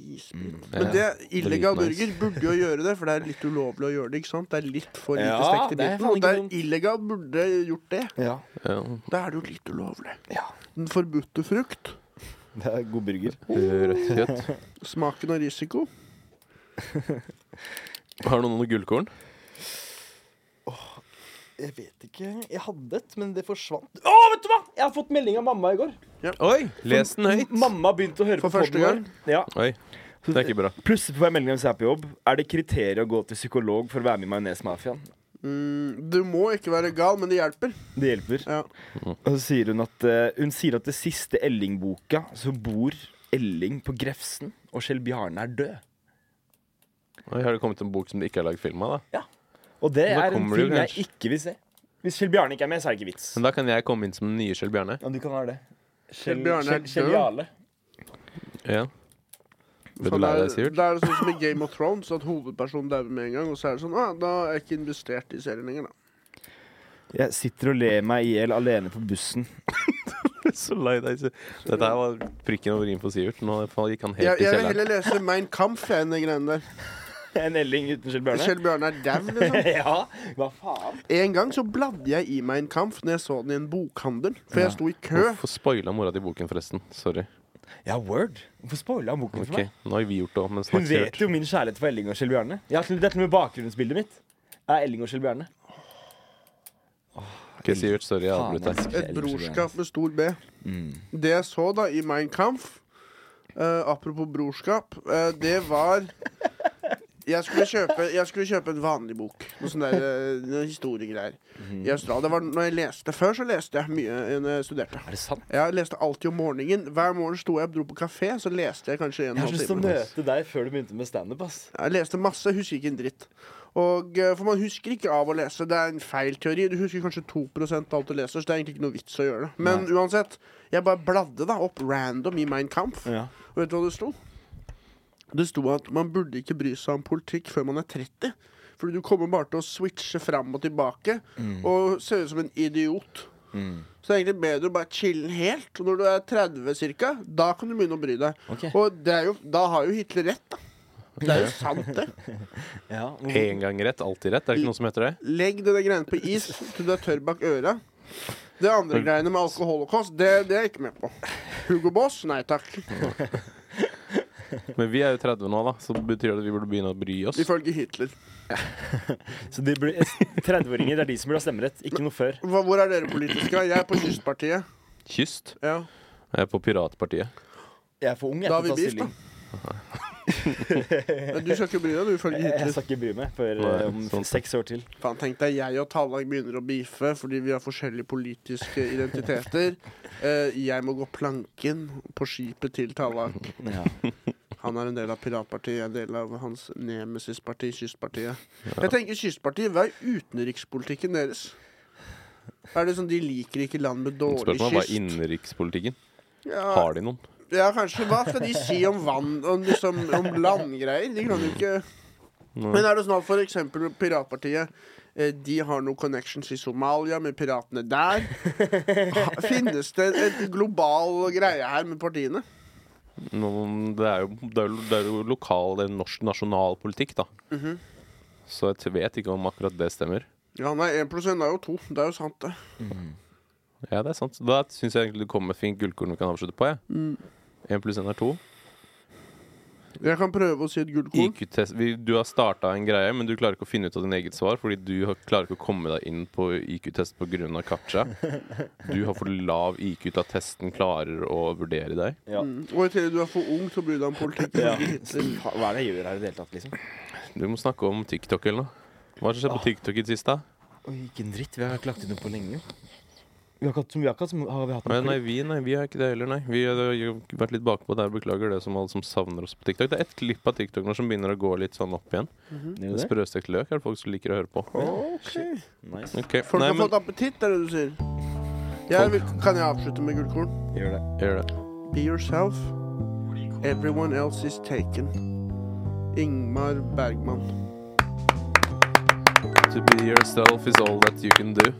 Speaker 1: Isbit.
Speaker 2: Mm. Ja,
Speaker 1: Men det illegal
Speaker 2: dritnice.
Speaker 1: burger burde jo gjøre det, for det er litt ulovlig å gjøre det. ikke sant? Det er litt for lite
Speaker 3: Ja,
Speaker 1: stekt i
Speaker 3: det er
Speaker 1: biten.
Speaker 3: faen
Speaker 1: Og det
Speaker 3: ikke
Speaker 1: er
Speaker 3: dumt.
Speaker 1: illegal burde gjort det.
Speaker 3: ja.
Speaker 2: Ja.
Speaker 1: Da er det jo litt ulovlig.
Speaker 3: Ja.
Speaker 1: Den forbudte frukt.
Speaker 3: Det er god burger.
Speaker 2: Rødt kjøtt.
Speaker 1: Smaken og risiko.
Speaker 2: Har noen noe gullkorn?
Speaker 4: Jeg vet ikke. Jeg hadde et, men det forsvant. Å, vet du hva! Jeg har fått melding av mamma i går.
Speaker 2: Oi! Les den høyt.
Speaker 3: Mamma begynte å høre
Speaker 1: For
Speaker 3: på
Speaker 1: første gang?
Speaker 3: podden vår. Ja.
Speaker 2: Oi. Det er ikke bra.
Speaker 3: Plutselig får jeg melding om jeg er på jobb. Er det kriterier å gå til psykolog for å være med i Majonesmafiaen?
Speaker 1: Mm, du må ikke være gal, men det hjelper.
Speaker 3: Det hjelper.
Speaker 1: Ja.
Speaker 3: Og så sier hun at eh, Hun sier at det siste Elling-boka, så bor Elling på Grefsen, og Kjell Bjarne er død.
Speaker 2: Oi, har det kommet en bok som det ikke er lagd film av? da?
Speaker 3: Og det
Speaker 2: Da
Speaker 3: er en
Speaker 2: kommer det jo
Speaker 3: film jeg
Speaker 2: kanskje.
Speaker 3: ikke vil se. Hvis Kjell Bjarne ikke er med, så er det ikke vits.
Speaker 2: Men da kan jeg komme inn som den nye Kjell Bjarne.
Speaker 3: Ja, du kan være det.
Speaker 1: Kjell Bjarne er
Speaker 3: Kjell, Kjell
Speaker 1: død.
Speaker 3: Jarle.
Speaker 2: Ja. Vil
Speaker 1: For
Speaker 2: du lære deg,
Speaker 1: det er-
Speaker 2: Sivert?
Speaker 1: det er sånn som i Game of Thrones, at hovedpersonen dauer med en gang. Og så er det sånn ah, Da er jeg ikke investert i serien lenger, da.
Speaker 3: Jeg sitter og ler meg i hjel alene på bussen.
Speaker 2: Så lei deg. Siv. Dette her var prikken over i-en for Sivert. Nå gikk han
Speaker 1: Jeg,
Speaker 2: helt i
Speaker 1: jeg vil
Speaker 2: kjelleren.
Speaker 1: heller lese Mein Kampf enn de greiene der.
Speaker 3: En Elling uten Kjell Bjarne?
Speaker 1: Kjell Bjørn er dau, liksom.
Speaker 3: ja, hva faen?
Speaker 1: En gang så bladde jeg i Mein Kampf når jeg så den i en bokhandel. For jeg sto i kø.
Speaker 2: Hvorfor spoila mora di boken, forresten? Sorry.
Speaker 3: Ja, word. Hvorfor spoila han boken for meg?
Speaker 2: Ok, Nå har vi gjort det òg, men
Speaker 3: Hun
Speaker 2: snakk
Speaker 3: vet
Speaker 2: Sivert.
Speaker 3: jo min kjærlighet for Elling og Kjell Bjarne. Jeg har til- Det er til og med bakgrunnsbildet mitt. Det er Elling og Kjell Bjarne.
Speaker 2: Ok, Sivert, sorry, jeg avbrøt
Speaker 3: altså.
Speaker 2: deg.
Speaker 1: Et brorskap med stor B.
Speaker 3: Mm.
Speaker 1: Det jeg så da i Mein Kampf, eh, apropos brorskap, eh, det var jeg skulle, kjøpe, jeg skulle kjøpe en vanlig bok. Noe sånn der eh, noe historiegreier.
Speaker 3: Mhm.
Speaker 1: I Australia. Det var når jeg leste Før så leste jeg mye eh, når jeg studerte.
Speaker 3: Er det sant?
Speaker 1: Jeg leste alltid om morgenen. Hver morgen sto jeg og dro på kafé, så leste jeg kanskje en
Speaker 3: Jeg har
Speaker 1: halv
Speaker 3: så lyst til å
Speaker 1: time.
Speaker 3: møte deg før du begynte med standup. ass.
Speaker 1: Jeg leste masse, husker ikke en dritt. Og, eh, for man husker ikke av å lese. Det er en feil teori. Du husker kanskje 2 av alt du leser, så det er egentlig ikke noe vits å gjøre det. Men uansett, jeg bare bladde da opp random i Mein Kampf,
Speaker 3: Ja.
Speaker 1: og vet du hva det sto? Det sto at man burde ikke bry seg om politikk før man er 30. Fordi du kommer bare til å switche fram og tilbake og se ut som en idiot. Så det er egentlig bedre å bare chille helt. Og når du er 30 ca., da kan du begynne å bry deg.
Speaker 3: Ok.
Speaker 1: Og det er jo, da har jo Hitler rett, da. Det er jo sant, det.
Speaker 3: Ja, hvor-
Speaker 2: Én gang rett, alltid rett. Er det ikke noe som heter det?
Speaker 1: Legg denne greiene på is til du er tørr bak øra. Det andre greiene med alkohol og kost, det, det er jeg ikke med på. Hugo Boss? Nei takk.
Speaker 2: Men vi er jo 30 nå, da, så det betyr det at vi burde begynne å bry oss.
Speaker 1: Ifølge Hitler.
Speaker 3: Så de blir 30-åringer det er de som burde ha stemmerett, ikke noe før.
Speaker 1: Hva, hvor er dere politiske? Jeg er på Kystpartiet.
Speaker 2: Kyst.
Speaker 1: Ja.
Speaker 2: Jeg er på Piratpartiet.
Speaker 3: Jeg er for ung jeg,
Speaker 1: Da har vi
Speaker 3: til å ta
Speaker 1: beef, da.
Speaker 3: stilling.
Speaker 1: Men Du skal ikke bry deg, du, ifølge
Speaker 3: Jeg, jeg
Speaker 1: Hitler.
Speaker 3: skal ikke bry meg før
Speaker 2: Nei,
Speaker 3: eh, om
Speaker 2: sant.
Speaker 3: seks år til.
Speaker 1: Faen, tenk deg jeg og Tallag begynner å beefe fordi vi har forskjellige politiske identiteter. Eh, jeg må gå planken på skipet til Tallag.
Speaker 3: Ja.
Speaker 1: Han er en del av piratpartiet, jeg er en del av hans nemesisparti, Kystpartiet. Jeg tenker Kystpartiet, hva er utenrikspolitikken deres? Er det sånn de liker ikke land med dårlig
Speaker 2: Spørsmålet var
Speaker 1: kyst?
Speaker 2: innenrikspolitikken.
Speaker 1: Ja,
Speaker 2: Har de noen?
Speaker 1: ja, kanskje. Hva skal de si om vann, om, liksom, om landgreier? De kan jo ikke Men er det sånn at for eksempel piratpartiet eh, de har noen connections i Somalia med piratene der. Ha- Finnes det en global greie her med partiene?
Speaker 2: noen, det, er jo, det, er jo, det er jo lokal det er norsk nasjonalpolitikk, da. Så jeg vet ikke om akkurat det stemmer.
Speaker 1: Ja, nei, én pluss én er jo to. Det er jo sant, det.
Speaker 2: Ja, det er sant. Så Da syns jeg egentlig det kommer et fint gullkorn vi kan avslutte på. Én pluss én er to.
Speaker 1: Jeg kan prøve å si et gullkorn.
Speaker 2: IQ-test vi- Du har starta en greie, men du klarer ikke å finne ut av din eget svar fordi du har, klarer ikke å komme deg inn på IQ-test pga. Katja. Du har for lav IQ til at testen klarer å vurdere deg.
Speaker 3: Ja.
Speaker 1: Mm. Og i tillegg du er for ung til å bry deg om politikk.
Speaker 3: Ja.
Speaker 1: Norge, Hitler.
Speaker 3: Fa- Hva er det jeg gjør her i det hele tatt, liksom?
Speaker 2: Du må snakke om TikTok eller noe. Hva har skjedd
Speaker 1: Ah.
Speaker 2: på TikTok i det siste? da?
Speaker 3: Oi, ikke en dritt. Vi har ikke lagt ut noe på lenge. Vi har ikke hatt, vi har ikke hatt, har vi hatt
Speaker 2: Nei,
Speaker 3: noe
Speaker 2: nei, vi, nei, vi er ikke det heller, nei. Vi har jo vært litt bakpå der. Beklager det som alle som savner oss på TikTok. Det er ett klipp av TikTok nå som begynner å gå litt sånn opp igjen.
Speaker 3: klipp?
Speaker 2: Det sprøeste løk er det folk som liker å høre på.
Speaker 1: Ok.
Speaker 3: Nice.
Speaker 2: Ok,
Speaker 1: Folk
Speaker 2: nei,
Speaker 1: har
Speaker 2: men
Speaker 1: fått appetitt, er det du sier? Jeg vil, kan jeg avslutte med gullkorn?
Speaker 3: Gjør det.
Speaker 2: gjør det.
Speaker 1: Be yourself. Everyone else is taken. Ingmar Bergman.
Speaker 2: To be yourself is all that you can do.